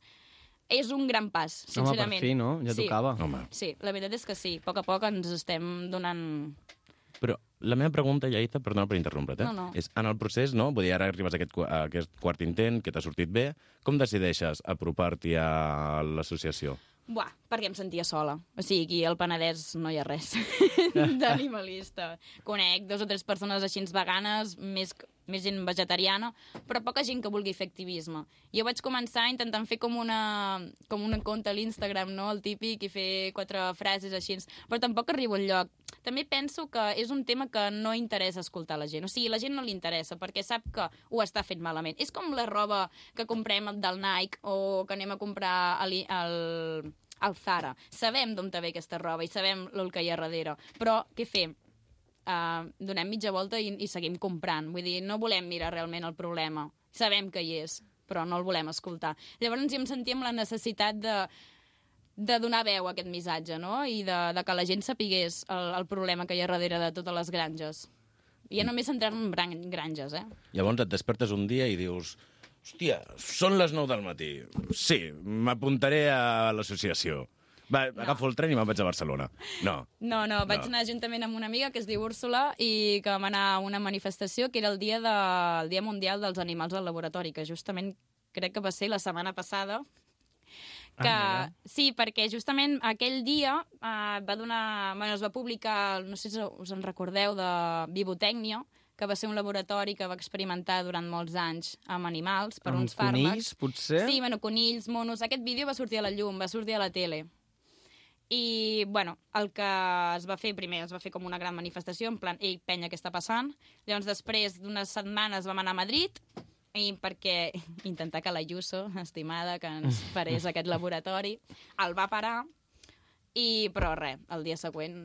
K: És un gran pas,
J: Home,
K: sincerament.
J: per fi, no? Ja
K: sí.
J: tocava.
E: Home,
K: Sí, la veritat és que sí. A poc a poc ens estem donant...
E: Però la meva pregunta, Iaita, perdona per interrompre't, eh?
K: No, no.
E: és en el procés, no? Vull dir, ara arribes a aquest, qu- a aquest quart intent, que t'ha sortit bé, com decideixes apropar-t'hi a l'associació?
K: Buah, perquè em sentia sola. O sigui, aquí al Penedès no hi ha res d'animalista. Conec dos o tres persones així veganes, més, més gent vegetariana, però poca gent que vulgui fer activisme. Jo vaig començar intentant fer com una, com una compte a l'Instagram, no?, el típic, i fer quatre frases així, però tampoc arribo al lloc. També penso que és un tema que no interessa escoltar a la gent. O sigui, la gent no li interessa perquè sap que ho està fent malament. És com la roba que comprem del Nike o que anem a comprar a l'I- al al Zara. Sabem d'on te ve aquesta roba i sabem el que hi ha darrere. Però què fem? Uh, donem mitja volta i, i seguim comprant. Vull dir, no volem mirar realment el problema. Sabem que hi és, però no el volem escoltar. Llavors jo em sentia amb la necessitat de de donar veu a aquest missatge, no? I de, de que la gent sapigués el, el problema que hi ha darrere de totes les granges. I ja només centrar-me en gran- granges, eh?
E: Llavors et despertes un dia i dius... Hòstia, són les 9 del matí. Sí, m'apuntaré a l'associació. Va, agafo el tren i me'n vaig a Barcelona. No.
K: No, no, vaig
E: No.
K: no. anar juntament amb una amiga que es diu Úrsula i que vam anar a una manifestació que era el dia, de, el dia Mundial dels Animals del Laboratori, que justament crec que va ser la setmana passada. Que,
L: Ah,
K: sí, perquè justament aquell dia eh, va donar, bueno, es va publicar, no sé si us en recordeu, de Vivotècnia, que va ser un laboratori que va experimentar durant molts anys amb animals per
J: Amb
K: uns fàrmacs.
J: conills, potser?
K: Sí, bueno, conills, monos... Aquest vídeo va sortir a la llum, va sortir a la tele. I, bueno, el que es va fer primer, es va fer com una gran manifestació, en plan, ei, penya, què està passant? Llavors, després d'unes setmanes vam anar a Madrid i perquè intentar que la Yuso, estimada, que ens parés aquest laboratori, el va parar i, però res, el dia següent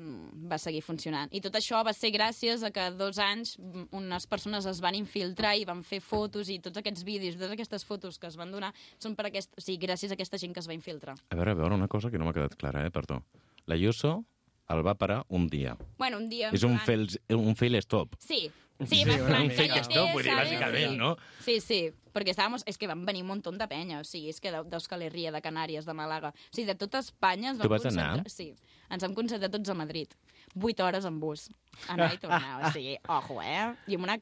K: va seguir funcionant. I tot això va ser gràcies a que dos anys mm, unes persones es van infiltrar i van fer fotos i tots aquests vídeos, totes aquestes fotos que es van donar són per aquest... O sigui, gràcies a aquesta gent que es va infiltrar.
E: A veure, a veure, una cosa que no m'ha quedat clara, eh, perdó. L'Ayuso el va parar un dia.
K: Bueno, un dia... en
E: És un
K: plan-
E: fail, un fail stop.
K: Sí,
E: Sí,
K: sí, va-
E: una
K: va-
E: mica.
K: va-
E: Que esto,
K: va-
E: vull dir,
K: va-
E: bàsicament,
K: sí.
E: no?
K: Sí, sí, perquè estàvem... És que van venir un munt de penya, o sigui, és que de- d'Euskalerria, de Canàries, de Malaga... O sigui, de tota Espanya... Ens
E: Tu
K: vam
E: vas anar?
K: concentrar- Sí, ens vam concentrar tots a Madrid. Vuit hores en bus. Anar i tornar, o sigui, ojo, eh? I amb una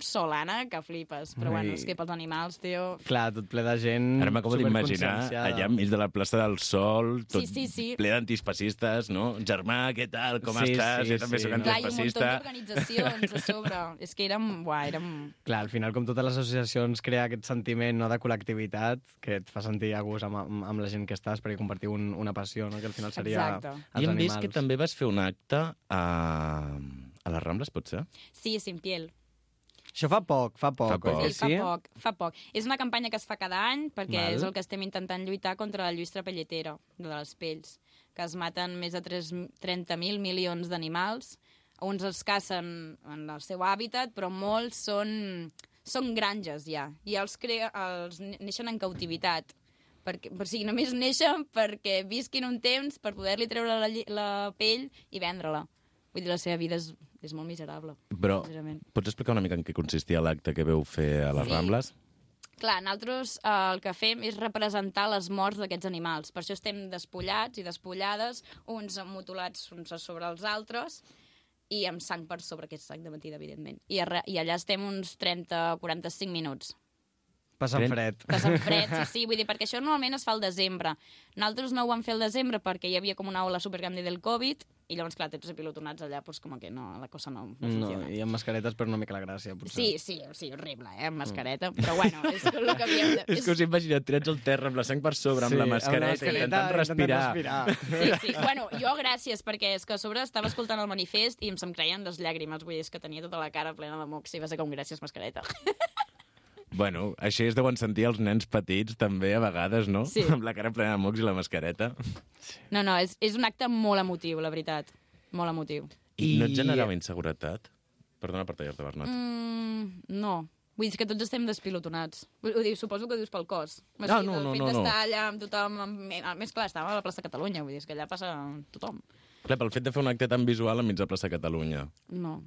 K: solana que flipes. Però bueno,
J: Ai.
K: és que pels animals, tio...
J: Clar, tot ple de gent
E: Ara m'acabo d'imaginar
J: superconscienciada.
E: allà enmig de la plaça del Sol, tot
K: Sí, sí, sí.
E: ple d'antispacistes, no? Germà, què tal? Com
J: Sí,
E: estàs?
J: sí,
E: jo també
J: sí.
E: soc
K: Clar, i un munt
E: antispacista.
K: d'organitzacions a sobre. És que érem... Uà, érem...
J: Clar, al final, com totes les associacions, crea aquest sentiment no, de col·lectivitat que et fa sentir a gust amb, amb, amb la gent que estàs perquè compartiu un, una passió, no? que al final seria
K: Exacte.
J: els
E: I hem
J: animals.
E: vist que també vas fer un acte a, a les Rambles, potser?
K: Sí, sin piel.
J: Això fa poc, fa poc.
E: Fa poc.
J: oi que
K: Sí, fa poc, fa poc. És una campanya que es fa cada any perquè
J: Val.
K: Val. és el que estem intentant lluitar contra la lluís trapelletera de les pells, que es maten més de tres- 30.000 milions d'animals. Uns els cacen en el seu hàbitat, però molts són, són granges ja, i els, crea, els ne- neixen en cautivitat. Perquè, o sigui, només neixen perquè visquin un temps per poder-li treure la, lli- la pell i vendre-la. Vull dir, la seva vida és, és molt miserable.
E: Però
K: sincerament.
E: pots explicar una mica en què consistia l'acte que veu fer a les
K: Sí.
E: Rambles?
K: Clar, nosaltres eh, el que fem és representar les morts d'aquests animals. Per això estem despullats i despullades, uns mutulats uns a sobre els altres i amb sang per sobre, que és sang de mentida, evidentment. I, arre, i allà estem uns 30-45 minuts.
J: Passant fred.
K: Passant fred, sí, sí, vull dir, perquè això normalment es fa al desembre. Nosaltres no ho vam fer al desembre perquè hi havia com una ola supergrande del Covid i llavors, clar, tots pilotonats allà, doncs com que no, la cosa no, no
J: No,
K: funciona.
J: i amb mascaretes per una mica la gràcia, potser.
K: Sí, sí, sí, horrible, eh, amb mascareta, però bueno, és el que havíem de...
E: És que us he imaginat tirats al terra amb la sang per sobre, amb
J: Sí,
E: la
J: amb la
E: mascareta,
J: mascareta,
E: intentant respirar.
J: intentant
K: Sí, sí. Bueno, jo gràcies, perquè és que a sobre estava escoltant el manifest i em se'm creien les llàgrimes, vull dir, és que tenia tota la cara plena de mocs i va ser com gràcies, mascareta.
E: Bueno, així es deuen sentir els nens petits, també, a vegades, no?
K: Sí.
E: Amb la cara plena de mocs i la mascareta.
K: No, no, és, és un acte molt emotiu, la veritat. Molt emotiu.
E: I, no et generava inseguretat? Perdona per tallar-te, Bernat.
K: Mm, no. Vull dir, és que tots estem despilotonats. Vull vull dir, suposo que ho dius pel cos. O
E: No,
K: sigui,
E: no,
K: el
E: no,
K: fet
E: no, no.
K: d'estar allà amb tothom... Amb... eh, A més, clar, estava a la plaça Catalunya, vull dir, és que allà passa tothom.
E: Clar, pel fet de fer un acte tan visual a mitja plaça Catalunya.
K: No.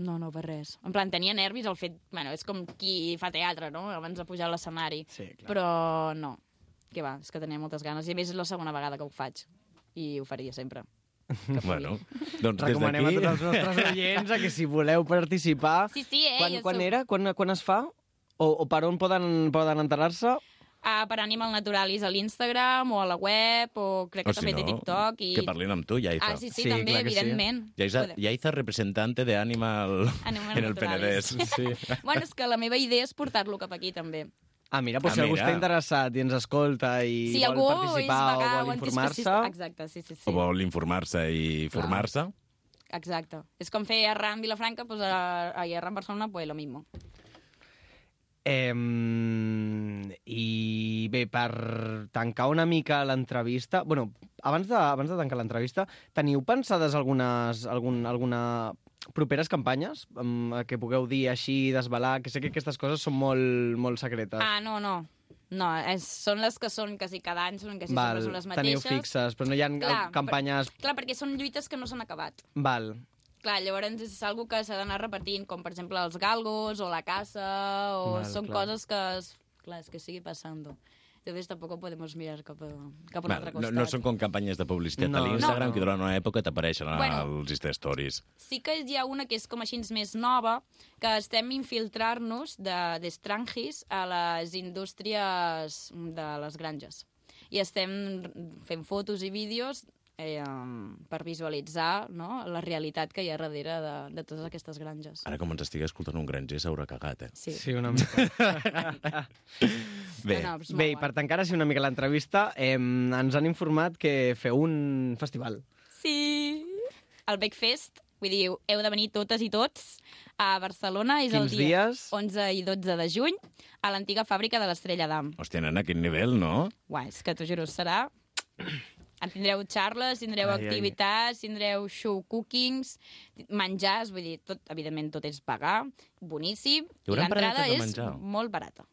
K: No, no, per res. En plan, tenia nervis el fet... Bueno, és com qui fa teatre, no?, abans de pujar a l'escenari. Sí, clar. Però no. Que va, és que tenia moltes ganes. I a més és la segona vegada que ho faig. I ho faria sempre.
E: Bueno, doncs des
J: Recomanem a
E: d'aquí...
J: tots els nostres oients a que si voleu participar...
K: Sí, sí, eh,
J: Quan,
K: jo
J: quan
K: sóc-
J: era? Quan, quan es fa? O, o per on poden, poden enterar-se?
K: Ah, per Animal Naturalis a l'Instagram o a la web o crec que
E: O si
K: també té
E: no,
K: TikTok. I...
E: Que parlin amb tu, Yaiza.
K: Ah, sí, sí,
J: Sí,
K: també,
J: clar que sí. eh?
K: evidentment.
E: Yaiza, Yaiza representante de Animal,
K: Animal
E: en el Penedès.
K: Naturalis.
E: Sí.
K: Bueno, és que la meva idea és portar-lo cap aquí, també.
J: Ah, mira,
E: Ah,
J: doncs si algú
E: mira.
J: està interessat i ens escolta i
K: si
J: vol
K: algú és
J: participar o
K: vegà
J: vol
K: antiespecista-
J: informar-se...
K: Exacte, sí, sí, sí.
E: O vol informar-se i formar-se.
K: doncs, Exacto. Es con fe a Ram Vilafranca, pues a, ahí a Ram Barcelona, pues lo mismo.
J: Eh, I bé, per tancar una mica l'entrevista... bueno, abans de, abans de tancar l'entrevista, teniu pensades algunes, algun, alguna properes campanyes um, que pugueu dir així, desvelar, que sé que aquestes coses són molt, molt secretes.
K: Ah, no, no. No, és, són les que són quasi cada any, són quasi sempre són les
J: teniu
K: mateixes.
J: fixes, però no hi ha
K: Clar,
J: campanyes...
K: Per, clar, perquè són lluites que no s'han acabat.
J: Val.
K: Clar, llavors és algo que s'ha d'anar repetint, com per exemple els galgos o la caça, o
J: Val,
K: són
J: clar.
K: coses que, es- clar, és que sigui passando. Entonces tampoco podemos mirar cap a, cap a un altre
E: Val, no,
K: costat.
E: no són com campanyes de publicitat
J: No,
E: a l'Instagram,
K: no.
E: que durant una època t'apareixen
K: Bueno.
E: bueno. als Insta Stories.
K: Sí que hi ha una que és com així més nova, que estem infiltrar-nos de- d'estrangis de, a les indústries de les granges. I estem fent fotos i vídeos eh, em, per visualitzar no, la realitat que hi ha darrere de, de totes aquestes granges.
E: Ara, com ens estigui escoltant un granger, s'haurà cagat, eh?
K: Sí.
J: Sí, una mica.
E: Bé,
K: No, no, és molt
J: Bé, i
K: guai.
J: per tancar així una mica l'entrevista, eh, ens han informat que feu un festival.
K: Sí! El Backfest, vull dir, heu de venir totes i tots a Barcelona. És
J: Quins
K: el dia
J: dies?
K: 11 i 12 de juny a l'antiga fàbrica de l'Estrella d'Am.
E: hòstia, nena, quin nivell, no?
K: Uai, és que t'ho juro, serà... En tindreu xarles, tindreu
J: Ai, ai.
K: ai, activitats, ai. tindreu show cookings, menjars, vull dir, tot, evidentment tot és pagar, boníssim,
E: Hi
K: i
E: haurà
K: l'entrada
E: paradetes de
K: és
E: menjar?
K: molt barata.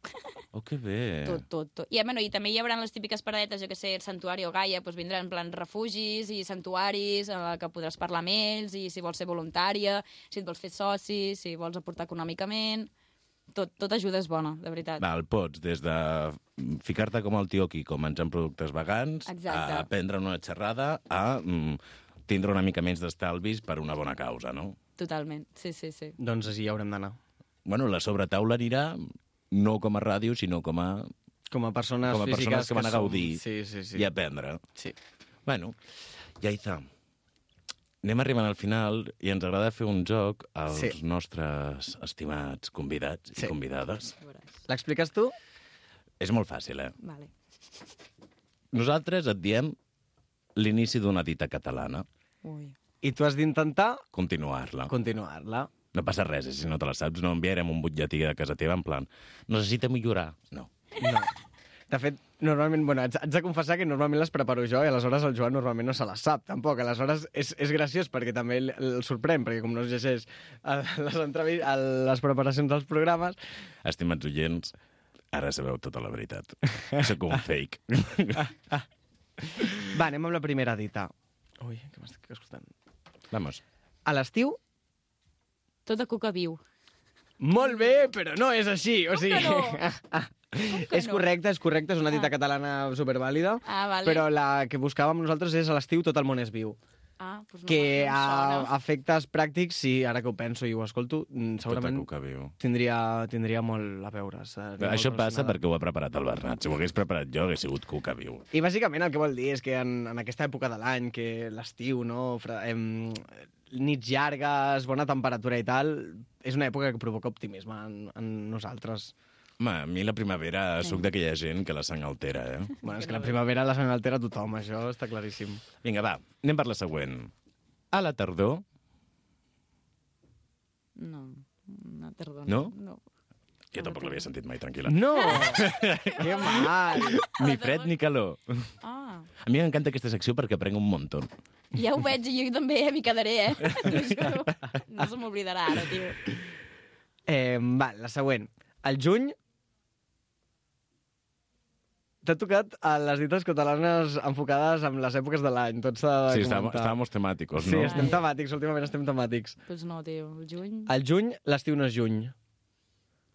E: Oh, que bé.
K: Tot, tot, tot. I, bueno, I també hi haurà les típiques paradetes, jo que sé, el santuari o Gaia, doncs vindran en plan refugis i santuaris en la que podràs parlar amb ells, i si vols ser voluntària, si et vols fer soci, si vols aportar econòmicament... Tot, tot ajuda és bona, de veritat.
E: Val, pots des de ficar-te com el tioqui, com menjant productes vegans,
K: Exacte.
E: a prendre una xerrada, a mm, tindre una mica menys d'estalvis per una bona causa, no?
K: Totalment, sí, sí, sí.
J: Doncs així hi haurem d'anar.
E: Bueno, la sobretaula anirà no com a ràdio, sinó com a,
J: Com a persones
E: com a
J: físiques
E: persones que van a
J: som.
E: gaudir
J: Sí, sí, sí.
E: i aprendre.
J: Sí.
E: Bueno, Jaiza, anem arribant al final i ens agrada fer un joc als
J: Sí.
E: nostres estimats convidats
J: Sí.
E: i convidades.
J: L'expliques tu?
E: És molt fàcil, eh?
K: Vale.
E: Nosaltres et diem l'inici d'una dita catalana.
K: Ui.
J: I tu has d'intentar
E: Continuar-la.
J: continuar-la.
E: No passa res, eh, si no te la saps, no enviarem un butlletí de casa teva en plan necessita millorar. No.
J: No. De fet, normalment, bueno, haig, haig de confessar que normalment les preparo jo i aleshores el Joan normalment no se les sap, tampoc. Aleshores és, és graciós perquè també el, el sorprèn, perquè com no es llegeix eh, les, entrevi- el- les preparacions dels programes,
E: Estimats oients, ara sabeu tota la veritat. Sóc un fake.
J: Va, anem amb la primera dita. Ui, que m'estic escoltant.
E: Vamos.
J: A l'estiu,
K: Tota cuca viu.
J: molt bé, però no és així. O sigui,
K: no? que
J: és
K: no?
J: correcte, és correcte, és una dita
K: Ah.
J: catalana supervàlida,
K: Ah, vale.
J: però la que buscàvem nosaltres és a l'estiu tot el món és viu.
K: Ah, doncs no,
J: que
K: no em
J: a
K: sona.
J: efectes pràctics, sí, ara que ho penso i ho escolto, mm, segurament
E: Tota cuca viu.
J: tindria, tindria molt a veure. seria
E: Això
J: molt
E: passa
J: relacionada.
E: perquè ho ha preparat el Bernat. Si ho hagués preparat jo, hagués sigut cuca viu.
J: I bàsicament el que vol dir és que en, en aquesta època de l'any, que l'estiu, no, fra, em, nits llargues, bona temperatura i tal, és una època que provoca optimisme en, en nosaltres.
E: Home, a mi la primavera sóc d'aquella gent que la sang altera, eh?
J: Bueno, és que la primavera la sang altera a tothom, això està claríssim.
E: Vinga, va, anem per la següent. A la tardor,
K: No, no te redono.
E: No?
K: No.
E: jo tampoc l'havia sentit mai, tranquil·la,
J: No! que mal!
E: ni fred ni calor.
K: Ah,
E: A mi m'encanta aquesta secció perquè aprenc un muntó.
K: ja ho veig i jo també eh, m'hi quedaré, eh? T'ho juro. No se m'oblidarà ara, tio.
J: Eh, va, la següent. El juny... T'ha tocat a les dites catalanes enfocades amb les èpoques de l'any, tot s'ha de
E: Sí, estàvem,
J: comentar.
E: estàvem temàticos,
J: Sí,
E: no?
J: estem temàtics, últimament estem temàtics.
K: Doncs no, tio, el juny...
J: El juny, l'estiu no és juny.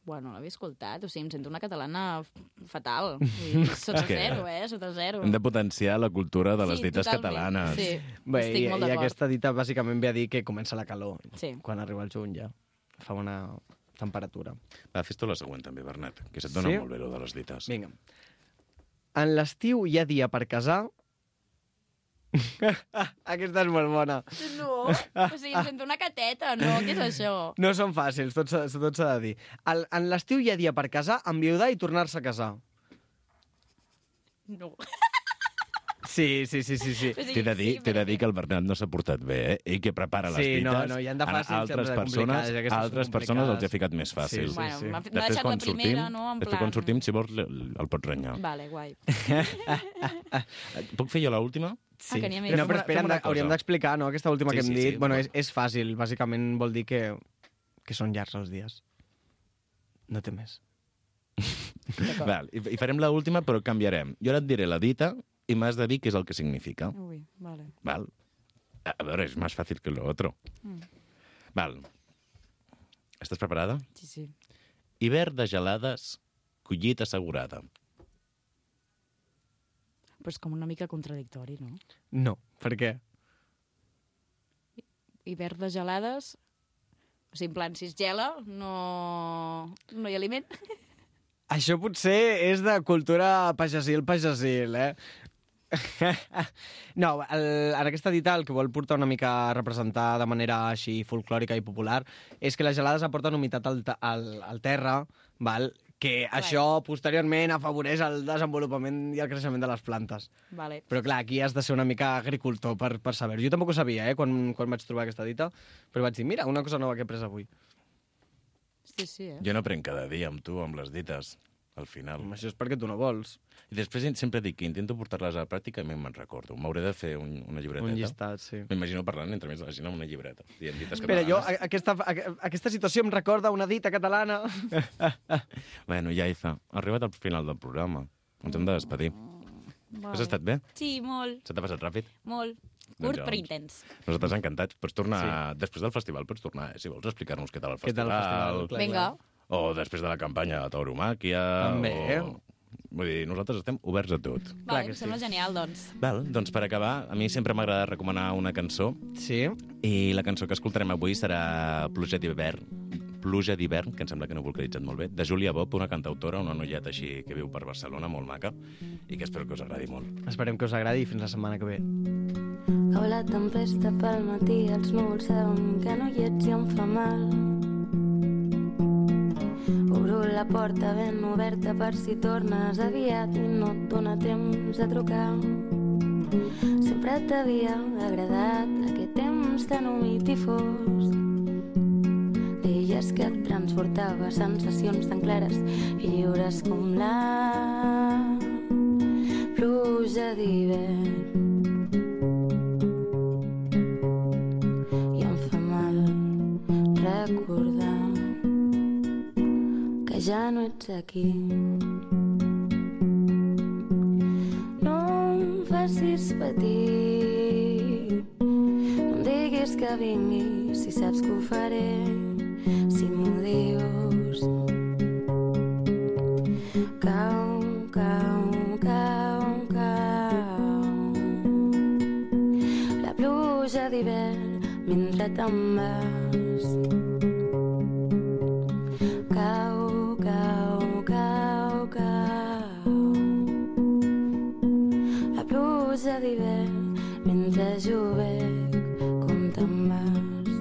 K: Bueno, l'havia escoltat, o sigui, em sento una catalana f- fatal. Vull dir, Sota
E: És que-
K: zero, eh? Sota zero.
E: Hem de potenciar la cultura de les
K: sí,
E: dites
K: totalment.
E: catalanes.
K: Sí,
J: Bé, i,
K: estic molt
J: i
K: d'acord.
J: aquesta dita bàsicament ve a dir que comença la calor.
K: Sí.
J: Quan arriba el juny ja fa una temperatura.
E: Va, fes tu la següent també, Bernat, que se't dona
J: Sí?
E: molt bé lo de les dites.
J: Vinga. En l'estiu hi ha dia per casar... Aquesta és molt bona.
K: No, o sigui, em sento una cateta, no? Què és això?
J: No són fàcils, tot s'ha tot s'ha de dir. El, en l'estiu hi ha dia per casar, enviudar i tornar-se a casar.
K: No.
J: Sí, sí, sí, sí. sí.
E: T'he de, dir, t'he de dir que el Bernat no s'ha portat bé, eh? I que prepara les
J: Sí,
E: dites.
J: no, no, hi han de
E: a
J: fàcils, hi han de
E: altres
J: complicades,
E: persones,
J: aquestes
E: a
J: són
E: altres persones els he
J: complicades.
E: ficat més fàcil.
J: Sí,
K: Bueno,
J: sí.
K: m'ha m'ha
E: Després,
K: deixat la
E: quan sortim,
K: primera, no? En
E: després, quan sortim, si vols, le- el pots renyar. Ah,
K: Vale, guai.
E: Puc fer jo l'última?
K: Sí. Ah, que n'hi ha més.
J: No, però espera,
E: fem
J: hem de-
E: una cosa.
J: hauríem d'explicar, no?, aquesta última
E: Sí,
J: que hem
E: sí,
J: dit.
E: sí.
J: bueno, és, és fàcil, bàsicament vol dir que, que són llargs els dies. No té més.
E: Val, i, I farem l'última, però canviarem. Jo ara et diré la dita i m'has de dir què és el que significa.
K: Ui, vale.
E: Val. A a veure, és més fàcil que lo otro. Val. Estàs preparada?
K: Sí, sí.
E: Hivern de gelades, collita assegurada.
K: Però és com una mica contradictori, no?
J: No, per què?
K: Hivern de gelades... O sigui, en plan, si es gela, no, no hi ha aliment.
J: Això potser és de cultura pagesil, pagesil, eh? no, el, en aquesta dita el que vol portar una mica a representar de manera així folclòrica i popular és que les gelades aporten humitat al, te- al, al terra, val? que això posteriorment afavoreix el desenvolupament i el creixement de les plantes.
K: Vale.
J: Però clar, aquí has de ser una mica agricultor per, per saber-ho. Jo tampoc ho sabia, eh, quan, quan vaig trobar aquesta dita, però vaig dir, mira, una cosa nova que he après avui.
K: Sí, sí, eh?
E: Jo no prenc cada dia amb tu, amb les dites, al final.
J: Home, això és perquè tu no vols.
E: I després sempre dic que intento portar-les a la pràctica i a mi me'n recordo. M'hauré de fer un, una llibreteta.
J: Un llistat, sí.
E: M'imagino parlant entre més de la gent amb una llibreta. Dient dites
J: Espera,
E: catalanes.
J: jo, a- aquesta, a, aquesta situació em recorda una dita catalana.
E: Bueno, ja, Iza, ha arribat al final del programa. Ens hem de despedir.
K: Vale.
E: Has estat bé?
K: Sí, molt,
E: Se t'ha passat ràpid?
K: molt.
E: Doncs
K: Curt, però
E: llavors.
K: intens.
E: Nosaltres encantats. Pots tornar, sí. després del festival, pots tornar, eh? si vols, explicar-nos què tal el
J: Què
E: festival.
J: tal el festival, clar.
K: Vinga.
E: O després de la campanya de tauromàquia.
J: També.
E: O... Vull dir, nosaltres estem oberts a tot.
K: Vale,
J: que
K: em
J: sí.
K: sembla genial, doncs.
E: Val, doncs per acabar, a mi sempre m'agrada recomanar una cançó
J: Sí.
E: i la cançó que escoltarem avui serà Pluja d'hivern, Pluja d'hivern, que em sembla que no ho he vocalitzat molt bé, de Júlia Bob, una cantautora, una noieta així que viu per Barcelona, molt maca, i que espero que us agradi molt.
J: Esperem que us agradi i fins la setmana que ve.
L: Cau la tempesta pel matí, els núvols saben que no hi ets i em fa mal. Obro la porta ben oberta per si tornes aviat i no et dóna temps a trucar. Sempre t'havia agradat aquest temps tan humit i fosc. Deies que et transportava sensacions tan clares i lliures com la pluja d'hivern. i em fa mal recordar que ja no ets aquí. No em facis patir, no em diguis que vingui si saps que ho faré, si m'ho dius. Cau, cau, cau, cau la pluja d'hivern mentre te'n vas. Cau, cau, cau, cau. La pluja d'hivern mentre jovec com te'n vas.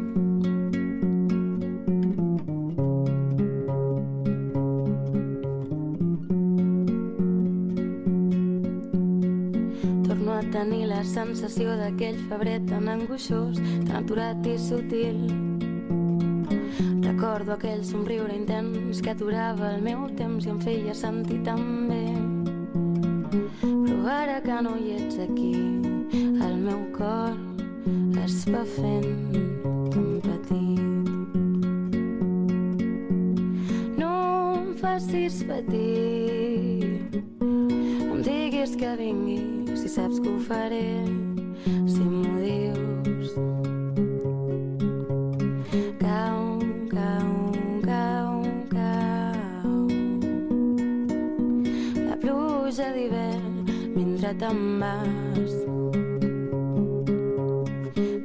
L: Torno a tenir la sensació d'aquell febrer tan angoixós, tan aturat i sutil. Recordo aquell somriure intens que aturava el meu temps i em feia sentir tan bé. Però ara que no hi ets aquí, el meu cor es va fent tan petit. No em facis patir, no em diguis que vingui, si saps que ho faré, si m'ho dius. Cau, cau, cau, cau. La pluja d'hivern mentre te'n vas.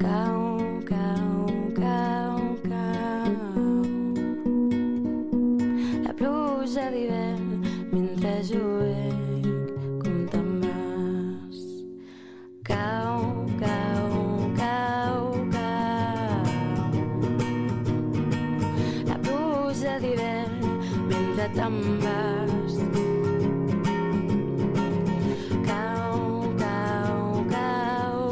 L: Cau, cau, cau, cau. La pluja d'hivern mentre juguec com te'n vas. Cau, cau, cau, cau. La pluja d'hivern mentre te'n vas. Cau, cau,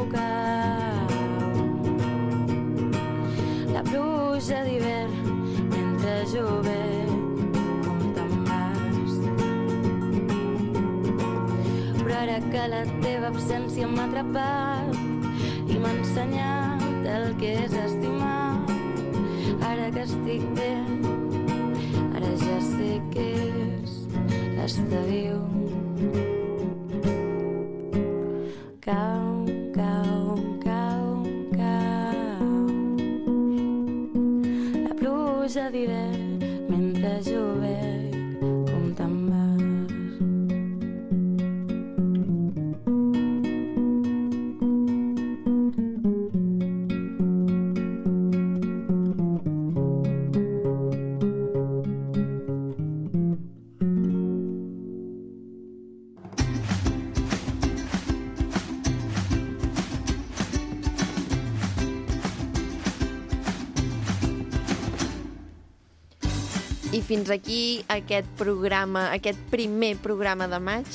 L: la pluja d'hivern mentre jove com te'n vas però ara que la teva absència m'ha atrapat i m'ha ensenyat el que és estimar ara que estic bé ara ja sé què és estar viu cau, cau, cau, cau. La pluja d'hivern mentre jo veig com te'n vas.
A: I fins aquí aquest programa, aquest primer programa de maig.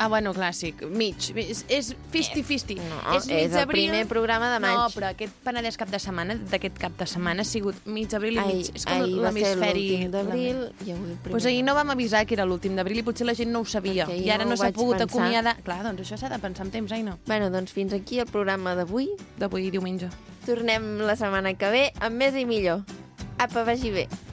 B: Ah, bueno, clàssic. Mig. És 50-50.
A: Eh, No, Ah, és el primer programa de maig.
B: No, però aquest Penedès cap de setmana, d'aquest cap de setmana, ha sigut mig abril i
A: Ai,
B: mig. És com
A: ahir va ser
B: l'hemisferi...
A: l'últim d'abril i avui el primer.
B: Doncs pues ahir no vam avisar que era l'últim d'abril i potser la gent no ho sabia.
A: Perquè ahir
B: I ara
A: no
B: no,
A: ho
B: s'ha
A: vaig
B: pogut
A: pensar.
B: acomiadar. Clar, doncs això s'ha de pensar amb temps, Aina.
A: Bueno, doncs fins aquí el programa d'avui.
B: D'avui diumenge.
A: Tornem la setmana que ve amb més i millor. Apa, vagi bé.